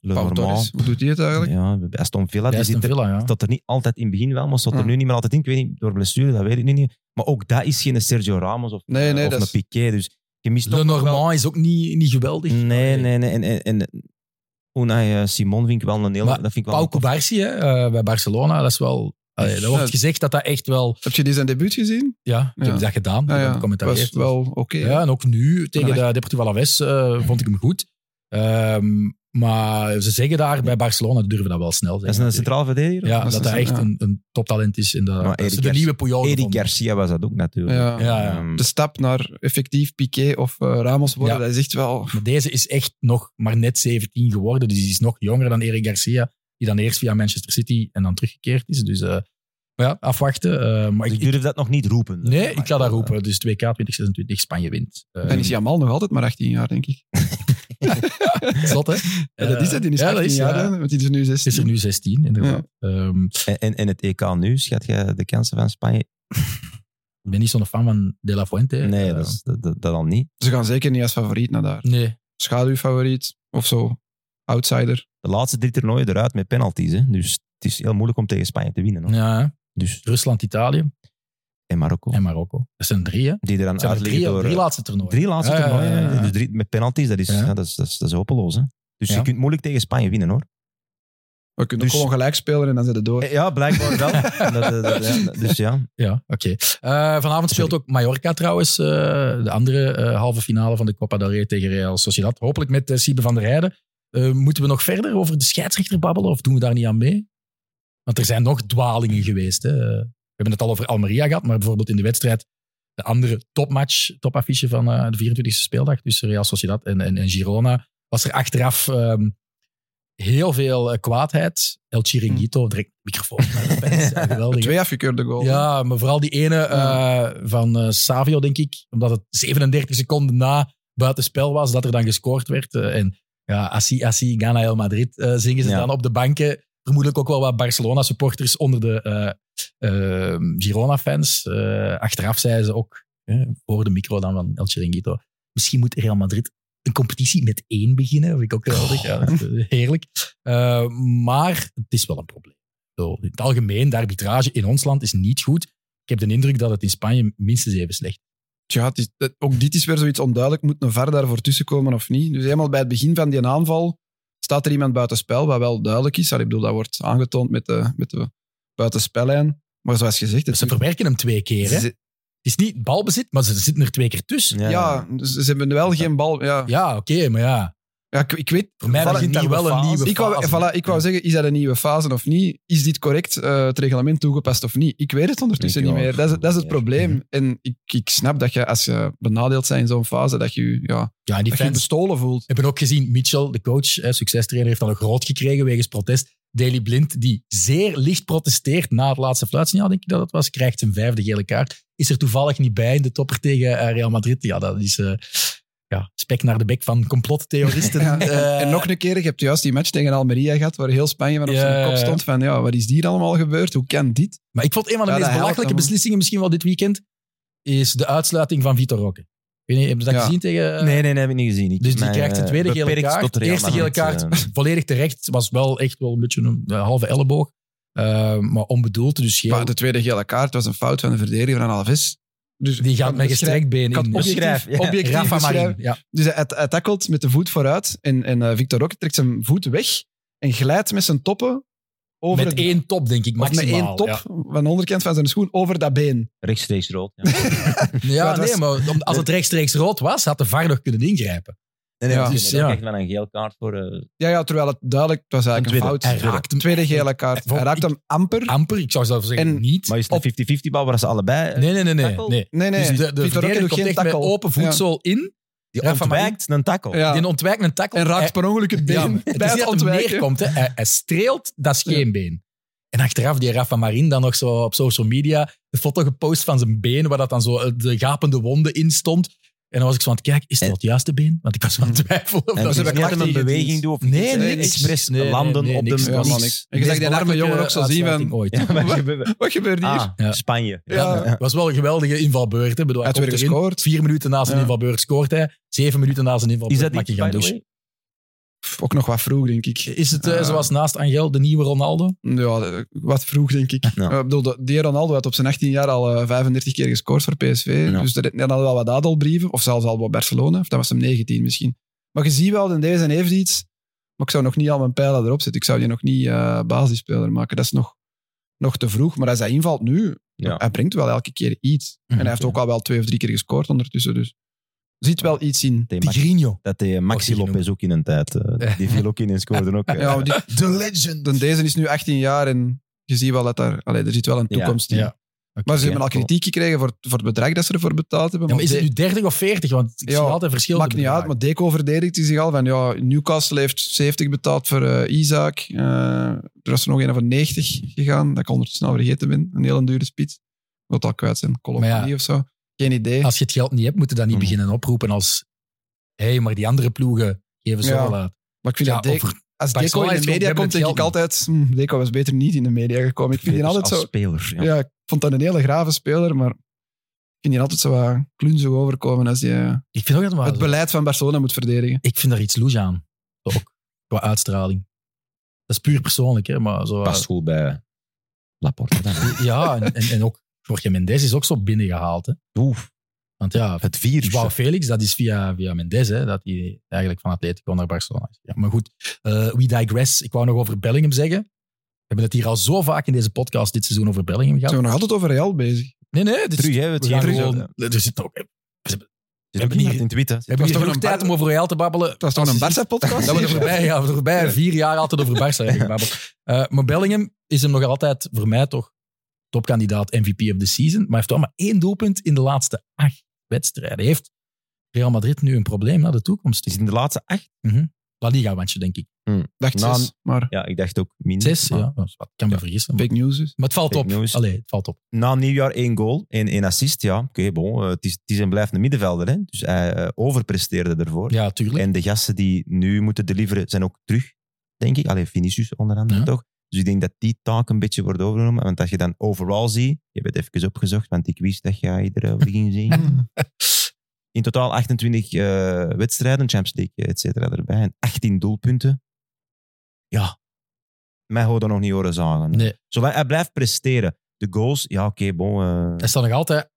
Speaker 2: Le
Speaker 3: Pau
Speaker 2: normaal.
Speaker 3: Torres. Hoe doet hij het eigenlijk?
Speaker 2: Ja, bij Aston Villa, die
Speaker 1: Bij Aston
Speaker 2: zit er,
Speaker 1: Villa, ja.
Speaker 2: dat er niet altijd in het begin wel, maar zat er
Speaker 3: Ja.
Speaker 2: nu niet meer altijd in. Ik weet niet, door blessure, dat weet ik nu niet. Maar ook dat is geen Sergio Ramos of,
Speaker 3: Nee, nee,
Speaker 2: of
Speaker 3: dat
Speaker 2: een
Speaker 3: is-
Speaker 2: Piqué. Dus je mist
Speaker 1: Le
Speaker 2: toch nog wel-
Speaker 1: Normand is ook niet, niet geweldig.
Speaker 2: Nee, nee, nee. En, en, en Unai eh, Simon vind ik wel een heel...
Speaker 1: Maar
Speaker 2: dat vind ik wel
Speaker 1: Pau
Speaker 2: een tof-
Speaker 1: Cubarsi hè, eh, bij Barcelona, dat is wel... Allee, er wordt
Speaker 3: Ja.
Speaker 1: gezegd dat dat echt wel...
Speaker 3: Heb je die zijn debuut gezien?
Speaker 1: Ja, ik
Speaker 3: Ja.
Speaker 1: heb dat gedaan. Ik
Speaker 3: Ah,
Speaker 1: heb
Speaker 3: ja.
Speaker 1: hem
Speaker 3: was
Speaker 1: commentarieerd.
Speaker 3: wel oké.
Speaker 1: Ja, en ook nu tegen
Speaker 3: Ja,
Speaker 1: de Deportivo Alaves eh, vond ik hem goed. Ehm, maar ze zeggen daar bij Barcelona, die durven dat wel snel.
Speaker 2: Dat is
Speaker 1: zeggen
Speaker 2: een
Speaker 1: natuurlijk.
Speaker 2: centraal verdediger?
Speaker 1: Ja,
Speaker 3: Dat is
Speaker 1: dat
Speaker 3: een
Speaker 1: hij echt
Speaker 3: centraal-
Speaker 1: een, een toptalent is. En dat,
Speaker 2: Maar
Speaker 1: dat ze
Speaker 2: Eric
Speaker 1: de
Speaker 2: Garcia-
Speaker 1: nieuwe Puyol
Speaker 2: Eddie
Speaker 1: gevonden.
Speaker 2: Garcia was dat ook natuurlijk.
Speaker 3: Ja.
Speaker 1: Ja, Dus- ja.
Speaker 2: Ehm,
Speaker 3: De stap naar effectief Piqué of eh, Ramos worden,
Speaker 1: Ja.
Speaker 3: dat is echt wel...
Speaker 1: Maar deze is echt nog maar net 17 geworden. Dus die is nog jonger dan Eric Garcia. Die dan eerst via Manchester City en dan teruggekeerd is. Dus eh, maar ja, afwachten. Eh, maar
Speaker 2: dus
Speaker 1: ik,
Speaker 2: ik durf dat nog niet roepen.
Speaker 1: ik- nee, ik ga dat
Speaker 2: Eh,
Speaker 1: roepen. Dus 2K 2026, Spanje wint. Eh,
Speaker 3: Dan is Jamal nog altijd maar 18 jaar, denk ik.
Speaker 1: zot, hè?
Speaker 3: Ja, dat is het, die is
Speaker 1: Ja,
Speaker 3: 18
Speaker 1: dat is,
Speaker 3: jaar,
Speaker 1: ja.
Speaker 3: hè, want die is nu 16.
Speaker 1: Het is er nu 16, inderdaad. Ehm,
Speaker 2: Eh, En, en, en het EK nu, schat jij de kansen van Spanje?
Speaker 1: ik ben niet zo'n fan van De La Fuente.
Speaker 2: Nee,
Speaker 1: Eh,
Speaker 2: dat, is, dat, dat, dat al niet.
Speaker 3: Ze gaan zeker niet als favoriet naar daar.
Speaker 1: nee.
Speaker 3: Schaduwfavoriet of zo. Outsider.
Speaker 2: De laatste drie toernooien eruit met penalties. Hè? Dus het is heel moeilijk om tegen Spanje te winnen. hoor.
Speaker 1: Ja, hè.
Speaker 2: Dus,
Speaker 1: Rusland, Italië
Speaker 2: en Marokko.
Speaker 1: en Marokko. Dat zijn drie, hè?
Speaker 2: die er dan
Speaker 1: Dat zijn
Speaker 2: uit
Speaker 1: de drie,
Speaker 2: liggen door... eh,
Speaker 1: drie laatste toernooien.
Speaker 2: Drie laatste
Speaker 1: Ja, ja,
Speaker 2: toernooien.
Speaker 1: ja, ja.
Speaker 2: Dus drie met penalties, dat is,
Speaker 1: Ja.
Speaker 2: ja, dat is, dat is, dat is hopeloos. Hè? Dus
Speaker 1: Ja.
Speaker 2: je kunt moeilijk tegen Spanje winnen, hoor.
Speaker 3: We kunnen ook
Speaker 2: Dus-
Speaker 3: gewoon gelijk spelen en dan zijn ze door.
Speaker 2: Eh, Ja, blijkbaar wel.
Speaker 1: eh,
Speaker 2: Dat- dat- dat- ja, dus ja,
Speaker 1: Ja, oké. Eh, vanavond speelt ook Mallorca trouwens eh, de andere eh, halve finale van de Copa del Rey tegen Real Sociedad. Hopelijk met eh, Siebe van der Heijden. Eh, moeten we nog verder over de scheidsrechter babbelen of doen we daar niet aan mee? Want er zijn nog dwalingen geweest. Hè. Eh, We hebben het al over Almeria gehad, maar bijvoorbeeld in de wedstrijd de andere topmatch, topaffiche van eh, de 24e speeldag tussen Real Sociedad en, en, en Girona, was er achteraf ehm, heel veel eh, kwaadheid. El Chiringuito, direct microfoon naar de pers. Ja, geweldig. hè.
Speaker 3: Twee afgekeurde goals.
Speaker 1: Ja, maar vooral die ene eh, van eh, Savio, denk ik. Omdat het 37 seconden na buitenspel was dat er dan gescoord werd. Eh, en ja, Assi, Assi, Gana El Madrid eh, zingen ze
Speaker 2: Ja.
Speaker 1: dan op de banken. vermoedelijk ook wel wat Barcelona-supporters onder de eh, eh, Girona-fans. Eh, achteraf zeiden ze ook, eh, voor de micro dan van El Chiringuito, misschien moet Real Madrid een competitie met één beginnen. Vind ik ook geweldig. Ja, dat is, eh, heerlijk. Eh, maar het is wel een probleem. Zo, in het algemeen, de arbitrage in ons land is niet goed. Ik heb de indruk dat het in Spanje minstens even slecht is.
Speaker 3: Tja, het is, dat- ook dit is weer zoiets onduidelijk. Moet een VAR daarvoor tussenkomen of niet? Dus helemaal bij het begin van die aanval staat er iemand buitenspel, wat wel duidelijk is. Allee, ik bedoel, dat wordt aangetoond met de, met de buitenspellijn. Maar zoals gezegd... Het
Speaker 1: Ze verwerken hem twee keer. Hè?
Speaker 3: ze-
Speaker 1: Het is niet balbezit, maar ze zitten er twee keer tussen.
Speaker 3: ja, dus ze hebben wel geen bal. Ja,
Speaker 1: Ja, oké, maar ja.
Speaker 3: ja ik, ik weet...
Speaker 1: Voor mij
Speaker 3: Voilà,
Speaker 1: begint daar
Speaker 2: nieuwe
Speaker 1: wel een
Speaker 2: fase.
Speaker 1: nieuwe
Speaker 3: Ik wou,
Speaker 1: fase.
Speaker 3: voilà, ik wou zeggen, is dat een nieuwe fase of niet? Is dit correct, eh, het reglement toegepast of niet? Ik weet het ondertussen
Speaker 2: Ik
Speaker 3: niet
Speaker 2: ook.
Speaker 3: meer. Dat is, dat is het
Speaker 2: Ja.
Speaker 3: probleem. En ik, ik snap dat je, als je benadeeld bent in zo'n fase, dat je je, ja,
Speaker 1: Ja, en die
Speaker 3: dat je je
Speaker 1: fans
Speaker 3: bestolen voelt.
Speaker 1: hebben ook gezien, Mitchell, de coach, hè, succestrainer, heeft al een groot gekregen wegens protest. Daley Blind, die zeer licht protesteert na het laatste fluitsignaal, denk ik dat het was, krijgt zijn vijfde gele kaart. Is er toevallig niet bij in de topper tegen eh, Real Madrid. Ja, dat is eh, ja, spek naar de bek van complottheoristen.
Speaker 3: Ja, en-
Speaker 1: Eh,
Speaker 3: en nog een keer, je hebt juist die match tegen Almeria gehad, waar heel Spanje van op zijn
Speaker 1: Ja.
Speaker 3: kop stond. Van ja, wat is hier allemaal gebeurd? Hoe kan dit?
Speaker 1: Maar ik vond een van de
Speaker 3: Ja,
Speaker 1: meest
Speaker 3: dat helpt
Speaker 1: belachelijke
Speaker 3: hem.
Speaker 1: beslissingen misschien wel dit weekend, is de uitsluiting van Vitor Roque. Ik weet niet, Heb je dat
Speaker 3: Ja.
Speaker 1: gezien tegen... eh,
Speaker 2: Nee, nee, nee, heb ik niet gezien. Ik
Speaker 1: Dus die
Speaker 2: mijn,
Speaker 1: krijgt de
Speaker 2: eh,
Speaker 1: tweede gele
Speaker 2: beperkt
Speaker 1: kaart.
Speaker 2: tot
Speaker 1: De
Speaker 2: Real
Speaker 1: eerste gele
Speaker 2: Madrid, eh,
Speaker 1: kaart volledig terecht. Was wel echt wel een beetje een eh, halve elleboog. Eh, maar onbedoeld, dus geel.
Speaker 3: Maar de tweede gele kaart was een fout van de verdediger van Alves. Dus
Speaker 1: die gaat met
Speaker 3: beschrijf-
Speaker 1: gestrekt been
Speaker 3: kan
Speaker 1: in.
Speaker 2: eh,
Speaker 3: objectief-
Speaker 2: Beschrijf. ja.
Speaker 3: objectief
Speaker 1: Rafa
Speaker 3: beschrijven.
Speaker 1: Marin. Ja.
Speaker 3: Dus hij, hij tackelt met de voet vooruit en, en eh, Victor Roque trekt zijn voet weg en glijdt met zijn toppen over
Speaker 1: Met
Speaker 3: het,
Speaker 1: één top, denk ik,
Speaker 3: of met
Speaker 1: maximaal.
Speaker 3: één top
Speaker 1: Ja,
Speaker 3: van de onderkant van zijn schoen over dat been.
Speaker 2: Rechtstreeks rood. Ja. nee,
Speaker 1: Ja,
Speaker 3: Maar het
Speaker 1: nee,
Speaker 3: was-
Speaker 1: maar om- als het rechtstreeks rood was, had de VAR nog kunnen ingrijpen.
Speaker 2: nee,
Speaker 3: Ja.
Speaker 2: dus,
Speaker 1: Dus,
Speaker 2: Dan
Speaker 1: ja.
Speaker 2: krijgt wel een gele kaart voor... eh,
Speaker 3: Ja, ja, terwijl het duidelijk het was eigenlijk een
Speaker 2: Een
Speaker 3: fout.
Speaker 2: tweede.
Speaker 1: Hij raakt hem
Speaker 3: tweede gele kaart.
Speaker 1: Hij- Ah.
Speaker 3: Hij raakt hem amper.
Speaker 1: Amper, ik zou zelfs zeggen
Speaker 3: En-
Speaker 1: niet.
Speaker 2: maar is het een 50-50 bal waar ze allebei... eh,
Speaker 1: Nee, nee, nee. nee,
Speaker 2: Tackle?
Speaker 1: nee.
Speaker 3: Nee, nee.
Speaker 1: Dus de, de
Speaker 3: Victor Roque
Speaker 1: verdediger
Speaker 3: doet
Speaker 1: komt
Speaker 3: geen
Speaker 1: echt met
Speaker 3: tackle.
Speaker 1: open voedsel in.
Speaker 2: Die
Speaker 1: Rafa
Speaker 2: ontwijkt een tackle.
Speaker 3: Ja.
Speaker 1: Die ontwijkt een tackle.
Speaker 3: En raakt
Speaker 1: Hij-
Speaker 3: per ongeluk het been
Speaker 1: Ja, maar het
Speaker 3: bij
Speaker 1: is
Speaker 3: het
Speaker 1: niet dat hem
Speaker 3: ontwijken.
Speaker 1: neerkomt. Hè. Hij, hij streelt, dat is geen been. En achteraf die Rafa Marin dan nog zo op social media een foto gepost van zijn been, waar dat dan zo eh, de gapende wonden in stond. En dan was ik zo aan het kijken, is dat
Speaker 2: En-
Speaker 1: het juiste been? Want ik was aan het twijfelen. Of
Speaker 2: En
Speaker 1: dat
Speaker 2: dus het is
Speaker 3: ze
Speaker 1: het
Speaker 2: niet dat
Speaker 3: hebben
Speaker 2: hem een
Speaker 3: klachten
Speaker 2: beweging
Speaker 3: ingediend.
Speaker 2: doet of
Speaker 1: Nee,
Speaker 2: iets,
Speaker 1: nee,
Speaker 2: eh,
Speaker 1: niks.
Speaker 2: expres
Speaker 1: Nee, nee,
Speaker 2: landen
Speaker 1: nee,
Speaker 2: op
Speaker 1: niks.
Speaker 2: de...
Speaker 3: Ja,
Speaker 1: Niets.
Speaker 3: man, ik- ik zag die arme jongen ook zo zien
Speaker 1: uitsluiting
Speaker 3: van...
Speaker 1: ooit.
Speaker 2: Ja, maar je-
Speaker 3: Wat gebeurt hier?
Speaker 2: Ah,
Speaker 1: Ja.
Speaker 2: Spanje. Ja.
Speaker 1: Ja, het was wel een geweldige invalbeurt. Hè. Ik Bedoel, hij
Speaker 3: Hij heeft
Speaker 1: komt
Speaker 3: weer
Speaker 1: erin.
Speaker 3: gescoord.
Speaker 1: Vier minuten na zijn
Speaker 3: Ja.
Speaker 1: invalbeurt scoort hij. Zeven minuten na zijn
Speaker 2: Is
Speaker 1: invalbeurt
Speaker 2: dat
Speaker 1: maakt
Speaker 2: die
Speaker 1: hij gaan
Speaker 2: by the
Speaker 1: douchen.
Speaker 2: way?
Speaker 3: Pff, Ook nog wat vroeg, denk ik.
Speaker 1: Is het eh,
Speaker 3: Ja.
Speaker 1: zoals naast Angel de nieuwe Ronaldo?
Speaker 3: Ja, eh, wat vroeg, denk ik.
Speaker 2: Ja.
Speaker 3: Eh, Ik bedoel, de- die Ronaldo had op zijn 18 jaar al eh, 35 keer gescoord voor PSV.
Speaker 2: Ja.
Speaker 3: Dus er er hadden wel wat adelbrieven. Of zelfs al wat Barcelona. Of dat was hem 19 misschien. Maar je ziet wel, in deze heeft iets. Maar ik zou nog niet al mijn pijlen erop zetten. Ik zou die nog niet eh, basisspeler maken. Dat is nog, nog te vroeg. Maar als hij invalt nu,
Speaker 2: Ja.
Speaker 3: hij brengt wel elke keer iets. En hij heeft ook al wel twee of drie keer gescoord ondertussen. Dus er zit wel iets in.
Speaker 2: Die Max-
Speaker 1: Tigrinho.
Speaker 2: Dat die Maxi
Speaker 1: Wordt die
Speaker 2: Lopez ook in een tijd. eh, Die viel ook in en scoorde ook. eh.
Speaker 3: Ja, maar die-
Speaker 1: The legend.
Speaker 3: Dan deze is nu 18 jaar en je ziet wel dat daar... Allee, er zit wel een
Speaker 2: Ja,
Speaker 3: toekomst in.
Speaker 1: ja.
Speaker 3: Maar ze
Speaker 2: Ja,
Speaker 3: hebben al
Speaker 2: klopt.
Speaker 3: kritiek gekregen voor, het- voor het bedrag dat ze ervoor betaald hebben.
Speaker 1: Ja, maar is het
Speaker 3: de-
Speaker 1: nu 30 of 40? Want ik
Speaker 3: Ja,
Speaker 1: zie altijd verschil.
Speaker 3: maakt niet uit, maar Deco verdedigt hij zich al. Van, ja, Newcastle heeft 70 betaald voor eh, Isaac. Eh, er was er nog een van 90 gegaan, dat ik ondertussen al vergeten ben. Een hele dure spits. Wat al kwijt zijn, Colombia
Speaker 1: Maar ja,
Speaker 3: of zo. Geen idee.
Speaker 1: Als je het geld niet hebt, moeten dan niet
Speaker 2: Hmm.
Speaker 1: beginnen oproepen als hé, hey, maar die andere ploegen geven zo
Speaker 3: Ja,
Speaker 1: wel uit.
Speaker 3: maar ik vind
Speaker 1: Ja,
Speaker 3: dat Deco,
Speaker 1: over-
Speaker 3: als Deco
Speaker 1: Barcelona
Speaker 3: in
Speaker 1: heeft wel-
Speaker 3: de
Speaker 1: we
Speaker 3: media
Speaker 1: hebben
Speaker 3: komt,
Speaker 1: het
Speaker 3: denk ik
Speaker 1: geld
Speaker 3: altijd... "Hm, Deco was beter niet in de media gekomen. Ik vind die
Speaker 2: Dus
Speaker 3: altijd
Speaker 2: als
Speaker 3: zo...
Speaker 2: speler. Ja.
Speaker 3: Ja. ik vond dat een hele grave speler, maar ik vind die altijd zo wat klunzig overkomen als je eh,
Speaker 1: Ik vind ook dat maar
Speaker 3: het beleid van Barcelona moet verdedigen.
Speaker 1: Ik vind daar iets loes aan. Ook qua uitstraling. Dat is puur persoonlijk, hè? Maar zo, eh,
Speaker 2: Past goed bij Laporte. dan.
Speaker 1: Ja, en, en, en ook Jorge Mendes is ook zo binnengehaald. Hè?
Speaker 2: Oef,
Speaker 1: Want ja,
Speaker 2: het eh, virus.
Speaker 1: Joao Felix, dat is via, via Mendes, hè, dat hij eigenlijk van Atletico naar Barcelona is. Ja, maar goed, eh, we digress. Ik wou nog over Bellingham zeggen. We hebben het hier al zo vaak in deze podcast dit seizoen over Bellingham
Speaker 3: Zijn
Speaker 1: gehad.
Speaker 3: we nog altijd over Real bezig?
Speaker 1: Nee, nee, dit is-
Speaker 2: Terug, hè. Het
Speaker 1: we gaan
Speaker 2: terug,
Speaker 1: gewoon-
Speaker 2: ja.
Speaker 1: er zit ook, we
Speaker 2: Zit
Speaker 1: hebben
Speaker 2: ook
Speaker 1: niet-
Speaker 2: niet in Twitter.
Speaker 1: hebben
Speaker 3: toch
Speaker 1: hier
Speaker 3: een
Speaker 1: genoeg tijd
Speaker 3: Bar-
Speaker 1: om over Real te babbelen.
Speaker 3: Het was toch een Barça-podcast?
Speaker 1: Dat we er voorbij, ja, we er voorbij vier jaar altijd over Barça hebben gebabbeld. Eh, maar Bellingham is hem nog altijd, voor mij toch, topkandidaat MVP of the season. Maar heeft wel maar één doelpunt in de laatste acht wedstrijden. Heeft Real Madrid nu een probleem naar de toekomst?
Speaker 2: Het is in de laatste acht.
Speaker 1: La Liga-wandje, denk ik.
Speaker 3: Dacht
Speaker 2: Nou,
Speaker 3: zes, maar
Speaker 2: Ja, ik dacht ook min.
Speaker 1: Zes,
Speaker 2: Maar
Speaker 1: ja. dat is wat. Ik kan me vergissen. Maar,
Speaker 3: fake news dus.
Speaker 1: maar het valt
Speaker 2: Fake
Speaker 1: op.
Speaker 2: news.
Speaker 1: Allee, het valt op.
Speaker 2: Na nieuwjaar één goal en één assist. Ja, oké, bon. eh, Het is, het is en blijft een middenvelder. Hè. Dus hij eh, overpresteerde ervoor.
Speaker 1: Ja, tuurlijk.
Speaker 2: En de gasten die nu moeten deliveren zijn ook terug, denk ik. Allee, Vinicius onder andere
Speaker 1: Ja.
Speaker 2: toch. Dus ik denk dat die taak een beetje wordt overgenomen. Want als je dan overal ziet, je hebt het even opgezocht, want die quiz dat ga iedere week zien. In totaal 28 eh, wedstrijden, Champions League, eh, et cetera, erbij. En 18 doelpunten. Ja, mij hoort dat nog niet horen zagen.
Speaker 1: Nee.
Speaker 2: Zolang hij blijft presteren. De goals, ja oké, bon. eh,
Speaker 1: Hij staat nog altijd,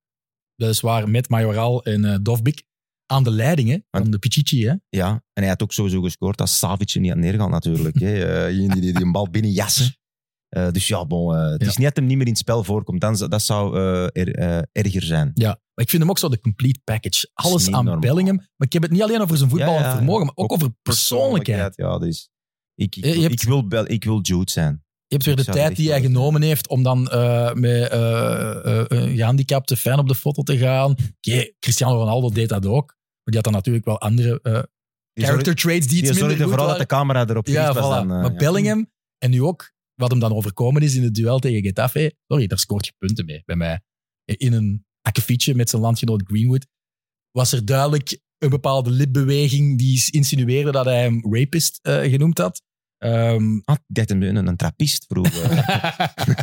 Speaker 1: weliswaar met Majoral en eh Dovbik, aan de leiding hè, van de Pichichi. Hè.
Speaker 2: Ja, en hij had ook sowieso gescoord als Savic er niet aan neergaat natuurlijk. hè. Eh, die, die, die een bal binnen jassen. Eh, dus ja, bon, eh, het
Speaker 1: Ja.
Speaker 2: is niet dat hem niet meer in het spel voorkomt. Dan, z- dat zou eh, er- eh, erger zijn.
Speaker 1: Ja. Maar ik vind hem ook zo de complete package. Alles
Speaker 2: niet
Speaker 1: aan
Speaker 2: normaal.
Speaker 1: Bellingham. Maar ik heb het niet alleen over zijn voetbal
Speaker 2: Ja, ja.
Speaker 1: en vermogen, maar ook, over persoonlijkheid. Eh,
Speaker 2: Ja, dus ik, ik,
Speaker 1: Je- je hebt-
Speaker 2: ik, wil, bel, ik wil Jude zijn.
Speaker 1: Je hebt weer de
Speaker 2: Ik zou dat
Speaker 1: tijd
Speaker 2: echt
Speaker 1: die hij
Speaker 2: wel willen.
Speaker 1: genomen heeft om dan eh, met eh, eh, een gehandicapte fan op de foto te gaan. Oké, Cristiano Ronaldo deed dat ook. Maar die had dan natuurlijk wel andere eh,
Speaker 2: Die zorg-
Speaker 1: character traits die
Speaker 2: die
Speaker 1: iets
Speaker 2: zorgde
Speaker 1: minder goed
Speaker 2: vooral dat
Speaker 1: waren.
Speaker 2: de camera erop
Speaker 1: Ja,
Speaker 2: gericht
Speaker 1: voilà.
Speaker 2: was. Dan, eh,
Speaker 1: maar
Speaker 2: ja.
Speaker 1: Bellingham, en nu ook wat hem dan overkomen is in het duel tegen Getafe. Sorry, daar scoort je punten mee bij mij. In een akkefietje met zijn landgenoot Greenwood was er duidelijk een bepaalde lipbeweging die insinueerde dat hij hem rapist eh, genoemd had. Ehm,
Speaker 2: Ah, ik dacht hem een, een trappist vroeger.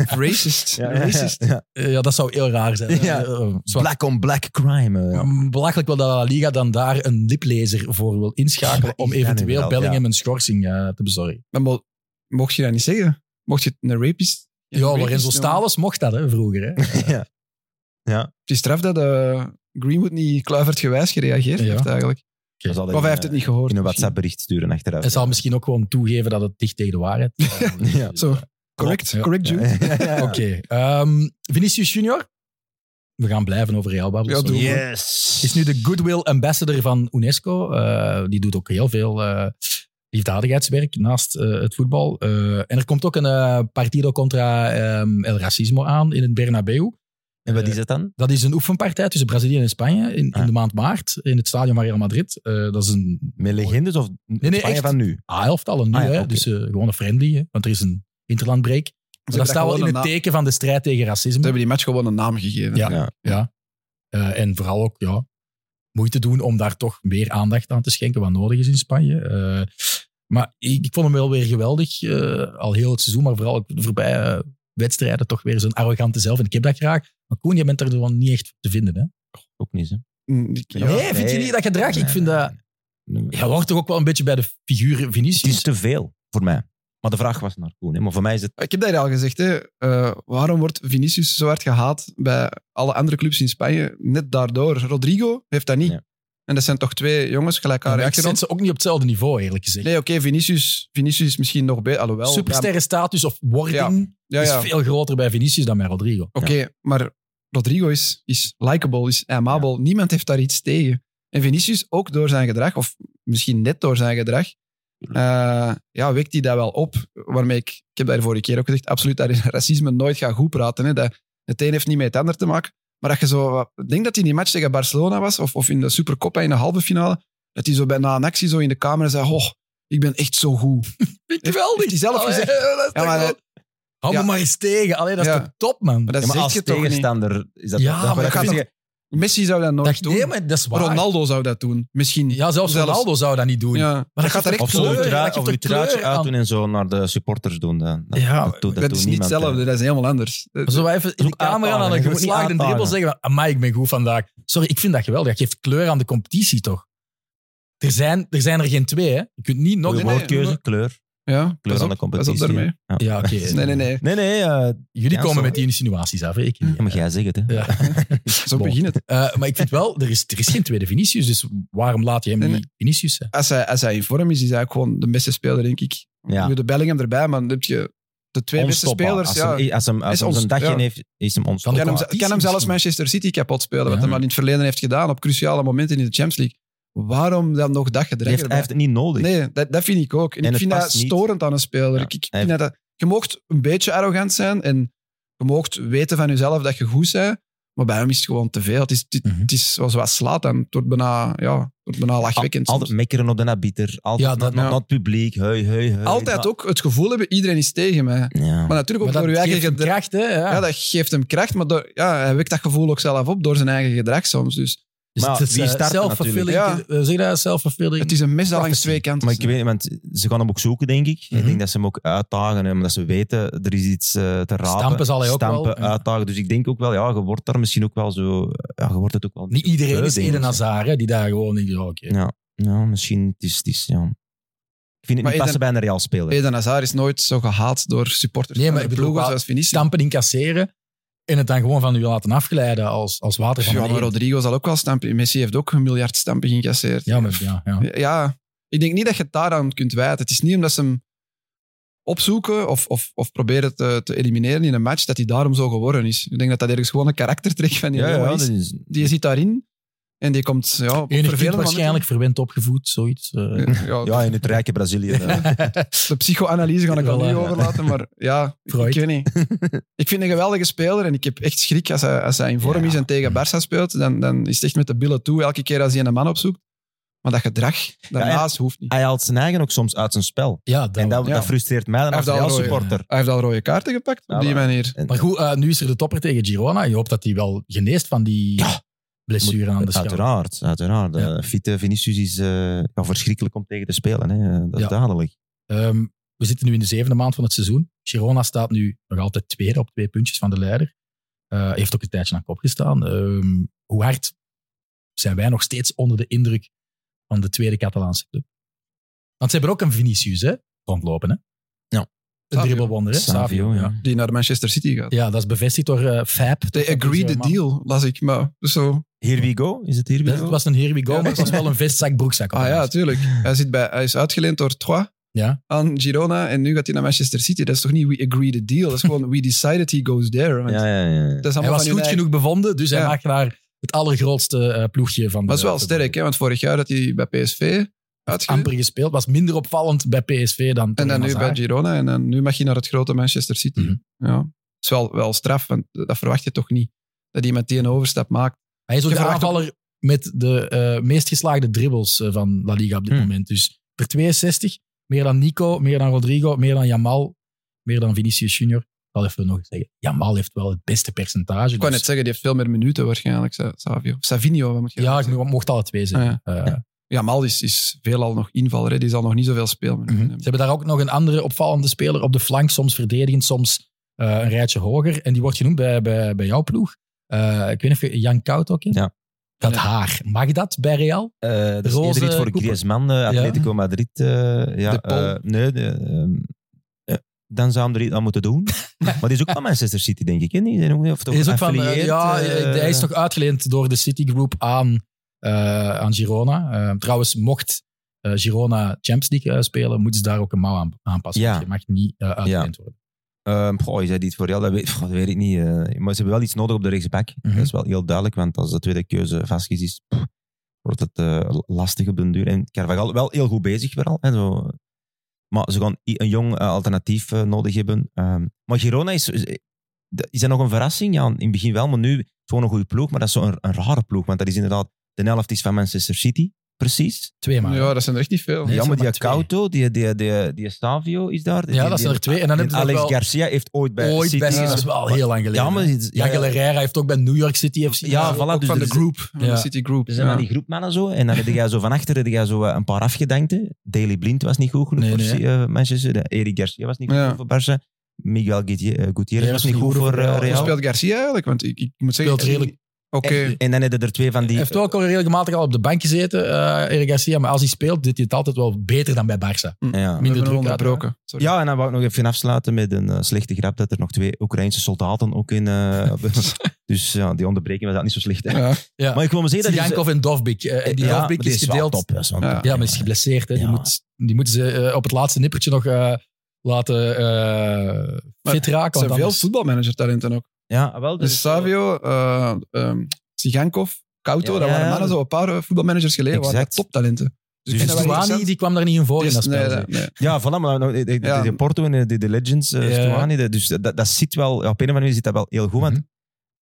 Speaker 3: Racist.
Speaker 2: Ja, ja, ja.
Speaker 3: Racist.
Speaker 2: Ja.
Speaker 1: eh, ja, dat zou heel raar zijn.
Speaker 2: Ja.
Speaker 1: Eh, eh, zwart.
Speaker 2: Black on black crime. eh, ja.
Speaker 1: Mm, Belachelijk wel dat La Liga dan daar een liplezer voor wil inschakelen
Speaker 2: Ja,
Speaker 1: om
Speaker 2: is dat
Speaker 1: eventueel
Speaker 2: inderdaad,
Speaker 1: Bellingham een schorsing eh, te bezorgen.
Speaker 3: Maar mo- mocht je dat niet zeggen? Mocht je het een rapist? een
Speaker 1: Ja,
Speaker 3: rapist
Speaker 1: Lorenzo
Speaker 3: noemen?
Speaker 1: Stalens mocht dat hè, vroeger. Hè.
Speaker 2: ja.
Speaker 3: Het is straf dat eh, Greenwood niet kluivertgewijs gereageerd
Speaker 1: Ja.
Speaker 3: heeft eigenlijk.
Speaker 2: Dat zal hij
Speaker 3: Of
Speaker 2: in,
Speaker 3: hij heeft het
Speaker 2: eh,
Speaker 3: niet gehoord.
Speaker 2: In een
Speaker 3: misschien.
Speaker 2: WhatsApp-bericht sturen achteraf.
Speaker 1: Hij zal misschien ook gewoon toegeven dat het dicht tegen de waarheid is.
Speaker 2: Ja.
Speaker 3: Zo, correct,
Speaker 1: Ja.
Speaker 3: correct, Jude.
Speaker 1: Oké. ehm, Vinicius Junior. We gaan blijven over Real babbelen.
Speaker 3: Ja,
Speaker 1: sorry.
Speaker 3: doen we.
Speaker 2: Yes.
Speaker 1: Is nu de Goodwill Ambassador van UNESCO. Eh, die doet ook heel veel eh, liefdadigheidswerk naast eh, het voetbal. Eh, en er komt ook een eh, Partido contra ehm, el Racismo aan in het Bernabeu.
Speaker 2: En wat is dat dan?
Speaker 1: Dat is een oefenpartij tussen Brazilië en Spanje in, in
Speaker 2: Ah.
Speaker 1: de maand maart in het stadion van Real Madrid. Eh, dat is een
Speaker 2: Met legendes of nee,
Speaker 1: nee, echt.
Speaker 2: van nu?
Speaker 1: A-elftal, een
Speaker 2: Ah ja,
Speaker 1: nieuwe, hè.
Speaker 2: oké.
Speaker 1: dus eh, gewoon een friendly, hè, want er is een interlandbreak. Maar
Speaker 3: hebben
Speaker 1: dat
Speaker 3: dat
Speaker 1: staat wel
Speaker 3: gewoon
Speaker 1: in het
Speaker 3: een na-
Speaker 1: teken van de strijd tegen
Speaker 3: Ze
Speaker 1: racisme.
Speaker 3: hebben die match gewoon een naam gegeven.
Speaker 1: Ja.
Speaker 2: Ja.
Speaker 1: Eh, en vooral ook ja, moeite doen om daar toch meer aandacht aan te schenken wat nodig is in Spanje. Eh, maar ik, ik vond hem wel weer geweldig, eh, al heel het seizoen, maar vooral ook de voorbije eh, wedstrijden toch weer zijn arrogante zelf. En ik heb dat graag. Maar Koen, je bent er gewoon niet echt voor te vinden. Hè?
Speaker 2: Ook niet, hè?
Speaker 3: Mm, die- ja.
Speaker 1: Nee, vind je niet dat gedrag? Ik vind dat-
Speaker 2: Nee, nee.
Speaker 1: Hij hoort toch ook wel een beetje bij de figuur
Speaker 2: Het is
Speaker 1: Vinicius.
Speaker 2: te veel voor mij. Maar de vraag was naar Koen. Hè? Maar voor mij is het...
Speaker 3: Ik heb dat hier al gezegd. Hè. Eh, waarom wordt Vinicius zo hard gehaat bij alle andere clubs in Spanje? Net daardoor. Rodrigo heeft dat niet.
Speaker 2: Ja.
Speaker 3: En dat zijn toch twee jongens gelijkaardig.
Speaker 1: Ik zet
Speaker 3: achtergrond.
Speaker 1: ze ook niet op hetzelfde niveau, eerlijk gezegd.
Speaker 3: Nee, oké, Vinicius, Vinicius is misschien nog beter. Alhoewel,
Speaker 1: Supersterrenstatus of wording
Speaker 3: ja, ja, ja.
Speaker 1: is veel groter bij Vinicius dan bij Rodrigo.
Speaker 3: Oké, maar Rodrigo is, is likable, is amabel. Niemand heeft daar iets tegen. En Vinicius, ook door zijn gedrag, of misschien net door zijn gedrag, eh, ja, wekt hij dat wel op. Waarmee ik, ik heb daar vorige keer ook gezegd, absoluut dat je racisme nooit gaat goed praten. Hè. Dat, het een heeft niet met het ander te maken. Maar dat je zo, wat- ik denk dat hij in die match tegen Barcelona was, of, of in de Supercoppa in de halve finale, dat hij zo bij na een actie zo in de camera zei, oh, ik ben echt zo goed.
Speaker 1: Geweldig.
Speaker 3: Heeft hij zelf
Speaker 1: Allee,
Speaker 3: gezegd.
Speaker 1: dat is
Speaker 3: Ja,
Speaker 1: toch
Speaker 3: maar
Speaker 1: wel-
Speaker 3: dat-
Speaker 1: Hou me
Speaker 3: ja.
Speaker 1: maar eens tegen. Allee, dat is
Speaker 3: Ja.
Speaker 1: toch top, man.
Speaker 3: Maar
Speaker 1: Dat,
Speaker 3: dat
Speaker 2: Ja, maar
Speaker 3: zeg
Speaker 2: als
Speaker 3: je toch niet.
Speaker 2: tegenstander is dat...
Speaker 1: Ja,
Speaker 2: dat-
Speaker 1: maar
Speaker 2: dat
Speaker 3: dat
Speaker 2: kan
Speaker 3: gaat
Speaker 2: zeggen,
Speaker 3: Messi zou dat nooit doen.
Speaker 1: nee, maar dat is waar.
Speaker 3: Ronaldo zou dat doen. Misschien.
Speaker 1: Ja, zelfs
Speaker 3: Zelfs-
Speaker 1: Ronaldo zou dat niet doen.
Speaker 3: Ja.
Speaker 1: Maar dat
Speaker 3: Dat
Speaker 1: gaat er echt
Speaker 3: geeft
Speaker 2: Of zo
Speaker 1: kleur,
Speaker 2: je
Speaker 1: dat
Speaker 2: trui-
Speaker 1: geeft
Speaker 2: of
Speaker 1: er
Speaker 2: je truitje
Speaker 1: kleur aan.
Speaker 2: uitdoen en zo naar de supporters doen. Dan. Dat,
Speaker 1: Ja,
Speaker 2: dat, doet- dat,
Speaker 3: Dat
Speaker 2: doet
Speaker 3: is niet
Speaker 2: niemand, hè.
Speaker 3: hetzelfde, dat is helemaal anders. Eh,
Speaker 1: Maar Zo even in
Speaker 2: is
Speaker 1: de
Speaker 2: ook
Speaker 1: camera
Speaker 2: aanpakken,
Speaker 1: aan
Speaker 2: je
Speaker 1: een
Speaker 2: moet niet
Speaker 1: geslaagde dribbel
Speaker 2: aanpakken.
Speaker 1: zeggen: Amai, ik ben goed vandaag. Sorry, ik vind dat geweldig. Dat geeft kleur aan de competitie toch? Er zijn er, zijn er geen twee, hè? Je kunt niet nog
Speaker 2: Goeie
Speaker 3: Nee, nee,
Speaker 2: woordkeuze, kleur.
Speaker 3: Ja,
Speaker 2: Kleur
Speaker 3: pas
Speaker 2: aan de
Speaker 3: op, pas op
Speaker 2: competitie.
Speaker 3: daarmee.
Speaker 2: Ja.
Speaker 1: Ja, oké.
Speaker 3: Nee, nee, nee.
Speaker 2: Nee, nee. eh,
Speaker 1: Jullie
Speaker 2: Ja,
Speaker 1: komen
Speaker 2: zo.
Speaker 1: met die insinuaties af, hè? ik niet.
Speaker 2: ja, maar jij zegt het, hè.
Speaker 1: Ja.
Speaker 3: Zo
Speaker 1: Bon.
Speaker 3: begint het.
Speaker 1: Eh, maar ik vind wel, er is, er is geen tweede Vinicius, dus waarom laat je hem
Speaker 3: Nee,
Speaker 1: niet Vinicius zijn?
Speaker 3: Als hij, als hij in vorm is, is hij gewoon de beste speler, denk ik.
Speaker 2: Ja.
Speaker 3: Nu de Bellingham erbij, maar dan heb je de twee beste
Speaker 2: Onstopbaar.
Speaker 3: spelers.
Speaker 2: Als
Speaker 3: Ja.
Speaker 2: hem, als hem, als
Speaker 3: Is
Speaker 2: hem zijn
Speaker 3: ons-
Speaker 2: dagje
Speaker 3: ja.
Speaker 2: heeft, is hem ons.
Speaker 1: Kan
Speaker 3: Kan hem,
Speaker 1: ook wel.
Speaker 3: kan hem zelfs Manchester City kapot spelen, wat
Speaker 1: Ja.
Speaker 3: hij maar in het verleden heeft gedaan op cruciale momenten in de Champions League. Waarom dan nog dat
Speaker 2: Hij
Speaker 3: gedrag
Speaker 2: heeft, hij
Speaker 3: erbij?
Speaker 2: heeft het niet nodig.
Speaker 3: Nee, dat, dat vind ik ook. En,
Speaker 2: En
Speaker 3: ik
Speaker 2: het
Speaker 3: vind dat
Speaker 2: past niet.
Speaker 3: storend aan een speler.
Speaker 2: Ja.
Speaker 3: Ik, ik
Speaker 2: Hij
Speaker 3: vind dat, je moogt een beetje arrogant zijn en je moogt weten van jezelf dat je goed bent, maar bij hem is het gewoon te veel. Het is, het,
Speaker 1: Mhm.
Speaker 3: het is zoals wat slaat en het wordt bijna, ja, het wordt bijna lachwekkend.
Speaker 2: Al-
Speaker 3: soms.
Speaker 2: altijd mekkeren op de nabieter. Altijd
Speaker 1: Ja, dat-
Speaker 2: naar,
Speaker 3: ja.
Speaker 2: naar het publiek. Hei, hei, hei.
Speaker 3: Altijd ook het gevoel hebben, iedereen is tegen mij.
Speaker 2: Ja.
Speaker 3: Maar natuurlijk
Speaker 1: Maar
Speaker 3: ook
Speaker 1: dat
Speaker 3: door je eigen
Speaker 1: geeft hem
Speaker 3: gedrag.
Speaker 1: kracht, hè? Ja.
Speaker 3: Ja, dat geeft hem kracht, maar door, ja, hij wekt dat gevoel ook zelf op door zijn eigen gedrag soms. Dus
Speaker 1: Dus
Speaker 2: Maar
Speaker 1: het is
Speaker 2: wie
Speaker 1: eh,
Speaker 2: start
Speaker 1: self-fulfilling.
Speaker 3: natuurlijk?
Speaker 1: eh, Zeg je dat? Self-fulfilling.
Speaker 3: Het is een mes dat langs
Speaker 1: Prophecy.
Speaker 3: twee kanten
Speaker 2: Maar ik
Speaker 3: snijdt.
Speaker 2: weet niet, want ze gaan hem ook zoeken, denk ik.
Speaker 1: eh, Mhm.
Speaker 2: Ik denk dat ze hem ook uitdagen, hè, omdat ze weten, er is iets eh, te rapen.
Speaker 1: Stampen zal hij ook wel,
Speaker 2: Stampen,
Speaker 1: ja.
Speaker 2: uitdagen. Dus ik denk ook wel, ja, je wordt daar misschien ook wel zo... Ja, je wordt het ook wel...
Speaker 1: Niet iedereen is
Speaker 2: Beu, denk
Speaker 1: Eden
Speaker 2: ik.
Speaker 1: Hazard, hè, die daar gewoon in oké.
Speaker 2: Ja, ja misschien. Het is, het is, ja. Ik vind het
Speaker 3: Maar
Speaker 2: niet passen
Speaker 3: Eden-
Speaker 2: bij een Real speler.
Speaker 3: Eden Hazard is nooit zo gehaald door
Speaker 2: Dus
Speaker 3: supporters
Speaker 1: Nee,
Speaker 2: eh,
Speaker 3: van
Speaker 1: maar
Speaker 3: de
Speaker 1: ik bedoel
Speaker 3: ploegen
Speaker 1: wel-
Speaker 3: zoals Vinicius.
Speaker 1: Stampen incasseren en het dan gewoon van u laten afgeleiden als, als water van
Speaker 3: Ja,
Speaker 1: een
Speaker 3: maar
Speaker 1: eend.
Speaker 3: Rodrigo zal ook wel stampen. Messi heeft ook een miljard stampen geïncasseerd.
Speaker 1: Ja, maar ja, ja.
Speaker 3: Ja, ik denk niet dat je het daaraan kunt wijten. Het is niet omdat ze hem opzoeken of, of, of proberen te, te elimineren in een match, dat hij daarom zo geworden is. Ik denk dat dat ergens gewoon een karaktertrek van die
Speaker 2: ja, ja,
Speaker 3: jongen
Speaker 2: dat
Speaker 3: is.
Speaker 2: is...
Speaker 3: Die zit daarin en die komt ja, op
Speaker 1: Enig kind
Speaker 3: vervelende
Speaker 1: waarschijnlijk verwend opgevoed, zoiets. eh.
Speaker 3: momenten. Ja,
Speaker 2: Ja, in het rijke Brazilië. eh.
Speaker 3: De psychoanalyse ga ik wel
Speaker 1: Voilà.
Speaker 3: niet overlaten, maar ja,
Speaker 1: Freud.
Speaker 3: ik weet niet. Ik vind een geweldige speler en ik heb echt schrik als hij, als hij in vorm
Speaker 2: Ja.
Speaker 3: is en tegen Barça speelt. Dan, dan is het echt met de billen toe elke keer als hij een man opzoekt. Maar dat gedrag daarnaast hoeft niet.
Speaker 2: hij haalt zijn eigen ook soms uit zijn spel.
Speaker 1: ja, dat
Speaker 2: en
Speaker 1: wel.
Speaker 2: dat,
Speaker 3: ja.
Speaker 2: dat frustreert mij dan
Speaker 3: Hij
Speaker 2: als
Speaker 3: heeft
Speaker 2: Real
Speaker 3: al rode-
Speaker 2: supporter.
Speaker 3: Hij heeft al rode kaarten gepakt op
Speaker 2: Ja,
Speaker 3: die
Speaker 2: maar-
Speaker 3: manier.
Speaker 2: En-
Speaker 1: Maar goed, eh, nu is er de topper tegen Girona. Je hoopt dat hij wel geneest van die
Speaker 2: Ja.
Speaker 1: blessure aan de schouder.
Speaker 2: Uiteraard, uiteraard.
Speaker 1: Ja.
Speaker 2: Eh, Fitte Vinicius is eh, ja, verschrikkelijk om tegen te spelen. Hè. Eh, Dat is
Speaker 1: Ja.
Speaker 2: duidelijk.
Speaker 1: Ehm, we zitten nu in de zevende maand van het seizoen. Girona staat nu nog altijd tweede op twee puntjes van de leider. Eh, heeft ook een tijdje aan kop gestaan. Ehm, hoe hard zijn wij nog steeds onder de indruk van de tweede Catalaanse club? Want ze hebben ook een Vinicius hè? rondlopen. Hè?
Speaker 2: Ja.
Speaker 1: Een
Speaker 3: Savio.
Speaker 1: dribbelwonder. hè?
Speaker 2: Savio, ja.
Speaker 3: Die naar Manchester City gaat.
Speaker 1: Ja, dat is bevestigd door eh, Fab.
Speaker 3: They agree the deal, las ik. Maar dus zo,
Speaker 2: Here we go, is het here we
Speaker 1: Dat
Speaker 2: go?
Speaker 1: was een here we go,
Speaker 3: Ja.
Speaker 1: maar het was wel een vestzak, broekzak.
Speaker 3: ah ja, tuurlijk. Hij, zit bij, hij is uitgeleend door Troyes
Speaker 1: Ja.
Speaker 3: aan Girona en nu gaat hij naar Manchester City. Dat is toch niet we agree the deal, dat is gewoon we decided he goes there. Want
Speaker 2: Ja, ja, ja.
Speaker 3: dat is
Speaker 1: Hij was
Speaker 3: allemaal van hun
Speaker 1: goed
Speaker 3: eigen-
Speaker 1: genoeg bevonden, dus hij
Speaker 3: Ja.
Speaker 1: maakt daar het allergrootste eh, ploegje van.
Speaker 3: Maar
Speaker 1: de-
Speaker 3: dat is wel
Speaker 1: de-
Speaker 3: sterk, hè? want vorig jaar dat hij bij PSV uitging.
Speaker 1: amper gespeeld. Was minder opvallend bij PSV dan
Speaker 3: En dan nu bij
Speaker 1: Hazard.
Speaker 3: Girona en dan, nu mag je naar het grote Manchester City.
Speaker 1: Mhm.
Speaker 3: Ja, dat is wel, wel straf, want dat verwacht je toch niet. Dat iemand die een overstap maakt.
Speaker 1: Hij is ook
Speaker 3: Je
Speaker 1: de
Speaker 3: verwacht
Speaker 1: aanvaller met de eh, meest geslaagde dribbles eh, van La Liga op dit
Speaker 2: Hmm.
Speaker 1: moment. Dus per 62, meer dan Nico, meer dan Rodrigo, meer dan Jamal, meer dan Vinicius Junior. Ik zal even nog eens zeggen, Jamal heeft wel het beste percentage.
Speaker 3: Ik kan
Speaker 1: dus-
Speaker 3: net zeggen, die heeft veel meer minuten waarschijnlijk, Sa- Savio. Of Savinio, wat moet je
Speaker 1: ja,
Speaker 3: zeggen?
Speaker 1: ik mo- mocht alle twee zijn.
Speaker 3: Ah, ja.
Speaker 1: Eh,
Speaker 3: Ja, Mal is, is veelal nog invaller, hè. die zal nog niet zoveel spelen.
Speaker 1: Mhm. Ze hebben daar ook nog een andere opvallende speler op de flank, soms verdedigend, soms eh, een rijtje hoger. En die wordt genoemd bij, bij, bij jouw ploeg. Eh, ik weet niet of je Jan Kout ook in.
Speaker 2: Ja.
Speaker 1: Dat
Speaker 3: Ja.
Speaker 1: haar, mag dat bij Real?
Speaker 2: Eh, dat is
Speaker 1: Roze
Speaker 2: eerder iets voor
Speaker 1: koepel.
Speaker 2: Griezmann, eh, Atletico Madrid. eh, ja,
Speaker 3: De Pol.
Speaker 2: eh, nee, de, ehm, eh, dan zou hij er iets aan moeten doen. maar die is ook van Manchester City, denk ik. Hè? Die zijn ook- Of toch
Speaker 1: Hij is ook van, eh,
Speaker 2: geaffilieerd,
Speaker 1: ja,
Speaker 2: eh,
Speaker 1: eh, hij is toch uitgeleend door de Citigroup aan, eh, aan Girona. Eh, trouwens, mocht eh, Girona Champions League eh, spelen, moeten ze daar ook een mouw aan aanpassen.
Speaker 2: Ja.
Speaker 1: Want je mag niet eh, uitgeleend worden.
Speaker 2: Ehm, goh, is dat iets voor Real? Dat weet, pff, dat weet ik niet. eh. maar ze hebben wel iets nodig op de rechtsback.
Speaker 1: Mhm.
Speaker 2: Dat is wel heel duidelijk, want als de tweede keuze vastgezet is, pff, wordt het eh, lastig op den duur. En Carvajal wel heel goed bezig vooral. Hè, zo. Maar ze gaan i- een jong eh, alternatief eh, nodig hebben. Ehm, maar Girona is... Is is dat nog een verrassing? Ja, in het begin wel, maar nu het is gewoon een goede ploeg. Maar dat is zo'n een rare ploeg, want dat is inderdaad... De helft is van Manchester City, precies.
Speaker 1: Twee maar.
Speaker 3: Ja, dat zijn er echt niet veel.
Speaker 1: Nee,
Speaker 2: ja,
Speaker 1: het
Speaker 2: maar die
Speaker 1: zijn maar
Speaker 2: Acauto, die, die, die, die Savio is daar. Die-
Speaker 1: Ja, dat
Speaker 2: die-
Speaker 1: zijn er twee. En dan heb
Speaker 2: en
Speaker 1: je dat
Speaker 2: Alex
Speaker 1: wel
Speaker 2: Garcia heeft ooit bij
Speaker 1: ooit
Speaker 2: City...
Speaker 1: bij
Speaker 3: Ja.
Speaker 1: Dat is wel heel lang geleden.
Speaker 2: Ja, maar...
Speaker 1: Ja,
Speaker 2: ja, ja.
Speaker 1: Galera heeft ook bij New York City FC.
Speaker 2: Ja, voilà,
Speaker 3: ook
Speaker 2: dus
Speaker 3: van
Speaker 2: er
Speaker 3: de
Speaker 2: is-
Speaker 3: group, van
Speaker 1: ja.
Speaker 3: de City Group.
Speaker 2: Er zijn
Speaker 3: Ja.
Speaker 2: dan die groepmannen zo. En dan heb jij zo van achteren heb jij zo eh, een paar afgedankten. Daley Blind was niet goed genoeg
Speaker 1: Nee,
Speaker 2: voor
Speaker 1: nee.
Speaker 2: eh, Manchester. De Erik Garcia was niet goed
Speaker 3: Ja.
Speaker 2: genoeg voor Barça. Miguel Guti- eh, Gutierrez
Speaker 1: Ja,
Speaker 2: was niet goed voor eh,
Speaker 3: Hoe
Speaker 2: Real.
Speaker 3: speelt Garcia eigenlijk? Want ik, ik moet zeggen...
Speaker 1: Speelt redelijk-
Speaker 3: Oké.
Speaker 2: En dan hebben er twee van die...
Speaker 1: Hij heeft ook al regelmatig al op de bank gezeten, eh Eric Garcia. Maar als hij speelt, doet hij het altijd wel beter dan bij Barça.
Speaker 2: ja.
Speaker 1: Minder
Speaker 3: Minder
Speaker 1: druk
Speaker 3: onderbroken. Sorry.
Speaker 2: Ja, en dan wou ik nog even afsluiten met een eh, slechte grap dat er nog twee Oekraïnse soldaten ook in... eh, op- dus ja, die onderbreking was dat niet zo slecht. Hè.
Speaker 3: Ja.
Speaker 1: Ja.
Speaker 2: Maar ik wil maar zeggen dat is...
Speaker 1: Sigankov en Dovbik. Eh, en die
Speaker 2: ja,
Speaker 1: Dovbik
Speaker 2: maar
Speaker 1: is,
Speaker 2: die wel
Speaker 1: gedeeld.
Speaker 2: top, hè, zo'n-
Speaker 3: Ja.
Speaker 1: Ja, maar die is geblesseerd. Hè. Die,
Speaker 2: Ja.
Speaker 1: moet, die moeten ze eh, op het laatste nippertje nog eh, laten eh
Speaker 3: Maar
Speaker 1: fit raken. want
Speaker 3: Er zijn veel
Speaker 1: anders-
Speaker 3: voetbalmanager-talenten ook.
Speaker 2: Ja, wel.
Speaker 3: Dus Savio, eh ehm, Sigankov, Kauto,
Speaker 2: Ja,
Speaker 3: dat waren
Speaker 2: ja,
Speaker 3: mannen
Speaker 2: dat-
Speaker 3: zo een paar eh, voetbalmanagers geleden. Waren dat
Speaker 2: Exact.
Speaker 3: toptalenten. Dus
Speaker 2: Dus
Speaker 3: ik
Speaker 1: En
Speaker 3: vind dat wel
Speaker 1: Stuani,
Speaker 3: interessant.
Speaker 1: die kwam daar niet in voor in dat
Speaker 3: Die is-
Speaker 1: spel.
Speaker 3: nee,
Speaker 1: zeg.
Speaker 3: nee, nee.
Speaker 2: Ja, voilà, maar nou, de, de,
Speaker 3: Ja.
Speaker 2: de Porto en de, de, de Legends, eh,
Speaker 1: Ja.
Speaker 2: Stuani, de- dus dat, dat zit wel, ja, op een of andere manier zit dat wel heel goed, want
Speaker 1: Mhm.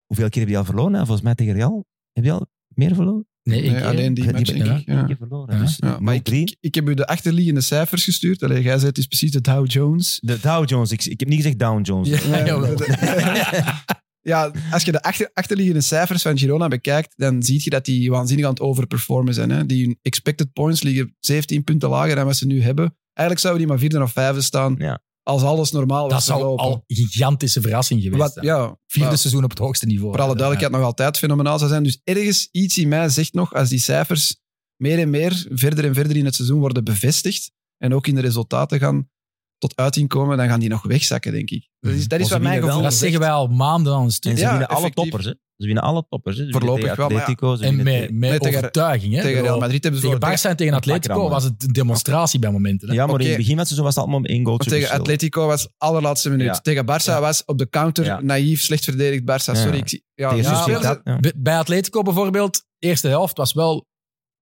Speaker 2: hoeveel keer heb je al verloren? hè? Volgens mij tegen Real, heb je al meer verloren?
Speaker 1: Nee, één
Speaker 3: Nee,
Speaker 1: keer.
Speaker 3: alleen die
Speaker 2: Die
Speaker 3: match,
Speaker 2: ben-
Speaker 3: denk
Speaker 1: ja.
Speaker 3: ik. Ja.
Speaker 2: Eén keer verloren,
Speaker 1: Ja.
Speaker 2: dus
Speaker 3: Ja, maar
Speaker 2: 0-3.
Speaker 3: Ik, ik heb u de achterliggende cijfers gestuurd. Allee, jij zei het is precies de Dow Jones.
Speaker 2: De Dow Jones, ik, ik heb niet gezegd Dow Jones.
Speaker 1: Ja, jawel.
Speaker 3: Ja, ja, als je de achter, achterliggende cijfers van Girona bekijkt, dan zie je dat die waanzinnig aan het overperformen zijn. Hè? Die hun expected points liggen 17 punten lager dan wat ze nu hebben. Eigenlijk zouden die maar vierde of vijfde staan.
Speaker 2: Ja.
Speaker 3: Als alles normaal
Speaker 1: Dat
Speaker 3: was
Speaker 1: zou
Speaker 3: verlopen.
Speaker 1: al een gigantische verrassing geweest
Speaker 3: Wat,
Speaker 1: zijn.
Speaker 3: ja,
Speaker 1: Vierde
Speaker 3: maar-
Speaker 1: seizoen op het hoogste niveau.
Speaker 3: voor alle duidelijkheid nog altijd fenomenaal zou zijn. Dus ergens iets in mij zegt nog, als die cijfers meer en meer, verder en verder in het seizoen worden bevestigd en ook in de resultaten gaan tot uiting komen, dan gaan die nog wegzakken, denk ik. Dat is,
Speaker 2: Maar
Speaker 3: dat is wat
Speaker 2: ze
Speaker 3: mijn
Speaker 2: winnen wel.
Speaker 3: gevoel
Speaker 1: Dat
Speaker 3: zegt.
Speaker 1: zeggen wij al maanden aan een stuk.
Speaker 2: En ze
Speaker 3: Ja,
Speaker 2: winnen alle
Speaker 3: effectief.
Speaker 2: toppers. Hè. Ze winnen alle toppers. Hè. Ze winnen
Speaker 3: Voorlopig
Speaker 2: tegen
Speaker 3: wel, maar ja.
Speaker 2: Atletico, ze
Speaker 1: En
Speaker 2: winnen
Speaker 1: met,
Speaker 2: tegen-
Speaker 1: met
Speaker 3: Nee, tegen-
Speaker 1: overtuiging. Hè?
Speaker 3: Tegen Real Madrid hebben ze
Speaker 1: Tegen
Speaker 3: verloren.
Speaker 1: Barca en tegen Atletico
Speaker 2: Pakken
Speaker 1: was het een demonstratie bij momenten. Hè?
Speaker 2: Ja, maar
Speaker 3: Oké.
Speaker 2: in het begin van het seizoen was het allemaal om één goal te
Speaker 3: Tegen, tegen
Speaker 2: verschil.
Speaker 3: Atletico was allerlaatste minuut.
Speaker 2: Ja.
Speaker 3: Tegen Barça
Speaker 1: Ja.
Speaker 3: was op de counter
Speaker 2: Ja.
Speaker 3: naïef, slecht verdedigd Barça.
Speaker 2: Ja.
Speaker 3: Sorry, ik zie... Ja,
Speaker 2: Tegen
Speaker 1: Ja,
Speaker 3: ja,
Speaker 2: Sociedad,
Speaker 3: ja,
Speaker 2: ja.
Speaker 1: Bij- Bij Atletico bijvoorbeeld, eerste helft was wel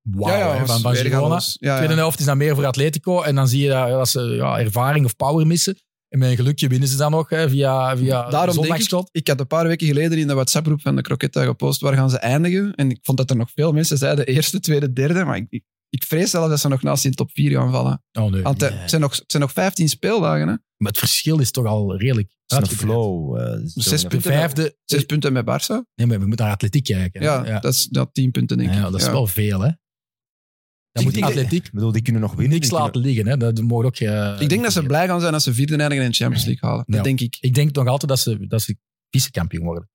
Speaker 1: wauw
Speaker 3: ja,
Speaker 1: hè,
Speaker 3: was
Speaker 1: van, van
Speaker 3: weer gaan
Speaker 1: Girona.
Speaker 3: los. Ah, Ja,
Speaker 1: Tweede
Speaker 3: ja.
Speaker 1: helft is dan meer voor Atletico. En dan zie je dat, dat ze ja, ervaring of power missen. En met een gelukje winnen ze dan nog hè, via, via
Speaker 3: Daarom denk ik,
Speaker 1: zondagsschot.
Speaker 3: ik had een paar weken geleden in de WhatsApp-groep van de Croquetta gepost waar gaan ze eindigen. En ik vond dat er nog veel mensen zeiden eerste, tweede, derde. Maar ik, ik, ik vrees zelfs dat ze nog naast in top 4 gaan vallen.
Speaker 1: Oh, nee.
Speaker 3: Want eh,
Speaker 1: Nee.
Speaker 3: het, zijn nog, het zijn nog 15 speeldagen. Hè?
Speaker 1: Maar het verschil is toch al redelijk
Speaker 2: Dat is een
Speaker 1: uitgebreid.
Speaker 2: flow. eh, dat is
Speaker 3: Zes
Speaker 2: zo een-
Speaker 1: De
Speaker 3: punten.
Speaker 1: vijfde...
Speaker 3: Zes punten met Barça.
Speaker 1: Nee, maar we moeten naar atletiek kijken. hè.
Speaker 3: Ja, dat is dat 10 punten, denk ik.
Speaker 1: Ja, dat is wel veel, hè. Dan
Speaker 2: Ik
Speaker 1: moet
Speaker 2: denk-
Speaker 1: atletiek
Speaker 2: Ik bedoel, die kunnen nog winnen.
Speaker 1: niks
Speaker 2: Die kunnen-
Speaker 1: laten liggen. Hè. Dat mogen ook, eh,
Speaker 3: Ik denk dat ze blij gaan zijn als ze vierde eindigen en de Champions League halen. Dat
Speaker 1: Ja.
Speaker 3: denk ik.
Speaker 1: Ik denk nog altijd dat ze, dat ze vice-kampioen worden.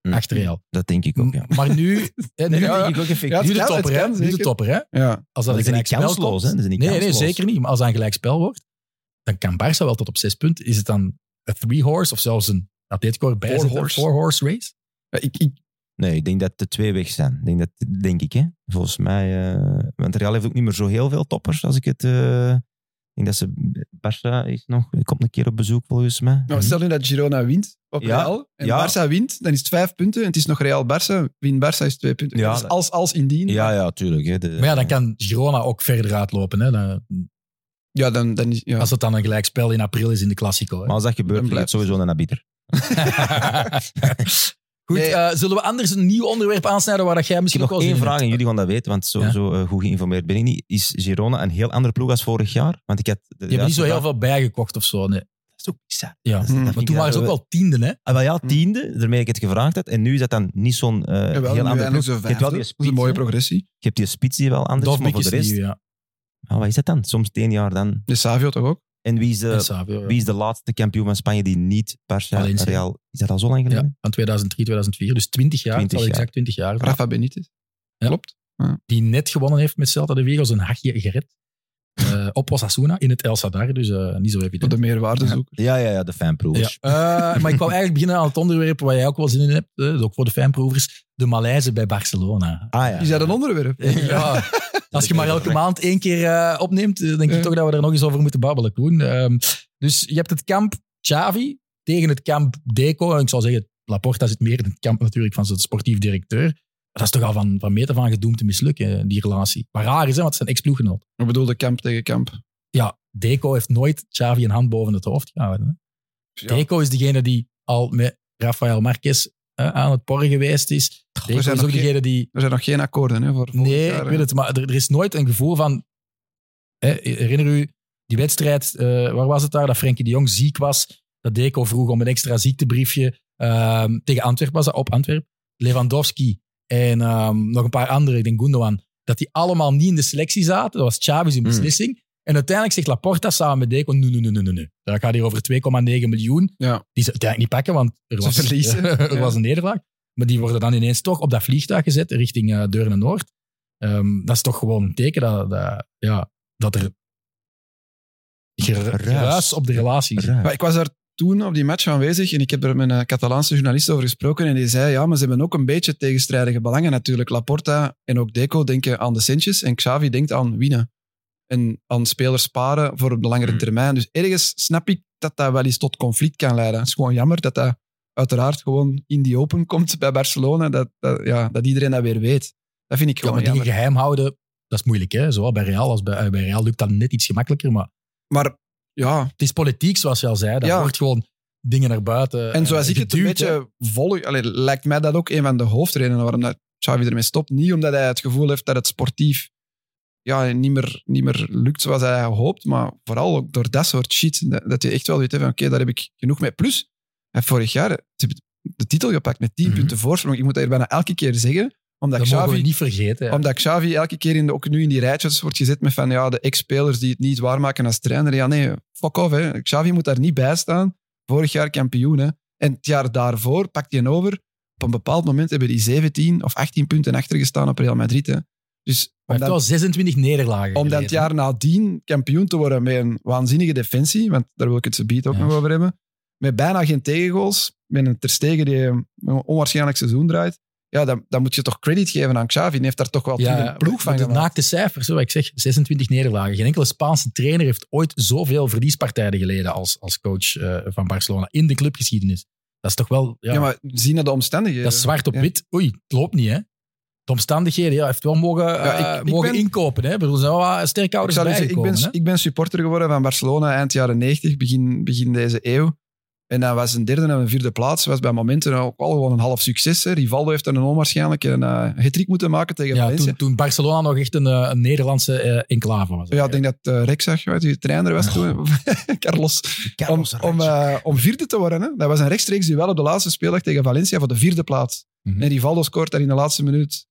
Speaker 2: Hm.
Speaker 1: Achter Real.
Speaker 2: Dat denk ik ook, ja.
Speaker 1: Maar nu... hè, nu
Speaker 2: Nu
Speaker 1: ja,
Speaker 2: denk ik ook effectief.
Speaker 3: Ja, het
Speaker 1: nu de
Speaker 3: kan, het
Speaker 1: topper, hè.
Speaker 3: kan,
Speaker 1: Nu de
Speaker 3: zeker.
Speaker 1: topper, hè.
Speaker 3: Ja.
Speaker 1: Als dat
Speaker 2: Dat
Speaker 1: een
Speaker 2: is niet
Speaker 1: gelijkspel
Speaker 2: kansloos,
Speaker 1: komt...
Speaker 2: hè. Dat is niet
Speaker 1: Nee, nee,
Speaker 2: kansloos.
Speaker 1: zeker niet. Maar als dat een gelijkspel wordt, dan kan Barça wel tot op zes punten. Is het dan een three-horse of zelfs een atletico erbij
Speaker 3: Four
Speaker 1: zit, een
Speaker 3: horse.
Speaker 1: four-horse race?
Speaker 3: Ja, ik, ik,
Speaker 2: Nee, ik denk dat de twee weg zijn. Ik Denk, dat, denk ik, hè. Volgens mij... eh, want Real heeft ook niet meer zo heel veel toppers, als ik het... eh, ik denk dat ze... Barca is nog... Komt een keer op bezoek, volgens mij.
Speaker 3: nou, stel nu dat Girona wint op
Speaker 2: Mhm. Ja.
Speaker 3: Real en
Speaker 2: Ja.
Speaker 3: Barça wint, dan is het 5 punten en het is nog Real-Barça. Win Barça is 2 punten.
Speaker 2: Ja,
Speaker 3: Dat is
Speaker 2: dat-
Speaker 3: als, als indien.
Speaker 2: Ja, ja, tuurlijk. Hè. De-
Speaker 1: Maar ja, dan kan Girona ook verder uitlopen. Hè. Dan-
Speaker 3: Ja, dan, dan is... Ja.
Speaker 1: als het dan een gelijkspel in april is in de Classico. Hè.
Speaker 2: Maar als dat gebeurt,
Speaker 3: Dan
Speaker 2: ligt het
Speaker 3: blijft-
Speaker 2: sowieso naar de arbiter.
Speaker 1: Goed,
Speaker 3: Nee.
Speaker 1: eh, zullen we anders een nieuw onderwerp aansnijden waar dat jij misschien
Speaker 2: Misschien nog
Speaker 1: ook wel zin
Speaker 2: één
Speaker 1: in
Speaker 2: vraag en
Speaker 1: hebt?
Speaker 2: jullie gaan dat weten, want zo,
Speaker 1: Ja.
Speaker 2: zo eh, goed geïnformeerd ben ik niet. Is Girona een heel andere ploeg als vorig jaar? Want ik had... de
Speaker 1: Je hebt niet
Speaker 2: laatste
Speaker 1: zo heel
Speaker 2: vraag-
Speaker 1: veel bijgekocht of zo. Nee.
Speaker 2: Dat is ook bizar.
Speaker 1: Ja.
Speaker 2: Dat is- dat
Speaker 3: Hmm.
Speaker 2: vind
Speaker 1: Maar
Speaker 2: ik
Speaker 1: toen waren ze ook
Speaker 2: dat-
Speaker 1: wel tienden, hè?
Speaker 2: Ah, wel ja,
Speaker 3: Hm.
Speaker 2: tiende, daarmee ik het gevraagd had. En nu is dat dan niet zo'n eh, heel andere ploeg.
Speaker 3: Je
Speaker 2: Je hebt wel die
Speaker 3: dat is
Speaker 2: spits,
Speaker 3: een mooie
Speaker 2: hè.
Speaker 3: progressie.
Speaker 2: je hebt die spits die wel anders is, maar
Speaker 1: Dovbik
Speaker 2: voor
Speaker 1: is
Speaker 2: de rest...
Speaker 1: nieuw, ja.
Speaker 2: Ah, wat is dat dan? Soms het één jaar dan.
Speaker 3: De Savio toch ook?
Speaker 2: En wie is
Speaker 1: En
Speaker 2: de,
Speaker 1: Savio, ja.
Speaker 2: eh, wie is de laatste kampioen van Spanje die niet Barca
Speaker 1: Valencia.
Speaker 2: Real... Is dat al zo lang
Speaker 1: Ja,
Speaker 2: geleden?
Speaker 1: van 2003, 2004. Dus 20 jaar,
Speaker 2: 20
Speaker 1: het zal
Speaker 2: jaar.
Speaker 1: exact 20 jaar.
Speaker 3: Rafa Benitez.
Speaker 1: Ja.
Speaker 3: Klopt.
Speaker 1: Die net gewonnen heeft met Celta de Vigo, zijn hachje gered. Eh, op Osasuna in het El Sadar, dus eh, niet zo
Speaker 3: Voor
Speaker 1: evident.
Speaker 3: de meerwaardezoeker.
Speaker 2: Ja, ja, ja, de fanproevers.
Speaker 1: Ja. Eh, maar ik wou eigenlijk beginnen aan het onderwerp waar jij ook wel zin in hebt, eh, ook voor de fanproevers, de Malaise bij Barcelona.
Speaker 2: Ah ja.
Speaker 3: Is dat een onderwerp?
Speaker 1: Ja. Als je maar elke maand één keer eh, opneemt, eh, denk ik
Speaker 3: Ja.
Speaker 1: toch dat we er nog eens over moeten babbelen, Koen. Ehm, dus je hebt het kamp Xavi tegen het kamp Deco. En ik zou zeggen, Laporta zit meer in het kamp natuurlijk van zijn sportief directeur. Maar dat is toch al van, van meter van gedoemd te mislukken, eh, die relatie. Maar raar is, hè, want het zijn ex-ploeggenoot.
Speaker 3: Ik bedoel, de kamp tegen kamp.
Speaker 1: Ja, Deco heeft nooit Xavi een hand boven het hoofd gehouden. hè.
Speaker 3: Ja.
Speaker 1: Deco is degene die al met Rafael Marquez eh, aan het porren geweest is. Deco
Speaker 3: we
Speaker 1: is
Speaker 3: zijn
Speaker 1: ook
Speaker 3: nog geen-
Speaker 1: degene die
Speaker 3: Er zijn nog geen akkoorden hè, voor volgend
Speaker 1: Nee,
Speaker 3: jaar,
Speaker 1: ik
Speaker 3: hè.
Speaker 1: weet het. Maar er, er is nooit een gevoel van... Hè, herinner u die wedstrijd, eh, waar was het daar? Dat Frenkie de Jong ziek was. Dat Deco vroeg om een extra ziektebriefje. ehm, tegen Antwerpen was dat, op Antwerpen. Lewandowski en ehm, nog een paar anderen, ik denk Gundogan. Dat die allemaal niet in de selectie zaten. Dat was Xavi's een
Speaker 2: Hmm.
Speaker 1: beslissing. En uiteindelijk zegt Laporta samen met Deco, nee, nee, nee, nee, nee, nee. Dat gaat hier over 2,9 miljoen.
Speaker 3: Ja.
Speaker 1: Die ze uiteindelijk niet pakken, want er,
Speaker 3: Ze
Speaker 1: was,
Speaker 3: verliezen.
Speaker 1: er
Speaker 3: Ja.
Speaker 1: was een nederlaag. Maar die worden dan ineens toch op dat vliegtuig gezet richting eh Deurne-Noord. Ehm, dat is toch gewoon een teken dat, dat, ja, dat er geru-
Speaker 2: Ruis.
Speaker 1: ruis op de relatie is.
Speaker 2: Raar.
Speaker 3: Maar ik was daar toen op die match aanwezig en ik heb er met een Catalaanse journalist over gesproken. En die zei, ja, maar ze hebben ook een beetje tegenstrijdige belangen natuurlijk. Laporta en ook Deco denken aan de centjes en Xavi denkt aan winnen. En aan spelers sparen voor op de langere
Speaker 2: Hmm.
Speaker 3: termijn. Dus ergens snap ik dat dat wel eens tot conflict kan leiden. Het is gewoon jammer dat dat uiteraard gewoon in die open komt bij Barcelona. Dat, dat, ja, dat iedereen dat weer weet. Dat vind ik
Speaker 1: Ja,
Speaker 3: gewoon
Speaker 1: maar dingen
Speaker 3: Oh, jammer.
Speaker 1: geheim houden, dat is moeilijk. Hè? Zowel bij Real als bij, eh, bij Real lukt dat net iets gemakkelijker. Maar
Speaker 3: Maar ja,
Speaker 1: het is politiek, zoals je al zei. Dat
Speaker 3: Ja.
Speaker 1: wordt gewoon dingen naar buiten
Speaker 3: En
Speaker 1: eh,
Speaker 3: zoals ik het een
Speaker 1: geduwd, hè.
Speaker 3: beetje volg, allee, lijkt mij dat ook een van de hoofdredenen waarom dat Xavi ermee stopt. Niet omdat hij het gevoel heeft dat het sportief ja, niet, meer, niet meer lukt zoals hij hoopt, maar vooral ook door dat soort shit. Dat, dat je echt wel weet hè, van oké, daar heb ik genoeg mee. Plus, hij heeft vorig jaar, ze hebben de titel gepakt met 10
Speaker 1: Mhm.
Speaker 3: punten voorsprong. Ik moet dat hier bijna elke keer zeggen, omdat
Speaker 1: Dat mogen we
Speaker 3: Xavi,
Speaker 1: niet vergeten. ja.
Speaker 3: omdat Xavi elke keer in de, ook nu in die rijtjes wordt gezet met van ja, de ex-spelers die het niet waarmaken als trainer. Ja, nee, fuck off. Hè. Xavi moet daar niet bij staan. Vorig jaar kampioen. Hè. En het jaar daarvoor pakt hij een over. Op een bepaald moment hebben die 17 of 18 punten achter gestaan op Real Madrid. Hè. Dus
Speaker 1: Hij heeft
Speaker 3: omdat-
Speaker 1: wel 26 nederlagen
Speaker 3: om dan
Speaker 1: geleden.
Speaker 3: het jaar nadien kampioen te worden met een waanzinnige defensie, want daar wil ik het zo beat ook
Speaker 1: Ja.
Speaker 3: nog over hebben, met bijna geen tegengoals, met een Ter Stegen die een onwaarschijnlijk seizoen draait, ja, dan, dan moet je toch credit geven aan Xavi. Die heeft daar toch wel toen
Speaker 1: Ja,
Speaker 3: een ploeg van
Speaker 1: de
Speaker 3: gemaakt.
Speaker 1: naakte cijfers, hè, wat ik zeg, 26 nederlagen. Geen enkele Spaanse trainer heeft ooit zoveel verliespartijen geleden als, als coach eh, van Barcelona in de clubgeschiedenis. Dat is toch wel... Ja,
Speaker 3: Ja. maar zien naar de omstandigheden.
Speaker 1: dat is zwart op
Speaker 3: ja.
Speaker 1: wit. Oei, het loopt niet, hè. De omstandigheden, ja, hij heeft wel mogen,
Speaker 3: Ja,
Speaker 1: eh,
Speaker 3: ik- ik
Speaker 1: mogen
Speaker 3: ben-
Speaker 1: inkopen. Hè. Ik bedoel, er zijn wel wat sterke
Speaker 3: ik,
Speaker 1: ouders
Speaker 3: zal u zeggen, ik,
Speaker 1: bijgekomen.
Speaker 3: ben,
Speaker 1: hè.
Speaker 3: ik ben supporter geworden van Barcelona eind jaren 90, begin, begin deze eeuw. En dan was een derde en een vierde plaats was bij momenten ook al gewoon een half succes. hè. Rivaldo heeft dan een onwaarschijnlijke uh, hat moeten maken tegen
Speaker 1: Ja,
Speaker 3: Valencia.
Speaker 1: toen, toen Barcelona nog echt een, eh, een Nederlandse eh, enclave was.
Speaker 3: Ja, ik denk dat eh Rex zag, weet je, die trainer was toen. Carlos. Om, om, eh, om vierde te worden. Hè? Dat was een rechtstreeks duel op de laatste speeldag tegen Valencia voor de vierde plaats.
Speaker 1: Mhm.
Speaker 3: En Rivaldo scoort daar in de laatste minuut.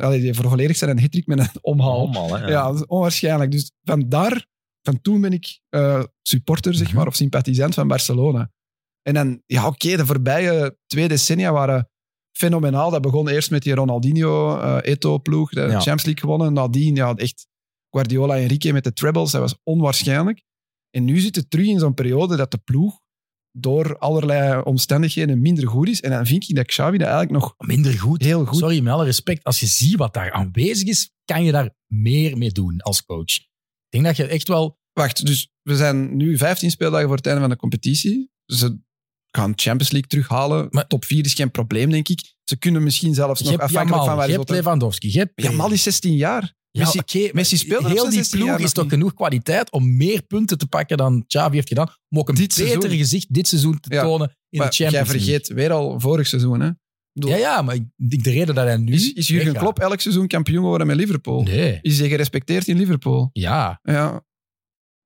Speaker 3: Allee, die volledig zijn een hit met een omhaal.
Speaker 2: Allemaal, hè.
Speaker 3: ja. dat is onwaarschijnlijk. Dus vandaar, van toen ben ik eh, supporter, zeg
Speaker 1: Mhm.
Speaker 3: maar, of sympathisant van Barcelona. En dan, ja, oké, de voorbije twee decennia waren fenomenaal. Dat begon eerst met die Ronaldinho, eh Eto-ploeg, de Champions League gewonnen. Nadien, ja, echt Guardiola en Enrique met de trebles, dat was onwaarschijnlijk. En nu zit het terug in zo'n periode dat de ploeg door allerlei omstandigheden minder goed is. En dan vind ik dat Xavi dat eigenlijk nog
Speaker 1: Minder goed.
Speaker 3: heel goed...
Speaker 1: Sorry, met alle respect. Als je ziet wat daar aanwezig is, kan je daar meer mee doen als coach. Ik denk dat je echt wel...
Speaker 3: Wacht, dus we zijn nu 15 speeldagen voor het einde van de competitie. Ze gaan Champions League terughalen.
Speaker 1: Maar-
Speaker 3: Top 4 is geen probleem, denk ik. Ze kunnen misschien zelfs
Speaker 1: Je
Speaker 3: nog
Speaker 1: hebt
Speaker 3: afhankelijk
Speaker 1: Jamal,
Speaker 3: van waar
Speaker 1: je
Speaker 3: ze
Speaker 1: hebt Lewandowski, je hebt...
Speaker 3: Ja, Mal is 16 jaar.
Speaker 1: Ja,
Speaker 3: Messi-
Speaker 1: oké, maar
Speaker 3: Messi speelde nog
Speaker 1: Heel die
Speaker 3: 16 jaar
Speaker 1: ploeg
Speaker 3: nog
Speaker 1: is toch
Speaker 3: niet.
Speaker 1: genoeg kwaliteit om meer punten te pakken dan Xavi heeft gedaan. Om ook een
Speaker 3: Dit
Speaker 1: beter
Speaker 3: seizoen.
Speaker 1: gezicht dit seizoen te
Speaker 3: Ja,
Speaker 1: tonen in
Speaker 3: Maar
Speaker 1: de Champions
Speaker 3: jij vergeet weer al vorig seizoen. Hè?
Speaker 1: League. Ja, ja, maar ik denk de reden dat hij nu...
Speaker 3: Is, is Jurgen
Speaker 1: weggaat-
Speaker 3: Klopp elk seizoen kampioen geworden met Liverpool?
Speaker 1: Nee,
Speaker 3: Is hij gerespecteerd in Liverpool?
Speaker 1: ja.
Speaker 3: Ja.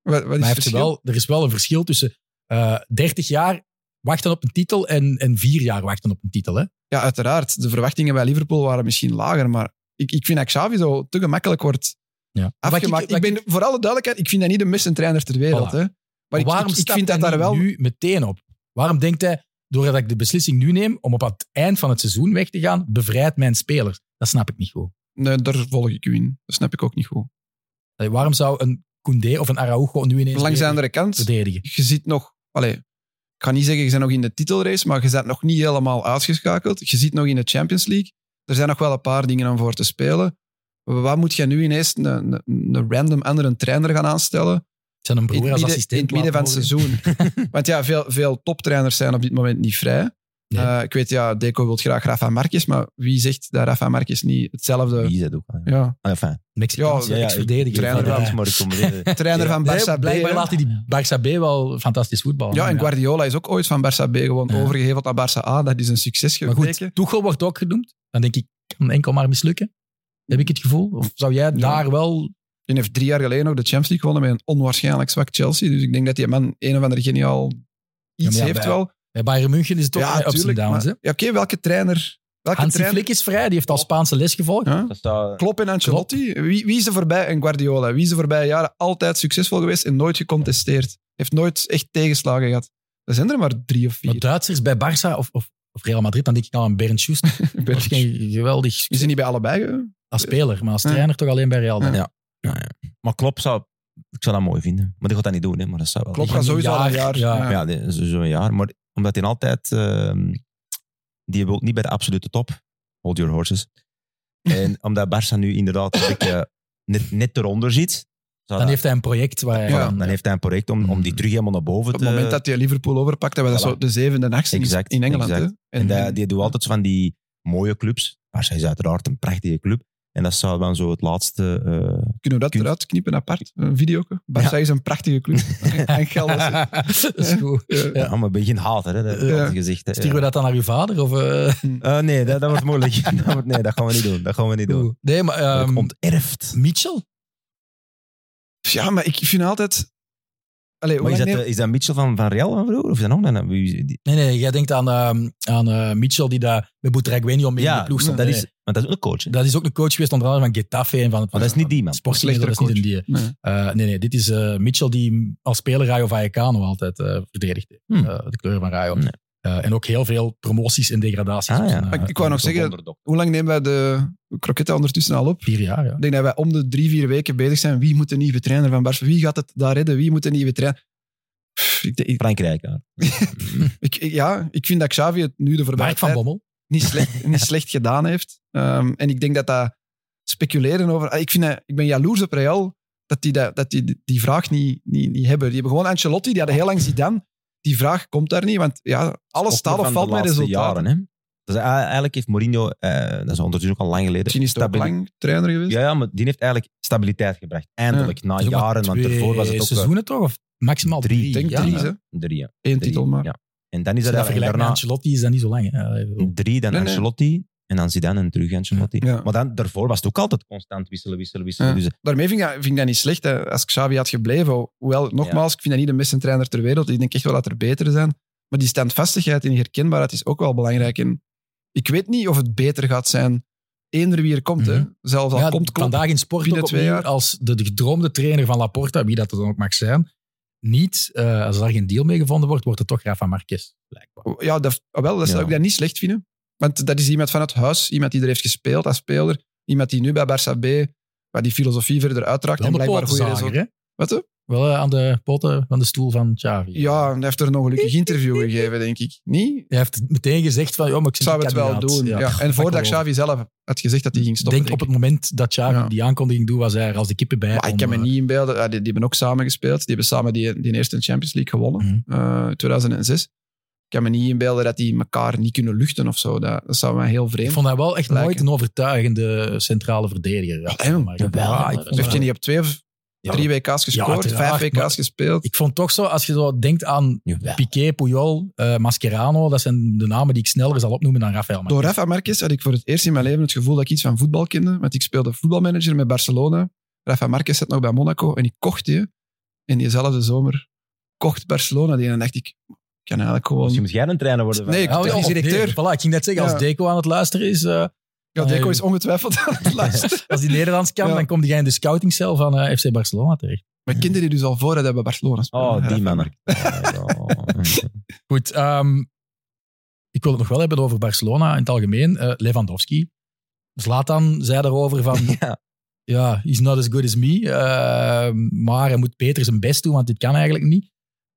Speaker 3: Wat, wat is
Speaker 1: Maar
Speaker 3: het
Speaker 1: heeft ze
Speaker 3: verschil?
Speaker 1: wel, er is wel een verschil tussen eh 30 jaar wachten op een titel en, en vier jaar wachten op een titel. Hè?
Speaker 3: Ja, uiteraard. De verwachtingen bij Liverpool waren misschien lager, maar ik, ik vind dat Xavi zo te gemakkelijk wordt
Speaker 1: Ja.
Speaker 3: afgemaakt. Ik, ben, voor alle duidelijkheid, ik vind dat niet de beste trainer ter wereld.
Speaker 1: Voilà.
Speaker 3: Hè? Maar ik,
Speaker 1: waarom
Speaker 3: ik, ik
Speaker 1: stapt
Speaker 3: vind dat
Speaker 1: hij
Speaker 3: daar
Speaker 1: niet
Speaker 3: wel...
Speaker 1: nu meteen op? Waarom denkt hij, doordat ik de beslissing nu neem om op het eind van het seizoen weg te gaan, bevrijdt mijn spelers? Dat snap ik niet goed.
Speaker 3: Nee, daar volg ik u in. Dat snap ik ook niet goed.
Speaker 1: Allee, Eh, waarom zou een Koundé of een Araujo nu ineens
Speaker 3: Langs de
Speaker 1: weer
Speaker 3: andere kant,
Speaker 1: verdedigen?
Speaker 3: je ziet nog... Allee, ik ga niet zeggen, je bent nog in de titelrace, maar je bent nog niet helemaal uitgeschakeld. Je ziet nog in de Champions League. Er zijn nog wel een paar dingen om voor te spelen. Wat moet je nu ineens een, een, een random andere trainer gaan aanstellen?
Speaker 1: Zijn een
Speaker 3: in
Speaker 1: broer
Speaker 3: het
Speaker 1: als
Speaker 3: midden,
Speaker 1: assistent.
Speaker 3: in het midden van het
Speaker 1: laten horen.
Speaker 3: seizoen. Want ja, veel, veel toptrainers zijn op dit moment niet vrij.
Speaker 1: Nee.
Speaker 3: Eh, ik weet, ja, Deco wil graag Rafa Marquez, maar wie zegt dat Rafa Marquez niet hetzelfde...
Speaker 2: Wie is dat ook? hè?
Speaker 3: Ja.
Speaker 2: Enfin,
Speaker 1: Mexicaanse
Speaker 3: Ja,
Speaker 2: ja, ja,
Speaker 1: ex-verdediger.
Speaker 3: trainer
Speaker 1: Ja.
Speaker 2: inderdaad, maar ik kom weer-
Speaker 3: Trainer
Speaker 2: Ja.
Speaker 3: van
Speaker 1: Nee,
Speaker 3: Barça B.
Speaker 1: Blijkbaar
Speaker 3: hè.
Speaker 1: laat hij die Barça B wel fantastisch voetballen.
Speaker 3: Ja, en Guardiola is ook ooit van Barça B gewoon
Speaker 1: Ja.
Speaker 3: overgeheveld naar Barça A. Dat is een succes
Speaker 1: Maar
Speaker 3: gebleken.
Speaker 1: goed, Tuchel wordt ook genoemd. Dan denk ik, kan enkel maar mislukken. Heb ik het gevoel? Of zou jij daar wel...
Speaker 3: Die heeft drie jaar geleden ook de Champions League gewonnen met een onwaarschijnlijk zwak Chelsea. Dus ik denk dat die man een of andere geniaal
Speaker 1: Ja,
Speaker 3: iets
Speaker 1: maar ja,
Speaker 3: heeft
Speaker 1: bij-
Speaker 3: wel.
Speaker 1: Bij Bayern München is het toch
Speaker 3: ja,
Speaker 1: ups en
Speaker 3: tuurlijk,
Speaker 1: downs.
Speaker 3: maar-
Speaker 1: hè?
Speaker 3: ja, Oké, welke trainer... Welke
Speaker 1: Hansi
Speaker 3: trainer?
Speaker 1: Flick is vrij, die heeft al Spaanse les gevolgd.
Speaker 3: Ja?
Speaker 2: Dat staat-
Speaker 3: Klopp en Ancelotti. Wie, wie is er voorbij? En Guardiola. Wie is er voorbij jaren altijd succesvol geweest en nooit gecontesteerd? Heeft nooit echt tegenslagen gehad. Er zijn er maar drie of
Speaker 1: Maar
Speaker 3: vier.
Speaker 1: Duitsers bij Barça of, of, of Real Madrid, dan denk ik al aan Bernd Schuster.
Speaker 3: Ben-
Speaker 1: Dat is geen geweldig
Speaker 3: Is hij niet bij allebei? hè?
Speaker 1: als speler, maar als trainer toch alleen bij Real.
Speaker 3: Ja.
Speaker 1: Dan.
Speaker 2: Maar Klopp zou... Ik zou dat mooi vinden. Maar die gaat dat niet doen, hè. Maar dat zou wel...
Speaker 3: Klopp
Speaker 1: Die
Speaker 3: gaat
Speaker 1: gaan
Speaker 3: sowieso
Speaker 1: een
Speaker 3: al een jaar.
Speaker 1: jaar- ja.
Speaker 2: Ja, die- zo- zo'n jaar. Maar omdat hij altijd... ehm, die wil niet bij de absolute top. Hold your horses. En omdat Barça nu inderdaad een beetje net, net eronder zit... zou
Speaker 1: Dan
Speaker 2: dat-
Speaker 1: heeft hij een project waar hij...
Speaker 2: voilà,
Speaker 3: Ja.
Speaker 1: dan-
Speaker 2: dan heeft hij een project om, om die terug helemaal naar boven
Speaker 3: Op
Speaker 2: te...
Speaker 3: het moment dat hij Liverpool overpakt, hebben we dat
Speaker 2: Eh, Voilà.
Speaker 3: zo de zevende en achtste
Speaker 2: Exact,
Speaker 3: in Engeland.
Speaker 2: exact.
Speaker 3: hè?
Speaker 2: En dat- die doen altijd zo van die mooie clubs. Barça is uiteraard een prachtige club. En dat zou dan zo het laatste... eh,
Speaker 3: kunnen we dat
Speaker 2: kun-
Speaker 3: eruit knippen apart? Een video. Barça is een prachtige club. en geld is het.
Speaker 1: eh, dat is goed.
Speaker 3: Ja.
Speaker 2: ja. maar een beetje een hater, hè. Dat heb ik
Speaker 3: Ja.
Speaker 2: altijd gezegd. Hè.
Speaker 1: Sturen we dat dan naar uw vader? Of, eh,
Speaker 2: Eh, nee, dat, dat wordt moeilijk. dat wordt, nee, dat gaan we niet doen. Dat gaan we niet doen.
Speaker 1: hoe? nee, maar...
Speaker 2: Dat
Speaker 1: ehm,
Speaker 2: onterfd.
Speaker 1: Mitchell?
Speaker 3: Ja, maar ik vind altijd... Allee, hoe
Speaker 2: Maar is dat,
Speaker 3: lang
Speaker 2: de- is dat Mitchell van, van Real van vroeger? Of is dat nog? Dan, wie, die-
Speaker 1: Nee, nee, jij denkt aan, ehm, aan eh, Mitchell die daar met Boutragueño mee in de ploeg stond.
Speaker 2: dat
Speaker 1: Nee.
Speaker 2: is, want dat is ook een coach. hè?
Speaker 1: dat is ook een coach geweest, onder andere van Getafe en van
Speaker 2: Maar dat is niet die man.
Speaker 1: Sportleger, dat is
Speaker 3: Slechtere
Speaker 1: niet een die.
Speaker 3: neemt- Nee.
Speaker 1: Eh, nee, nee, dit is eh, Mitchell die als speler Rayo Vallecano altijd eh verdedigd heeft.
Speaker 2: Hmm.
Speaker 1: Eh, de kleur van Rayo.
Speaker 2: Nee.
Speaker 1: Eh, en ook heel veel promoties en degradaties.
Speaker 2: Ah,
Speaker 1: op
Speaker 2: ja.
Speaker 1: zijn, eh,
Speaker 3: Maar ik wou nog
Speaker 1: zijn
Speaker 3: zeggen-
Speaker 2: Onderdok.
Speaker 3: Hoe lang nemen wij de kroketten ondertussen al op?
Speaker 1: Vier jaar, ja.
Speaker 3: Ik denk dat wij om de drie, vier weken bezig zijn. Wie moet de nieuwe trainer van Barça? Wie gaat het daar redden? Wie moet de nieuwe trainer? Pff, Ik, ik,
Speaker 2: Frankrijk, ja.
Speaker 3: ik- ik- ja, ik vind dat Xavi het nu de voorbije
Speaker 1: Mark van
Speaker 3: tijd
Speaker 1: Bommel.
Speaker 3: niet slecht, niet slecht gedaan heeft. Ehm, en ik denk dat dat speculeren over... ah, Ik, vind dat, ik ben jaloers op Real dat die dat, dat die, die vraag niet, niet, niet hebben. Die hebben gewoon Ancelotti, die hadden heel lang Zidane. Die vraag komt daar niet, want ja, alles staat of
Speaker 2: van
Speaker 3: valt
Speaker 2: de
Speaker 3: met
Speaker 2: laatste
Speaker 3: resultaten.
Speaker 2: Jaren, hè? Dus hij- eigenlijk heeft Mourinho, eh, dat is ondertussen ook al lang geleden.
Speaker 3: Misschien is het ook
Speaker 2: stabili-
Speaker 3: lang trainer geweest.
Speaker 2: Ja, ja, maar die heeft eigenlijk stabiliteit gebracht. Eindelijk, na
Speaker 1: Dat is ook maar
Speaker 2: Ah, jaren. Want
Speaker 1: twee
Speaker 2: ervoor was het ook eh,
Speaker 1: seizoenen toch? Of maximaal
Speaker 2: Drie,
Speaker 1: drie.
Speaker 3: ik denk
Speaker 1: ja.
Speaker 3: drie,
Speaker 1: Als je
Speaker 3: hè.
Speaker 2: drie. ja,
Speaker 3: Eén
Speaker 2: drie,
Speaker 3: titel maar.
Speaker 2: Ja. En dan is
Speaker 1: dat
Speaker 2: dat eigenlijk
Speaker 1: vergelijkt met
Speaker 2: daarna
Speaker 1: Ancelotti is dat niet zo lang. hè. Eh, ik bedoel,
Speaker 2: drie, dan
Speaker 3: Nee, nee.
Speaker 2: Ancelotti. En dan Zidane en terug Ancelotti.
Speaker 3: Ja.
Speaker 2: Maar dan, daarvoor was het ook altijd constant wisselen, wisselen, wisselen.
Speaker 3: Ja.
Speaker 2: Dus
Speaker 3: Daarmee vind ik, dat, vind ik dat niet slecht. Hè. Als Xavi had gebleven, hoewel, nogmaals, ik vind dat niet de beste trainer ter wereld. Ik denk echt wel dat er betere zijn. Maar die standvastigheid en die herkenbaarheid is ook wel belangrijk. En ik weet niet of het beter gaat zijn, eender wie er komt.
Speaker 1: Mhm.
Speaker 3: hè. Zelfs al
Speaker 1: Ja,
Speaker 3: komt Klopp.
Speaker 1: vandaag in sport
Speaker 3: binnen
Speaker 1: ook
Speaker 3: twee
Speaker 1: opnieuw
Speaker 3: jaar.
Speaker 1: als de, de gedroomde trainer van Laporta, wie dat er dan ook mag zijn, niet, eh, als daar geen deal mee gevonden wordt, wordt het toch Rafa Marquez, blijkbaar.
Speaker 3: Ja, dat, ah, wel, dat zou
Speaker 2: Ja.
Speaker 3: ik dat niet slecht vinden. Want dat is iemand van het huis, iemand die er heeft gespeeld als speler. Iemand die nu bij Barça B waar die filosofie verder uitdraagt en
Speaker 1: Wel de
Speaker 3: blijkbaar goede
Speaker 1: pootzager,
Speaker 3: resultaten.
Speaker 1: hè?
Speaker 3: Wat, hè?
Speaker 1: Wel eh, aan de poten van de stoel van Xavi.
Speaker 3: Ja, hij heeft er een ongelukkig interview gegeven, denk ik. Niet?
Speaker 1: Hij heeft meteen gezegd van, ja, maar ik
Speaker 3: Ik
Speaker 1: zit
Speaker 3: zou
Speaker 1: een
Speaker 3: het wel
Speaker 1: kandidaat.
Speaker 3: doen. Ja. En
Speaker 1: dat
Speaker 3: voordat
Speaker 1: geloof ik.
Speaker 3: Xavi zelf had gezegd dat hij ging stoppen.
Speaker 1: denk op het
Speaker 3: ik.
Speaker 1: moment dat Xavi
Speaker 3: Ja.
Speaker 1: die aankondiging doet, was hij er als de kippen bij.
Speaker 3: Maar ik
Speaker 1: om,
Speaker 3: kan me
Speaker 1: eh,
Speaker 3: niet inbeelden. Ja, die, die hebben ook samen gespeeld. Die hebben samen die, die eerste Champions League gewonnen.
Speaker 1: Mhm.
Speaker 3: eh, 2006. Ik kan me niet inbeelden dat die elkaar niet kunnen luchten of zo. Dat, dat zou mij heel
Speaker 1: Ik
Speaker 3: vreemd
Speaker 1: vond hij wel echt
Speaker 3: Lijken.
Speaker 1: nooit een overtuigende centrale verdediger. Ja,
Speaker 3: Ja,
Speaker 1: maar, ja,
Speaker 3: jawel,
Speaker 1: ja,
Speaker 3: maar
Speaker 1: ik vond
Speaker 3: Heeft
Speaker 1: wel-
Speaker 3: hij niet op twee of
Speaker 2: Ja.
Speaker 3: drie WK's gescoord?
Speaker 1: uiteraard,
Speaker 3: vijf WK's
Speaker 1: maar-
Speaker 3: gespeeld?
Speaker 1: Ik vond toch zo, als je zo denkt aan
Speaker 2: Jawel.
Speaker 1: Piqué, Puyol, eh, Mascherano, dat zijn de namen die ik sneller zal opnoemen dan Rafael. Marquez.
Speaker 3: Door Rafa Marquez had ik voor het eerst in mijn leven het gevoel dat ik iets van voetbal kende. Want ik speelde voetbalmanager met Barcelona. Rafa Marquez zat nog bij Monaco en ik kocht die. En diezelfde zomer kocht Barcelona die. En dan dacht ik, ik kan eigenlijk gewoon...
Speaker 2: Misschien moet jij een trainer worden. van- Oh,
Speaker 3: Nee, ik-
Speaker 1: Oh, Ja,
Speaker 3: technisch
Speaker 1: of-
Speaker 3: directeur.
Speaker 1: nee, voilà, ik ging net zeggen,
Speaker 3: Ja.
Speaker 1: als Deco aan het luisteren is, eh,
Speaker 3: Ja, Deco
Speaker 1: Nee.
Speaker 3: is ongetwijfeld aan het luisteren.
Speaker 1: als die Nederlands kan,
Speaker 3: Ja.
Speaker 1: dan komt hij in de scoutingcel van eh, FC Barcelona terecht.
Speaker 3: Mijn kinderen die dus al voor hebben bij Barcelona spelen.
Speaker 2: Oh, die
Speaker 3: Ja.
Speaker 2: mannen. Oh, ja.
Speaker 1: Goed, ehm, ik wil het nog wel hebben over Barcelona in het algemeen. Eh Lewandowski. Zlatan zei daarover van,
Speaker 2: Ja.
Speaker 1: ja, he's not as good as me, eh, maar hij moet beter zijn best doen, want dit kan eigenlijk niet.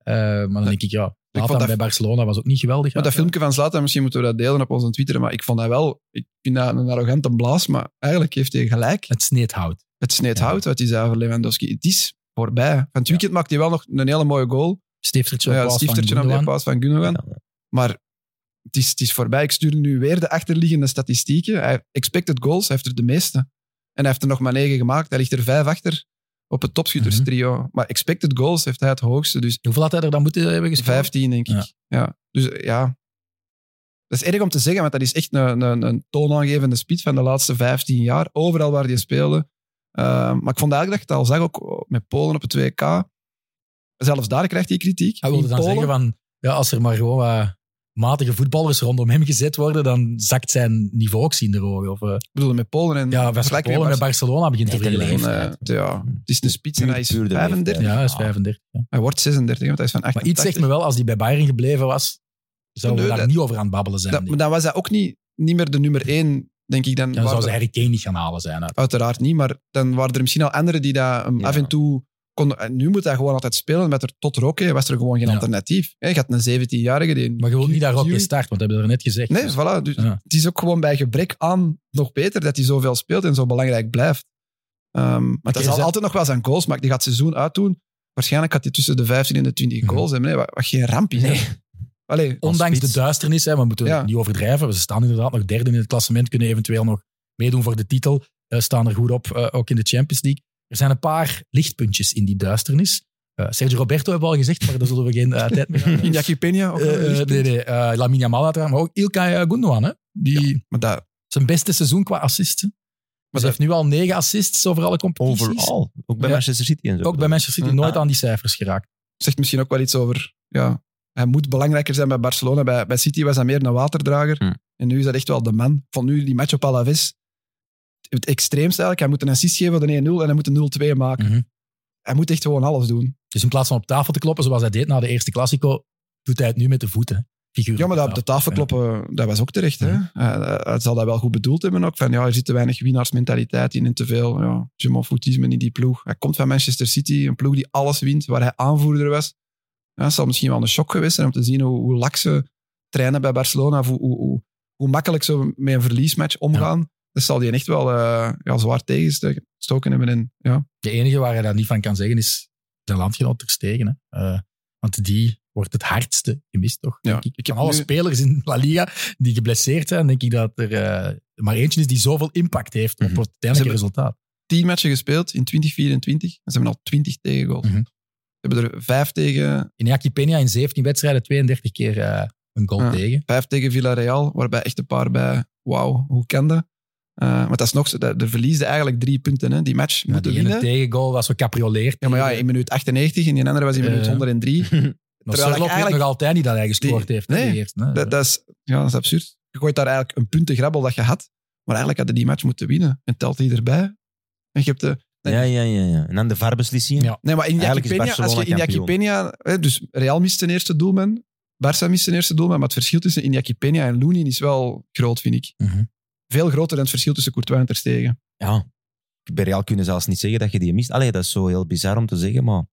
Speaker 1: Eh, maar dan denk ik, ja, Zlatan
Speaker 3: dat-
Speaker 1: bij Barcelona was ook niet geweldig.
Speaker 3: Maar dat
Speaker 1: Ja.
Speaker 3: filmpje van Zlatan, misschien moeten we dat delen op onze Twitter, maar ik vond dat wel... Ik vind dat een arrogante blaas, maar eigenlijk heeft hij gelijk.
Speaker 1: Het sneed hout.
Speaker 3: Het sneed
Speaker 2: Ja.
Speaker 3: hout wat hij zei over Lewandowski. Het is voorbij. Van het weekend maakte hij wel nog een hele mooie goal.
Speaker 1: Stiftertje
Speaker 3: Ja,
Speaker 1: op
Speaker 3: ja,
Speaker 1: paas van
Speaker 3: stiftertje op de
Speaker 1: Gundogan.
Speaker 3: paas van Gundogan. Maar het is, het is voorbij. Ik stuur nu weer de achterliggende statistieken. Hij, expected goals, hij heeft er de meeste. En hij heeft er nog maar negen gemaakt. Hij ligt er vijf achter op het topschutterstrio.
Speaker 1: Mhm.
Speaker 3: Maar expected goals heeft hij het hoogste. Dus
Speaker 1: Hoeveel had hij er dan moeten hebben gespeeld?
Speaker 3: 15, denk ik. Ja.
Speaker 1: Ja.
Speaker 3: Dus eh, ja. Dat is erg om te zeggen, want dat is echt een, een, een toonaangevende speed van de laatste 15 jaar. Overal waar die speelde. Eh, maar ik vond eigenlijk dat je het al zag, ook met Polen op het 2K. Zelfs daar krijgt hij kritiek.
Speaker 1: Hij wilde
Speaker 3: In
Speaker 1: dan
Speaker 3: Polen.
Speaker 1: zeggen van, ja, als er maar gewoon wat matige voetballers rondom hem gezet worden, dan zakt zijn niveau ook zien de ogen. Of, eh,
Speaker 3: Ik bedoel, met Polen
Speaker 1: ja,
Speaker 3: en vergelijk
Speaker 1: West
Speaker 3: met
Speaker 1: Polen met Barcelona
Speaker 3: Barcelona.
Speaker 1: begint te
Speaker 2: Nee, de
Speaker 1: vergelijken.
Speaker 3: Dan,
Speaker 2: leeftijd.
Speaker 3: eh, ja, het is een spits en
Speaker 2: Puur-
Speaker 3: hij is
Speaker 2: puur de
Speaker 3: 35.
Speaker 2: leeftijd.
Speaker 1: Ja, hij is 35. ja.
Speaker 3: Hij wordt 36, want hij is van
Speaker 1: Maar iets
Speaker 3: 88.
Speaker 1: zegt me wel, als hij bij Bayern gebleven was, zouden we
Speaker 3: Nee,
Speaker 1: daar
Speaker 3: dat-
Speaker 1: niet over aan het babbelen zijn.
Speaker 3: Dat-
Speaker 1: denk
Speaker 3: maar
Speaker 1: ik.
Speaker 3: dan was hij ook niet, niet meer de nummer 1, denk ik. Dan,
Speaker 1: dan
Speaker 3: waren
Speaker 1: zou ze
Speaker 3: er-
Speaker 1: Harry Kane niet gaan halen zijn. uit.
Speaker 3: Uiteraard niet, maar dan waren er misschien al anderen die dat hem
Speaker 2: Ja.
Speaker 3: af en toe konden... En nu moet hij gewoon altijd spelen, met er tot Rocky was er gewoon geen
Speaker 1: Ja.
Speaker 3: alternatief. Hè, Je had een 17-jarige die...
Speaker 1: Maar je wilt niet daar ook in
Speaker 3: Curie-
Speaker 1: start, want dat hebben we er net gezegd.
Speaker 3: Nee,
Speaker 1: Dus-
Speaker 3: voilà. Dus
Speaker 1: Ja.
Speaker 3: Het is ook gewoon bij gebrek aan nog beter dat hij zoveel speelt en zo belangrijk blijft. Ehm maar
Speaker 1: Oké,
Speaker 3: hij zal
Speaker 1: ze-
Speaker 3: altijd nog wel zijn goals maken. Die gaat het seizoen uitdoen. Waarschijnlijk gaat hij tussen de 15 en de 20
Speaker 1: Mhm.
Speaker 3: goals hebben. hè, Wat, wat geen ramp is. hè. Allee,
Speaker 1: Ondanks de
Speaker 2: spits.
Speaker 1: duisternis, hè, we moeten
Speaker 3: Ja.
Speaker 1: het niet overdrijven. Ze staan inderdaad nog derde in het klassement, kunnen eventueel nog meedoen voor de titel. eh, staan er goed op, eh, ook in de Champions League. Er zijn een paar lichtpuntjes in die duisternis. Eh, Sergio Roberto hebben we al gezegd, maar daar zullen we geen eh, tijd meer aan.
Speaker 3: Iñaki Peña. ook wel een
Speaker 1: Eh, eh,
Speaker 3: lichtpunt.
Speaker 1: nee, nee, eh, Lamine Yamal uiteraard, maar ook Ilkay eh, Gundogan. Hè? Die
Speaker 3: Maar dat,
Speaker 1: zijn beste seizoen qua assisten. Maar
Speaker 3: dat-
Speaker 1: ze heeft nu al negen assists over alle competities.
Speaker 2: Overal. Ook bij
Speaker 1: Ja.
Speaker 2: Manchester City en zo.
Speaker 1: Ook bij Manchester City
Speaker 3: Hmm.
Speaker 1: nooit aan die cijfers geraakt.
Speaker 3: Zegt misschien ook wel iets over... Ja, hij moet belangrijker zijn bij Barcelona. Bij, bij City was hij meer een waterdrager.
Speaker 1: Hmm.
Speaker 2: Hm.
Speaker 3: En nu is dat echt wel de man. Ik vond nu die match op Alaves het extreemste eigenlijk. Hij moet een assist geven van de 1-0 en hij moet een 0-2 maken.
Speaker 1: Mhm.
Speaker 3: Hij moet echt gewoon alles doen.
Speaker 1: Dus in plaats van op tafel te kloppen, zoals hij deed na de eerste Classico, doet hij het nu met de voeten. Figuur.
Speaker 3: Ja, maar dat op de tafel kloppen, dat was ook terecht. Hè? Eh, hij zal dat wel goed bedoeld hebben ook. Van, ja, er zit te weinig winnaarsmentaliteit in en te veel ja, foutisme in die ploeg. Hij komt van Manchester City, een ploeg die alles wint, waar hij aanvoerder was. Ja, het zal misschien wel een shock geweest zijn om te zien hoe, hoe lak ze trainen bij Barcelona. Of hoe, hoe, hoe, hoe makkelijk ze met een verliesmatch omgaan. Dat zal die echt wel eh, ja, zwaar tegenstoken hebben. En, ja,
Speaker 1: De enige waar hij daar niet van kan zeggen is zijn landgenoot Ter Stegen. Hè. Eh, want die wordt het hardste gemist, toch?
Speaker 3: Ja,
Speaker 1: denk ik.
Speaker 3: ik
Speaker 1: Van
Speaker 3: heb
Speaker 1: alle
Speaker 3: nu-
Speaker 1: spelers in La Liga die geblesseerd zijn, denk ik dat er eh, maar eentje is die zoveel impact heeft op
Speaker 2: Mhm.
Speaker 1: het uiteindelijke
Speaker 3: hebben-
Speaker 1: resultaat.
Speaker 3: 10 matchen gespeeld in 2024. En ze hebben al 20 tegengoals.
Speaker 1: Mhm.
Speaker 3: Ze hebben er 5 tegen,
Speaker 1: Iñaki Peña in 17 wedstrijden 32 keer eh, een goal
Speaker 3: Ja.
Speaker 1: tegen.
Speaker 3: 5 tegen Villarreal, waarbij echt een paar bij... Wauw, hoe kan dat? Eh, want dat is nog zo, dat- de verliesde eigenlijk drie punten. Hè. Die match
Speaker 1: Ja,
Speaker 3: moeten
Speaker 1: die ene
Speaker 3: winnen.
Speaker 1: tegengoal was gecaprioleerd.
Speaker 3: Ja, maar ja, in minuut 98 en die andere was in minuut
Speaker 1: Eh,
Speaker 3: 103.
Speaker 1: Maar
Speaker 3: terwijl ik
Speaker 1: Sherlock weet
Speaker 3: eigenlijk-
Speaker 1: nog altijd niet dat hij gescoord
Speaker 3: Die-
Speaker 1: heeft. Nee.
Speaker 3: Nee,
Speaker 1: die eerste, hè.
Speaker 3: Dat, dat, is, ja, dat is absurd. Je gooit daar eigenlijk een puntengrabbel dat je had. Maar eigenlijk hadden die match moeten winnen. En telt die erbij. En je hebt de,
Speaker 2: Ja, ja, ja, ja. En dan de VAR-beslissingen.
Speaker 1: Ja.
Speaker 3: Nee, maar Iñaki
Speaker 2: Eigenlijk is
Speaker 3: Peña, als je
Speaker 2: Barcelona
Speaker 3: Iñaki Peña... hè, Dus Real mist een eerste doelman. Barça mist een eerste doelman. Maar het verschil tussen Iñaki Peña en Loenin is wel groot, vind ik.
Speaker 1: Mhm.
Speaker 3: Veel groter dan het verschil tussen Courtois en Ter Stegen.
Speaker 2: ja. Bij Real kunnen zelfs niet zeggen dat je die mist. Allee, dat is zo heel bizar om te zeggen, maar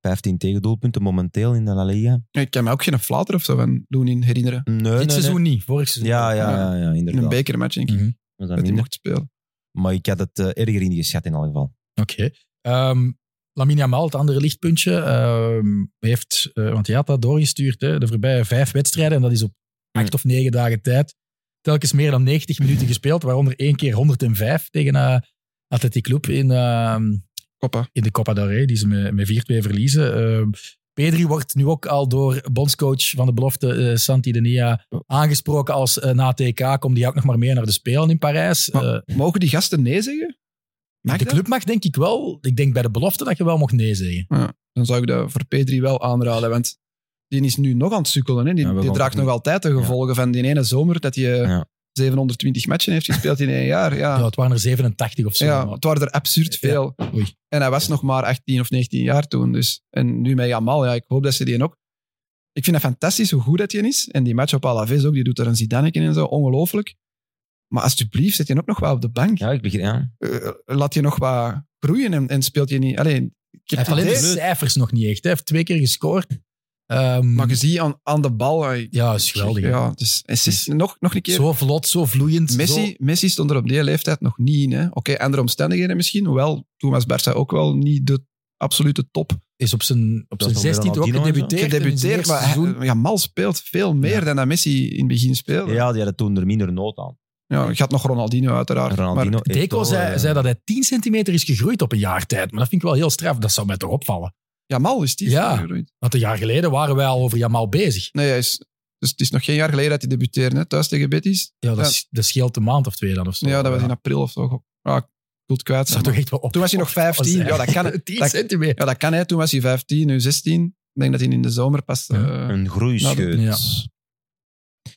Speaker 2: 15 tegendoelpunten momenteel in de La Liga.
Speaker 3: Ik kan me ook geen flater of zo van Loenin herinneren.
Speaker 2: Nee, nee,
Speaker 1: Dit
Speaker 2: nee.
Speaker 1: seizoen niet, vorig seizoen.
Speaker 2: Ja, ja, ja, ja,
Speaker 3: In een
Speaker 2: inderdaad.
Speaker 3: bekermatch, denk ik,
Speaker 1: Mhm.
Speaker 2: Was dat
Speaker 3: dat hij
Speaker 2: minder.
Speaker 3: mocht spelen.
Speaker 2: Maar ik had het eh, erger ingeschat in elk geval.
Speaker 1: Oké. Ehm Lamine Yamal, het andere lichtpuntje, ehm, heeft, eh, want hij had dat doorgestuurd, hè, de voorbije vijf wedstrijden, en dat is op acht of negen dagen tijd, telkens meer dan 90 minuten gespeeld, waaronder één keer 105 tegen eh Athletic Club in, ehm,
Speaker 3: Koppa.
Speaker 1: in de Copa del Rey, die ze met, met 4-2 verliezen. Ehm, Pedri wordt nu ook al door bondscoach van de belofte, eh, Santi Denia, aangesproken als eh, na TK komt hij ook nog maar mee naar de Spelen in Parijs.
Speaker 3: Maar-
Speaker 1: Eh,
Speaker 3: Mogen die gasten nee zeggen? Mag
Speaker 1: de
Speaker 3: dat?
Speaker 1: club mag denk ik wel, ik denk bij de belofte dat je wel mocht nee zeggen.
Speaker 3: Dan zou ik dat voor P3 wel aanraden, want die is nu nog aan het sukkelen. Hè. Die,
Speaker 2: Ja, we
Speaker 3: die
Speaker 2: gaan
Speaker 3: draagt
Speaker 2: toch
Speaker 3: nog altijd de gevolgen van die ene zomer dat hij eh,
Speaker 2: Ja.
Speaker 3: 720 matchen heeft gespeeld in één jaar. Ja.
Speaker 1: Ja, het waren er 87 of zo.
Speaker 3: Ja,
Speaker 1: maar-
Speaker 3: het waren er absurd veel.
Speaker 1: Oei.
Speaker 3: En hij was nog maar 18 of 19 jaar toen. Dus. En nu met Jamal, ja, ik hoop dat ze die ook... Ik vind het fantastisch hoe goed dat die is. En die match op Alaves ook, die doet er een Zidaneke in en zo, ongelooflijk. Maar alsjeblieft, zet je ook nog wel op de bank.
Speaker 2: Ja, ik begin, ja.
Speaker 3: Eh, laat je nog wat groeien en, en speelt je niet... Alleen,
Speaker 1: Hij heeft alleen de
Speaker 2: idee.
Speaker 1: cijfers nog niet echt. Hij heeft twee keer gescoord. Ehm,
Speaker 3: maar je ziet aan, aan de bal... eh,
Speaker 1: ja, is geweldig. hè.
Speaker 3: Ja, dus, en Sis- nog, nog een keer...
Speaker 1: Zo vlot, zo vloeiend.
Speaker 3: Messi,
Speaker 1: zo-
Speaker 3: Messi stond er op die leeftijd nog niet in. hè. Oké, andere omstandigheden misschien. Hoewel, toen was Barça ook wel niet de absolute top.
Speaker 1: is op zijn, op
Speaker 2: Dat
Speaker 1: zijn
Speaker 2: is dan
Speaker 1: 16
Speaker 2: weer
Speaker 1: ook
Speaker 2: Ronaldinho en zo.
Speaker 1: gedebuteerd. en in zijn
Speaker 3: gedebuteerd,
Speaker 1: eerste
Speaker 3: maar hij,
Speaker 1: seizoen-
Speaker 3: ja, Mal speelt veel meer
Speaker 1: Ja.
Speaker 3: dan dat Messi in het begin speelde. Ja.
Speaker 2: ja, die hadden toen er minder nood aan.
Speaker 3: je had nog Ronaldinho uiteraard.
Speaker 2: Ronaldinho,
Speaker 3: Maar,
Speaker 1: Deco
Speaker 2: Eto'o,
Speaker 1: zei,
Speaker 2: eh,
Speaker 1: zei dat hij 10 centimeter is gegroeid op een jaar tijd. Maar dat vind ik wel heel straf. Dat zou mij toch opvallen.
Speaker 3: ja, Mal is die.
Speaker 1: Ja. Want een jaar geleden waren wij al over Jamal bezig.
Speaker 3: Nee, hij is, dus het is nog geen jaar geleden dat hij debuteerde, hè, thuis tegen Betis.
Speaker 1: Ja, dat,
Speaker 3: Ja.
Speaker 1: is- dat scheelt een maand of twee dan of zo.
Speaker 3: Ja, dat was in april of zo. Ja, ik wil het kwijt
Speaker 1: Dat zou
Speaker 3: zijn.
Speaker 1: toch echt wel op.
Speaker 3: Toen was hij nog 15. Ja, dat kan.
Speaker 1: 10
Speaker 3: dat-
Speaker 1: centimeter.
Speaker 3: Ja, dat kan hè. Toen was hij 15, nu 16. Ik denk dat hij in de zomer pas...
Speaker 1: Ja.
Speaker 3: eh,
Speaker 2: Een groeischeut.
Speaker 1: Ja.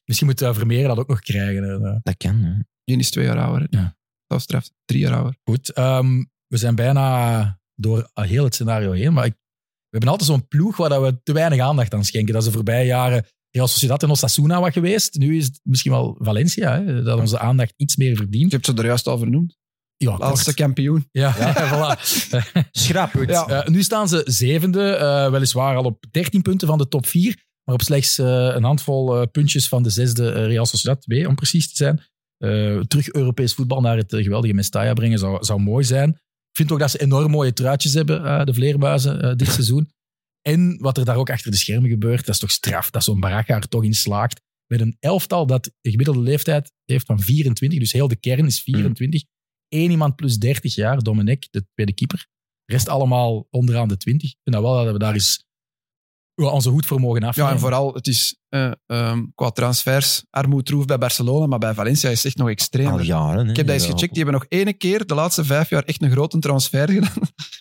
Speaker 1: Misschien moet eh, Vermeer dat ook nog krijgen. hè.
Speaker 2: Dat kan, hè.
Speaker 3: Die is twee jaar ouder. hè.
Speaker 1: Ja.
Speaker 3: Dat straf. Drie jaar ouder.
Speaker 1: Goed, ehm, we zijn bijna door heel het scenario heen. Maar ik, we hebben altijd zo'n ploeg waar dat we te weinig aandacht aan schenken. Dat is de voorbije jaren Real Sociedad en Osasuna wat geweest. Nu is het misschien wel Valencia, hè, dat onze aandacht iets meer
Speaker 3: Ik
Speaker 1: verdient.
Speaker 3: heb ze er juist al vernoemd.
Speaker 1: Ja,
Speaker 3: Laatste
Speaker 1: kort.
Speaker 3: kampioen.
Speaker 1: Ja, voilà.
Speaker 2: Schrap.
Speaker 3: Ja.
Speaker 1: Eh, nu staan ze zevende, eh, weliswaar al op 13 punten van de top 4. Maar op slechts eh, een handvol eh, puntjes van de zesde eh, Real Sociedad 2, om precies te zijn. Eh, terug Europees voetbal naar het eh, geweldige Mestalla brengen zou, zou mooi zijn. Ik vind ook dat ze enorm mooie truitjes hebben, eh, de vleermuizen, eh, dit seizoen. En wat er daar ook achter de schermen gebeurt, dat is toch straf. Dat zo'n Baraka er toch in slaagt. Met een elftal dat de gemiddelde leeftijd heeft van 24, dus heel de kern is 24. Eén iemand plus 30 jaar, Dominic, de tweede keeper. De rest allemaal onderaan de 20. Ik vind dat wel dat we daar eens ja, onze hoed voor mogen
Speaker 3: Ja,
Speaker 1: afnemen.
Speaker 3: en vooral, het is eh, ehm, qua transfers armoedroef bij Barcelona, maar bij Valencia is het echt nog extreem.
Speaker 2: Al jaren, hè.
Speaker 3: Ik heb dat eens
Speaker 2: Ja.
Speaker 3: gecheckt. Die hebben nog ene keer de laatste vijf jaar echt een grote transfer gedaan.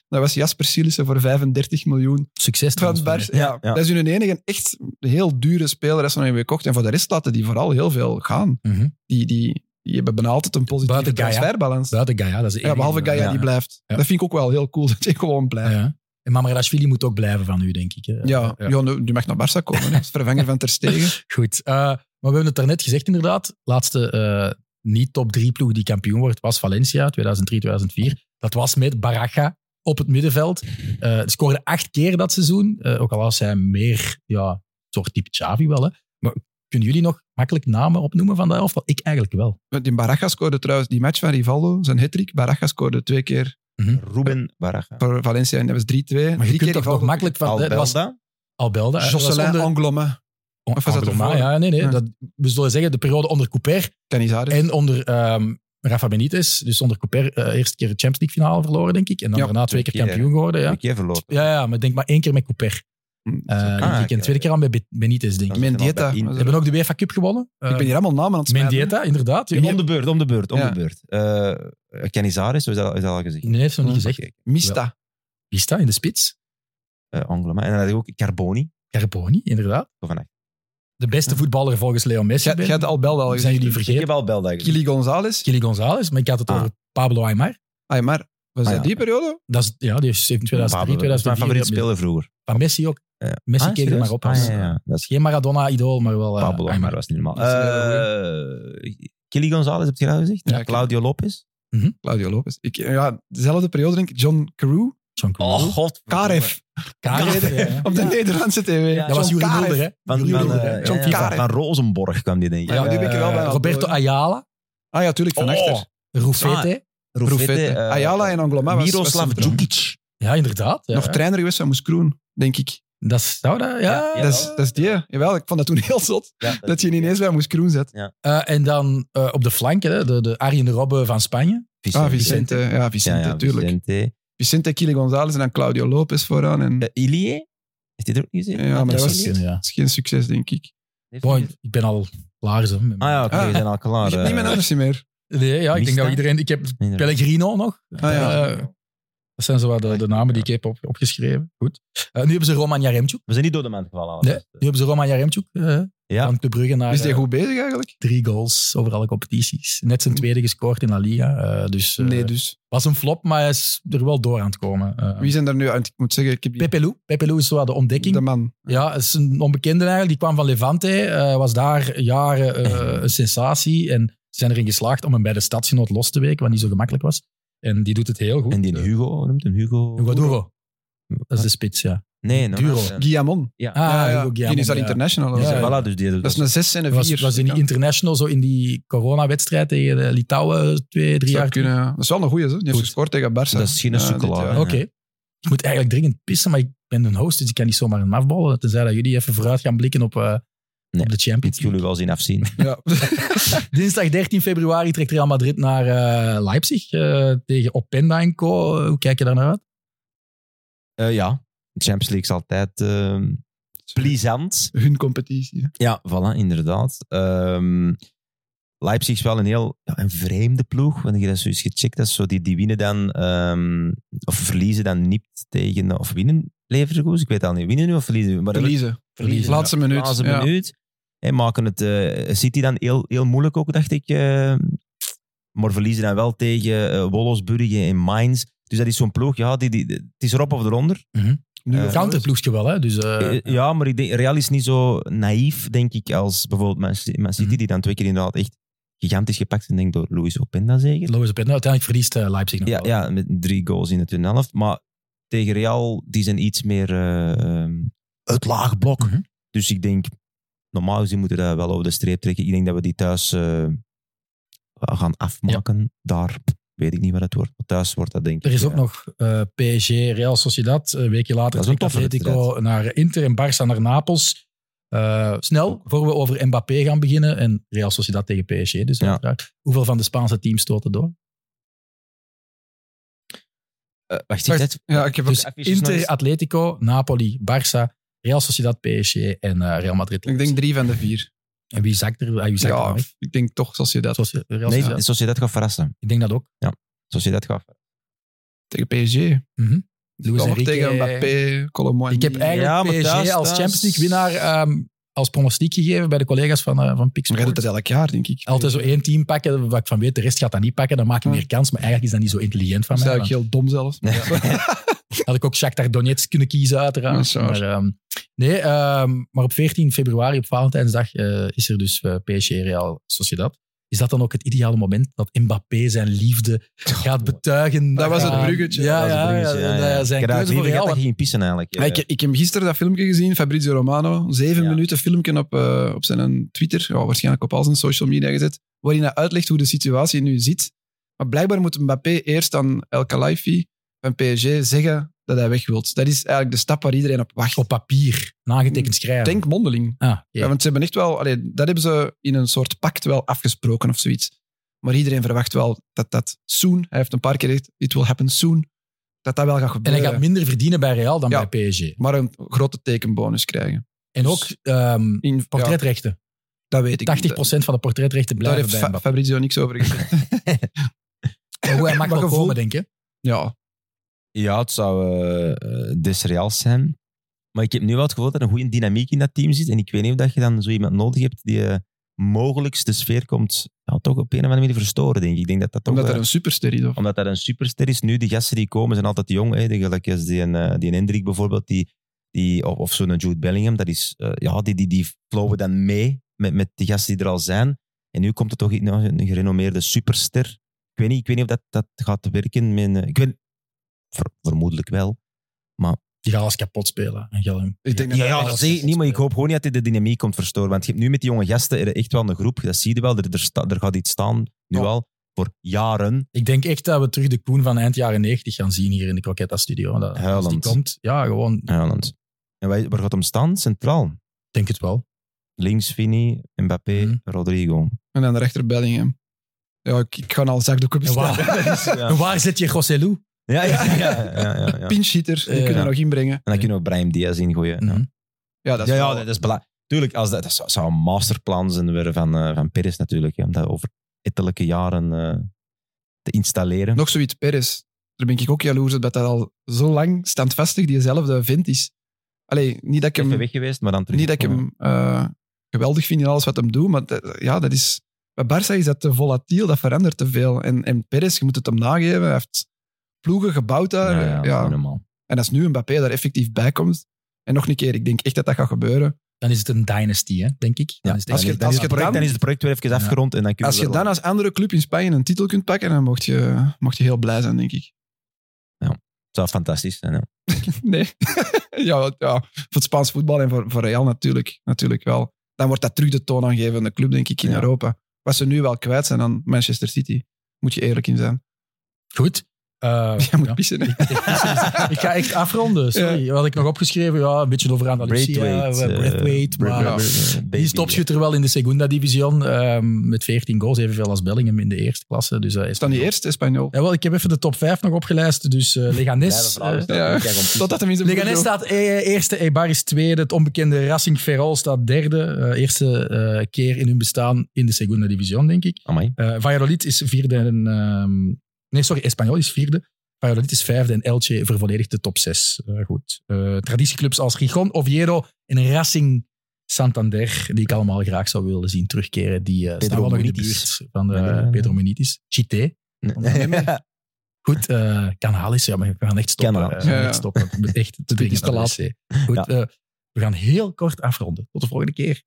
Speaker 3: Dat was Jasper Cilissen voor 35 miljoen
Speaker 1: Succes
Speaker 3: van
Speaker 1: trouwens.
Speaker 3: Barça. Ja,
Speaker 2: ja.
Speaker 3: Dat is hun enige echt heel dure speler dat ze nog hebben gekocht. En voor de rest laten die vooral heel veel gaan.
Speaker 1: Mhm.
Speaker 3: Die, die, die hebben bijna altijd een positieve
Speaker 1: Buiten Gaia.
Speaker 3: transferbalans.
Speaker 1: Buiten Gaia, dat is de
Speaker 3: Ja,
Speaker 1: enige.
Speaker 3: behalve Gaia
Speaker 2: Ja.
Speaker 3: die blijft.
Speaker 1: Ja.
Speaker 3: Dat vind ik ook wel heel cool dat hij gewoon blijft.
Speaker 1: Ja. En Mamarashvili moet ook blijven van u, denk ik. hè.
Speaker 3: Ja, ja.
Speaker 1: Ja.
Speaker 3: nu- die mag naar Barça komen. hè, Als vervanger van Ter Stegen.
Speaker 1: Goed. Eh, maar we hebben het daarnet gezegd, inderdaad. Laatste eh, niet-top drie ploeg die kampioen wordt was Valencia, 2003, 2004. Dat was met Baraja op het middenveld. Eh scoorde acht keer dat seizoen. Eh, ook al was hij meer, ja, soort type Xavi wel. Hè. Maar kunnen jullie nog makkelijk namen opnoemen van dat elftal? Ik eigenlijk wel.
Speaker 3: Die Baraja scoorde trouwens die match van Rivaldo, zijn hattrick. Baraja scoorde twee keer
Speaker 2: Ruben Baraja.
Speaker 3: voor Valencia en dat was 3-2.
Speaker 1: Maar Mhm. je
Speaker 3: Drie
Speaker 1: kunt
Speaker 3: keer Eh,
Speaker 1: toch nog
Speaker 3: Rivaldo,
Speaker 1: makkelijk van... dat was
Speaker 2: Albelda.
Speaker 1: Albelda. eh, dat was
Speaker 3: Jocelyn
Speaker 1: onder-
Speaker 3: Angloma,
Speaker 1: on-
Speaker 3: of was dat
Speaker 1: Angloma,
Speaker 3: ervoor?
Speaker 1: ja, nee, nee.
Speaker 3: Ja.
Speaker 1: Dat, we zullen zeggen, de periode onder Couper
Speaker 2: Dus-
Speaker 3: Canizares.
Speaker 1: En onder ehm, Rafa Benitez, dus onder Couper, eh, eerste keer de Champions League finale verloren, denk ik. En dan
Speaker 3: Ja,
Speaker 1: daarna twee keer
Speaker 2: twee keer,
Speaker 1: kampioen geworden. Ja.
Speaker 2: Ik heb verloren.
Speaker 1: Ja, ja, maar denk maar één keer met Couper.
Speaker 3: Hm,
Speaker 1: Eh, denk
Speaker 2: Ah,
Speaker 1: ik. En
Speaker 2: oké.
Speaker 1: tweede keer aan bij Be- Benitez, denk ik.
Speaker 2: Dan zitten we al
Speaker 3: Mendieta.
Speaker 2: bij in-
Speaker 1: Ze hebben ook de UEFA Cup gewonnen. Eh,
Speaker 3: ik ben hier allemaal namen aan het smijten.
Speaker 1: Mendieta, inderdaad.
Speaker 2: Ja, Om de beurt, om de beurt, om
Speaker 3: Ja.
Speaker 2: de beurt. Eh Canizares, zo is dat, is dat al gezegd.
Speaker 1: Nee, heeft ze nog niet gezegd.
Speaker 3: Mista.
Speaker 1: Wie staat in de spits?
Speaker 2: Eh Angloma. En dan had ik ook Carboni.
Speaker 1: Carboni, inderdaad.
Speaker 2: Zo van, eh,
Speaker 1: De beste voetballer volgens Leo Messi.
Speaker 3: Jij
Speaker 1: ben-
Speaker 3: jij hebt al wel al
Speaker 1: Zijn
Speaker 3: gezegd.
Speaker 1: jullie
Speaker 2: Ik
Speaker 1: vergeten?
Speaker 2: heb al Belda gezegd.
Speaker 3: Kili González.
Speaker 1: Gilly González, maar ik had het
Speaker 2: Ah.
Speaker 1: over Pablo Aymar.
Speaker 3: Ah, maar was
Speaker 2: Ah,
Speaker 3: dat
Speaker 2: ja.
Speaker 3: die periode?
Speaker 1: Dat is, ja, die heeft in 2003,
Speaker 2: Pablo, dat is
Speaker 1: 2004.
Speaker 2: Mijn favoriet
Speaker 1: met-
Speaker 2: speler vroeger.
Speaker 1: Van Messi ook.
Speaker 2: Eh,
Speaker 1: Messi
Speaker 2: ah,
Speaker 1: keek er
Speaker 2: serieus?
Speaker 1: maar op.
Speaker 2: Ah,
Speaker 1: als-
Speaker 2: ja, ja. Dat is
Speaker 1: Geen Maradona-idool, maar wel eh,
Speaker 2: Pablo, maar
Speaker 1: Aymar.
Speaker 2: dat was niet normaal.
Speaker 3: Dat is een
Speaker 2: Eh, Kili Gonzalez, heb je dat gezegd?
Speaker 3: Ja, ik-
Speaker 2: Claudio Lopez.
Speaker 3: Claudio Lopez. Ik, ja, dezelfde periode denk ik. John Carew.
Speaker 1: John Cruijff.
Speaker 2: god.
Speaker 3: Karev.
Speaker 1: Karev, ja, ja.
Speaker 3: Op de Nederlandse tv.
Speaker 2: Ja,
Speaker 1: Dat was
Speaker 3: John
Speaker 1: Juri
Speaker 3: Karev.
Speaker 1: Mulder, hè?
Speaker 2: Van,
Speaker 1: Juri
Speaker 2: van,
Speaker 1: Mulder,
Speaker 2: eh,
Speaker 1: hè?
Speaker 2: ja,
Speaker 1: John
Speaker 2: ja,
Speaker 1: Karev.
Speaker 3: Karev.
Speaker 2: van Rosenborg kwam die, denk ik.
Speaker 3: Ja,
Speaker 2: Eh,
Speaker 3: die ben ik er wel bij aan het
Speaker 1: Roberto
Speaker 3: horen.
Speaker 1: Ayala,
Speaker 3: Ah ja, tuurlijk.
Speaker 2: Oh,
Speaker 3: Van Achter.
Speaker 1: Rufete.
Speaker 2: Rufete,
Speaker 3: Profete.
Speaker 2: eh,
Speaker 3: Ayala en Angloma was was
Speaker 2: Miroslav
Speaker 3: centraal.
Speaker 2: Djukic.
Speaker 1: Ja, inderdaad. Ja.
Speaker 3: Nog trainer geweest van Moeskroen, denk ik.
Speaker 1: Dat zou dat, ja.
Speaker 2: Ja,
Speaker 3: Dat, is, dat is die. Jawel, ik vond dat toen heel zot.
Speaker 2: Ja,
Speaker 3: Dat je ineens bij Moeskroen zet.
Speaker 1: Eh, en dan eh, op de flanken, hè, de, de Arjen Robben van Spanje.
Speaker 3: Ah, Vicente. Ja, Vicente,
Speaker 2: Ja, ja,
Speaker 3: tuurlijk. Vicente,
Speaker 2: Vicente.
Speaker 3: Kili González en dan Claudio Lopez vooraan. En,
Speaker 2: Eh, Ilie? Heeft hij er ook niet gezien? Ah,
Speaker 3: Ja, maar dat
Speaker 1: zou
Speaker 3: was-
Speaker 1: kunnen, ja.
Speaker 3: Dat is geen succes, denk ik.
Speaker 2: Heeft hij
Speaker 1: Boy,
Speaker 2: niet gezien?
Speaker 1: ik ben al klaar. Zo.
Speaker 2: Ah ja, oké,
Speaker 3: Ah.
Speaker 2: we zijn al klaar.
Speaker 3: Ik heb
Speaker 2: eh,
Speaker 3: niemand anders niet meer.
Speaker 1: Nee, ja, ik denk
Speaker 2: Mista?
Speaker 1: dat iedereen... Ik heb
Speaker 2: inderdaad.
Speaker 1: Pellegrino nog.
Speaker 3: Ah, ja.
Speaker 1: Eh, dat zijn zo wat de, de namen die ik heb op, opgeschreven. Goed. Eh, nu hebben ze Roman Jaremchuk.
Speaker 2: We zijn niet door de man gevallen.
Speaker 1: Nee,
Speaker 2: alvast.
Speaker 1: nu hebben ze Roman Jaremchuk. eh,
Speaker 2: Ja.
Speaker 1: Van Club Brugge naar
Speaker 3: Is die
Speaker 1: eh,
Speaker 3: goed bezig eigenlijk?
Speaker 1: drie goals over alle competities. Net zijn tweede gescoord in La Liga. eh, dus, eh,
Speaker 3: Nee, dus.
Speaker 1: was een flop, maar hij is er wel door aan het komen. Eh,
Speaker 3: Wie zijn er nu uit? Ik moet zeggen, ik heb die-
Speaker 1: Pepe Lou. Pepe Lou is zo de ontdekking.
Speaker 3: de man.
Speaker 1: Ja, is een onbekende eigenlijk. Die kwam van Levante, eh, was daar jaren eh, een sensatie. En ze zijn erin geslaagd om hem bij de stadsgenoot los te weken, wat niet zo gemakkelijk was. En die doet het heel goed.
Speaker 2: En die
Speaker 1: Eh,
Speaker 2: Hugo, noemt hem Hugo? Ah,
Speaker 1: Hugo Duro. Dat is de spits, ja.
Speaker 2: Nee, no,
Speaker 1: Duro.
Speaker 2: Ja.
Speaker 3: Guillamon.
Speaker 2: Ja.
Speaker 1: Ah, Hugo
Speaker 3: Die is al
Speaker 1: ja.
Speaker 3: international.
Speaker 1: Ja, ja.
Speaker 2: Ja, voilà, dus die
Speaker 3: Dat is een 6 en een 4.
Speaker 1: Was, was in die international, zo in die coronawedstrijd tegen eh, Litouwen twee, drie jaar
Speaker 3: kunnen, ja. Dat is wel een goeie, zo. Die heeft
Speaker 1: Goed.
Speaker 3: gescoord tegen Barça.
Speaker 2: Dat is geen sukkelaar,
Speaker 3: dit eh, jaar.
Speaker 2: hè.
Speaker 1: Oké. Ik moet eigenlijk dringend pissen, maar ik ben een host, dus ik kan niet zomaar hem afballen. Tenzij dat jullie even vooruit gaan blikken op, eh,
Speaker 2: Nee.
Speaker 1: op de
Speaker 2: Ik
Speaker 1: Champions
Speaker 2: wil
Speaker 1: League.
Speaker 2: u wel zien afzien.
Speaker 3: Ja.
Speaker 1: Dinsdag 13 februari trekt Real Madrid naar eh, Leipzig eh, tegen Openda en Co. Eh, hoe kijk je daar naar uit?
Speaker 2: Eh, ja, de Champions League is altijd eh, plezant.
Speaker 3: Hun competitie. hè.
Speaker 2: Ja, voilà, inderdaad. Ehm, Leipzig is wel een heel ja, een vreemde ploeg. Want ik heb dat zoiets gecheckt. Dat is zo, die, die winnen dan, ehm, of verliezen dan niet tegen, of winnen Leverkusen. Ik weet al niet, winnen nu of verliezen nu? Maar dat-
Speaker 3: Verliezen.
Speaker 1: Verliezen,
Speaker 3: Laatste minuut.
Speaker 2: Laatste
Speaker 3: ja.
Speaker 2: minuut. Hè, maken het eh, City dan heel, heel moeilijk ook, dacht ik. eh. maar verliezen dan wel tegen eh Wolfsburg en Mainz. Dus dat is zo'n ploeg, ja, die, die, het is erop of eronder.
Speaker 3: Nu
Speaker 2: Eh,
Speaker 3: of
Speaker 1: Mhm. Counterploegje wel, hè? Dus, eh,
Speaker 2: Eh, ja, maar ik denk, Real is niet zo naïef, denk ik, als bijvoorbeeld Man City, Man City,
Speaker 1: Mhm.
Speaker 2: die dan twee keer inderdaad echt gigantisch gepakt zijn, denk ik, door Luis Openda zeker.
Speaker 1: Lois Openda. Uiteindelijk verliest eh, Leipzig nog
Speaker 2: Ja,
Speaker 1: wel.
Speaker 2: ja, met drie goals in de tweede helft. Maar tegen Real, die zijn iets meer eh, ehm, het laag blok.
Speaker 1: Mhm.
Speaker 2: Dus ik denk, normaal gezien moeten we dat wel over de streep trekken. Ik denk dat we die thuis eh, gaan afmaken. Daar pff, weet ik niet wat het wordt. Maar thuis wordt dat denk ik.
Speaker 1: Er is ook
Speaker 2: eh,
Speaker 1: nog eh, PSG, Real Sociedad. eh, Een weekje later
Speaker 2: Dat is een
Speaker 1: trekt
Speaker 2: toffe
Speaker 1: Atletico naar Inter en Barça naar Napels. Eh, snel, voor we over Mbappé gaan beginnen. En Real Sociedad tegen PSG. Dus
Speaker 2: Ja. Dus
Speaker 1: uiteraard. Hoeveel van de Spaanse teams stoten door?
Speaker 2: eh, wacht,
Speaker 3: Wacht,
Speaker 2: ik zet-
Speaker 3: Ja, ik heb ook-
Speaker 1: Dus
Speaker 2: Even nog
Speaker 1: Inter,
Speaker 2: eens.
Speaker 1: Atletico, Napoli, Barça, Real Sociedad, PSG en eh, Real Madrid.
Speaker 3: ik denk drie van de vier.
Speaker 1: En wie zakt er? Ah, wie zakt er
Speaker 3: Ja,
Speaker 1: dan weg?
Speaker 3: ik denk toch zoals je dat.
Speaker 1: Soci- Real
Speaker 2: Nee,
Speaker 1: Sociedad.
Speaker 2: Sociedad gaat verrassen.
Speaker 1: Ik denk dat ook.
Speaker 2: Sociedad gaat
Speaker 3: Tegen PSG.
Speaker 1: Mhm. Lewis
Speaker 3: Kom nog
Speaker 1: Enrique.
Speaker 3: tegen Mbappé, Colomboigny.
Speaker 1: Ik heb
Speaker 2: Ja,
Speaker 1: eigenlijk
Speaker 2: maar
Speaker 1: PSG
Speaker 2: thuis,
Speaker 1: als
Speaker 2: thuis.
Speaker 1: Champions League winnaar ehm, als pronostiek gegeven bij de collega's van, eh van
Speaker 3: Maar jij doet
Speaker 1: Pixel.
Speaker 3: dat elk jaar, denk ik.
Speaker 1: Altijd zo één team pakken, waar ik van weet, de rest gaat dat niet pakken, dan maak ik
Speaker 3: Ja.
Speaker 1: meer kans. Maar eigenlijk is dat niet zo intelligent van
Speaker 3: Dat is
Speaker 1: mij.
Speaker 3: eigenlijk
Speaker 1: want
Speaker 3: heel dom zelfs.
Speaker 2: Nee.
Speaker 1: Had ik ook Shakhtar Donetsk kunnen kiezen,
Speaker 3: Ja, dat
Speaker 1: uiteraard.
Speaker 3: is waar.
Speaker 1: maar, ehm, nee, ehm, maar op 14 februari, op Valentijnsdag, eh, is er dus eh, PSG Real Sociedad. Is dat dan ook het ideale moment dat Mbappé zijn liefde gaat betuigen?
Speaker 3: Dat was het
Speaker 1: Ja,
Speaker 3: bruggetje.
Speaker 1: Ja,
Speaker 2: Dat is een
Speaker 1: ja,
Speaker 2: bruggetje,
Speaker 1: ja,
Speaker 2: ja, ja.
Speaker 1: dat zijn
Speaker 2: Ik
Speaker 1: keuze
Speaker 2: had eigenlijk
Speaker 1: voor Real.
Speaker 2: niet vergeten dat
Speaker 1: want-
Speaker 2: je ging pissen eigenlijk. eh.
Speaker 3: Maar ik, ik heb gisteren dat filmpje gezien, Fabrizio Romano. Zeven
Speaker 2: Ja.
Speaker 3: minuten filmpje op, eh, op zijn Twitter, ja, waarschijnlijk op al zijn social media gezet, waarin hij uitlegt hoe de situatie nu zit. Maar blijkbaar moet Mbappé eerst aan El Khalifi van PSG zeggen dat hij weg wilt. Dat is eigenlijk de stap waar iedereen op wacht.
Speaker 1: Op papier, nagetekend schrijven.
Speaker 3: Denk mondeling.
Speaker 1: Ah, oké.
Speaker 3: Ja, want ze hebben echt wel, allee, dat hebben ze in een soort pact wel afgesproken of zoiets. Maar iedereen verwacht wel dat dat soon, hij heeft een paar keer gezegd, it will happen soon, dat dat wel gaat
Speaker 1: En hij
Speaker 3: gebeuren.
Speaker 1: gaat minder verdienen bij Real dan
Speaker 3: Ja.
Speaker 1: bij PSG.
Speaker 3: maar een grote tekenbonus krijgen.
Speaker 1: En ook ehm,
Speaker 3: In, ja,
Speaker 1: portretrechten.
Speaker 3: dat weet ik
Speaker 1: 80% van de portretrechten
Speaker 3: Daar
Speaker 1: blijven
Speaker 3: heeft
Speaker 1: bij
Speaker 3: Fa-
Speaker 1: Mbappé.
Speaker 3: Fabrizio niks over gezegd.
Speaker 1: Maar Hoe hij mag
Speaker 3: Maar
Speaker 1: wel
Speaker 3: gevoel-
Speaker 1: komen, denk je?
Speaker 3: ja,
Speaker 2: Ja, het zou eh, eh, des Reals zijn. Maar ik heb nu wel het gevoel dat er een goede dynamiek in dat team zit. En ik weet niet of dat je dan zo iemand nodig hebt die eh, mogelijks de sfeer komt ja, toch op een of andere manier verstoren, denk ik. Ik denk dat dat toch...
Speaker 3: omdat
Speaker 2: eh,
Speaker 3: er een superster is. Of,
Speaker 2: omdat dat een superster is. Nu, die gasten die komen zijn altijd jong. Hè. Die, gelijk als die, een, eh, die een Hendrik bijvoorbeeld, die, die, of, of zo'n Jude Bellingham, dat is, eh, ja, die, die, die flowen dan mee met, met de gasten die er al zijn. En nu komt er toch iets- nou, een gerenommeerde superster. Ik weet niet, ik weet niet of dat, dat gaat werken. Met, een- ik weet, ver- vermoedelijk wel.
Speaker 1: Die gaat alles kapot spelen. En Gel hem.
Speaker 3: Ik denk
Speaker 2: Ja,
Speaker 3: dat-
Speaker 2: ja, dat zeg ik niet, maar ik hoop gewoon niet dat hij de dynamiek komt verstoren. Want je hebt nu met die jonge gasten er echt wel een groep, dat zie je wel. Er, er, sta- er gaat iets staan, nu
Speaker 1: Ja.
Speaker 2: al, voor jaren.
Speaker 1: Ik denk echt dat we terug de Koen van eind jaren 90 gaan zien hier in de Croquetta-studio. Want dat- Als die
Speaker 2: Huilend.
Speaker 1: komt, ja, gewoon, ik
Speaker 2: Ja, want- En wij- waar gaat hem staan? Centraal.
Speaker 1: denk het wel.
Speaker 2: Links Vini, Mbappé,
Speaker 1: Mhm.
Speaker 2: Rodrigo.
Speaker 3: En dan de rechter Bellingham. Ja, ik, ik ga al zakdoek op
Speaker 1: En
Speaker 3: bestellen.
Speaker 1: waar, en
Speaker 2: Ja,
Speaker 1: waar zit je Rossellou?
Speaker 2: ja, ja. ja, ja, ja, ja.
Speaker 3: Pinch hitter, die
Speaker 1: Ja.
Speaker 3: kunnen we nog inbrengen.
Speaker 2: En dan kunnen we Brahim Diaz ingooien.
Speaker 1: Mhm.
Speaker 2: Ja,
Speaker 3: Ja, dat is
Speaker 2: ja, ja,
Speaker 3: wel-
Speaker 2: dat is belangrijk. Tuurlijk, als dat, dat zou, zou een masterplan zijn weer van, eh van Perez natuurlijk. Hè, om dat over ettelijke jaren eh, te installeren.
Speaker 3: Nog zoiets, Perez. Daar ben ik ook jaloers op dat dat al zo lang standvastig diezelfde vent is. Allee, niet dat ik
Speaker 2: Even
Speaker 3: hem,
Speaker 2: weg geweest, maar dan terug.
Speaker 3: niet dat ik hem eh, geweldig vind in alles wat hem doet, maar dat- ja, dat is... Bij Barça is dat te volatiel, dat verandert te veel. En, en Perez, je moet het hem nageven, hij heeft ploegen gebouwd daar.
Speaker 2: Ja,
Speaker 3: Ja,
Speaker 2: ja, normaal.
Speaker 3: En als nu Mbappé daar effectief bij komt, en nog een keer, ik denk echt dat dat gaat gebeuren.
Speaker 1: Dan is het een dynasty, hè, denk ik. Dan
Speaker 2: Ja,
Speaker 1: is het
Speaker 2: dan,
Speaker 1: echt-
Speaker 3: als je-
Speaker 2: is- dan,
Speaker 3: als
Speaker 2: is
Speaker 3: je
Speaker 2: het
Speaker 3: het
Speaker 2: project,
Speaker 3: dan-
Speaker 2: dan is het project weer even
Speaker 1: Ja.
Speaker 2: afgerond. En dan kun
Speaker 3: Als je
Speaker 2: weer
Speaker 3: dan
Speaker 2: wel-
Speaker 3: als andere club in Spanje een titel kunt pakken, dan mocht je, mocht je heel blij zijn, denk ik.
Speaker 2: zou fantastisch zijn. Ja.
Speaker 3: Nee. ja, wel, ja, voor het Spaans voetbal en voor, voor Real natuurlijk, natuurlijk wel. Dan wordt dat terug de toonaangevende club, denk ik, in
Speaker 2: Ja.
Speaker 3: Europa. Wat ze nu wel kwijt zijn aan Manchester City. Moet je eerlijk in zijn.
Speaker 1: Goed. Eh,
Speaker 3: Jij moet
Speaker 1: ja.
Speaker 3: pissen. hè.
Speaker 1: ik ga echt afronden. Sorry. Wat had ik nog opgeschreven? Ja, een beetje over Andalusia.
Speaker 2: Braithwaite.
Speaker 1: eh,
Speaker 2: eh,
Speaker 1: Braithwaite, maar-
Speaker 2: Bra-
Speaker 3: ja.
Speaker 2: Bra-
Speaker 1: Die is
Speaker 2: Baby,
Speaker 1: topschutter wel in de Segunda Division ehm, met 14 goals, evenveel als Bellingham in de eerste klasse. Dus, eh, is
Speaker 3: Is dan die eerste Espanol?
Speaker 1: Ja, wel, ik heb even de top 5 nog opgelijst. Dus eh Leganes.
Speaker 2: Blijven
Speaker 1: eh,
Speaker 2: vragen.
Speaker 3: Ja.
Speaker 2: Ik kijk om pissen.
Speaker 3: Totdat hem in zijn
Speaker 1: Leganes
Speaker 3: broek
Speaker 1: staat e- eerste, Eibar is tweede. Het onbekende Racing Ferrol staat derde. Eh, eerste eh, keer in hun bestaan in de Segunda Division, denk ik.
Speaker 2: Amai.
Speaker 1: Eh Valladolid is vierde en... ehm, nee, sorry, Espanyol is vierde. Valladolid is vijfde en Elche vervolledigt de top 6. goed. Eh, traditieclubs als Gijon, Oviedo en Racing Santander, die ik allemaal graag zou willen zien terugkeren, die eh staan wel nog in de
Speaker 2: Munitis.
Speaker 1: buurt van de,
Speaker 2: Ja, ja, ja.
Speaker 1: Pedro Munitis. Chité.
Speaker 2: Ja.
Speaker 1: Goed, eh Canalis, ja, maar we gaan echt stoppen.
Speaker 2: Canalis.
Speaker 1: Eh, we gaan
Speaker 3: Ja,
Speaker 1: echt
Speaker 3: ja.
Speaker 1: stoppen. Het moet echt te
Speaker 3: Dit
Speaker 1: dringen
Speaker 3: is te
Speaker 1: naar de
Speaker 3: laat.
Speaker 1: wc. Goed,
Speaker 2: Ja.
Speaker 1: eh, we gaan heel kort afronden. Tot de volgende keer.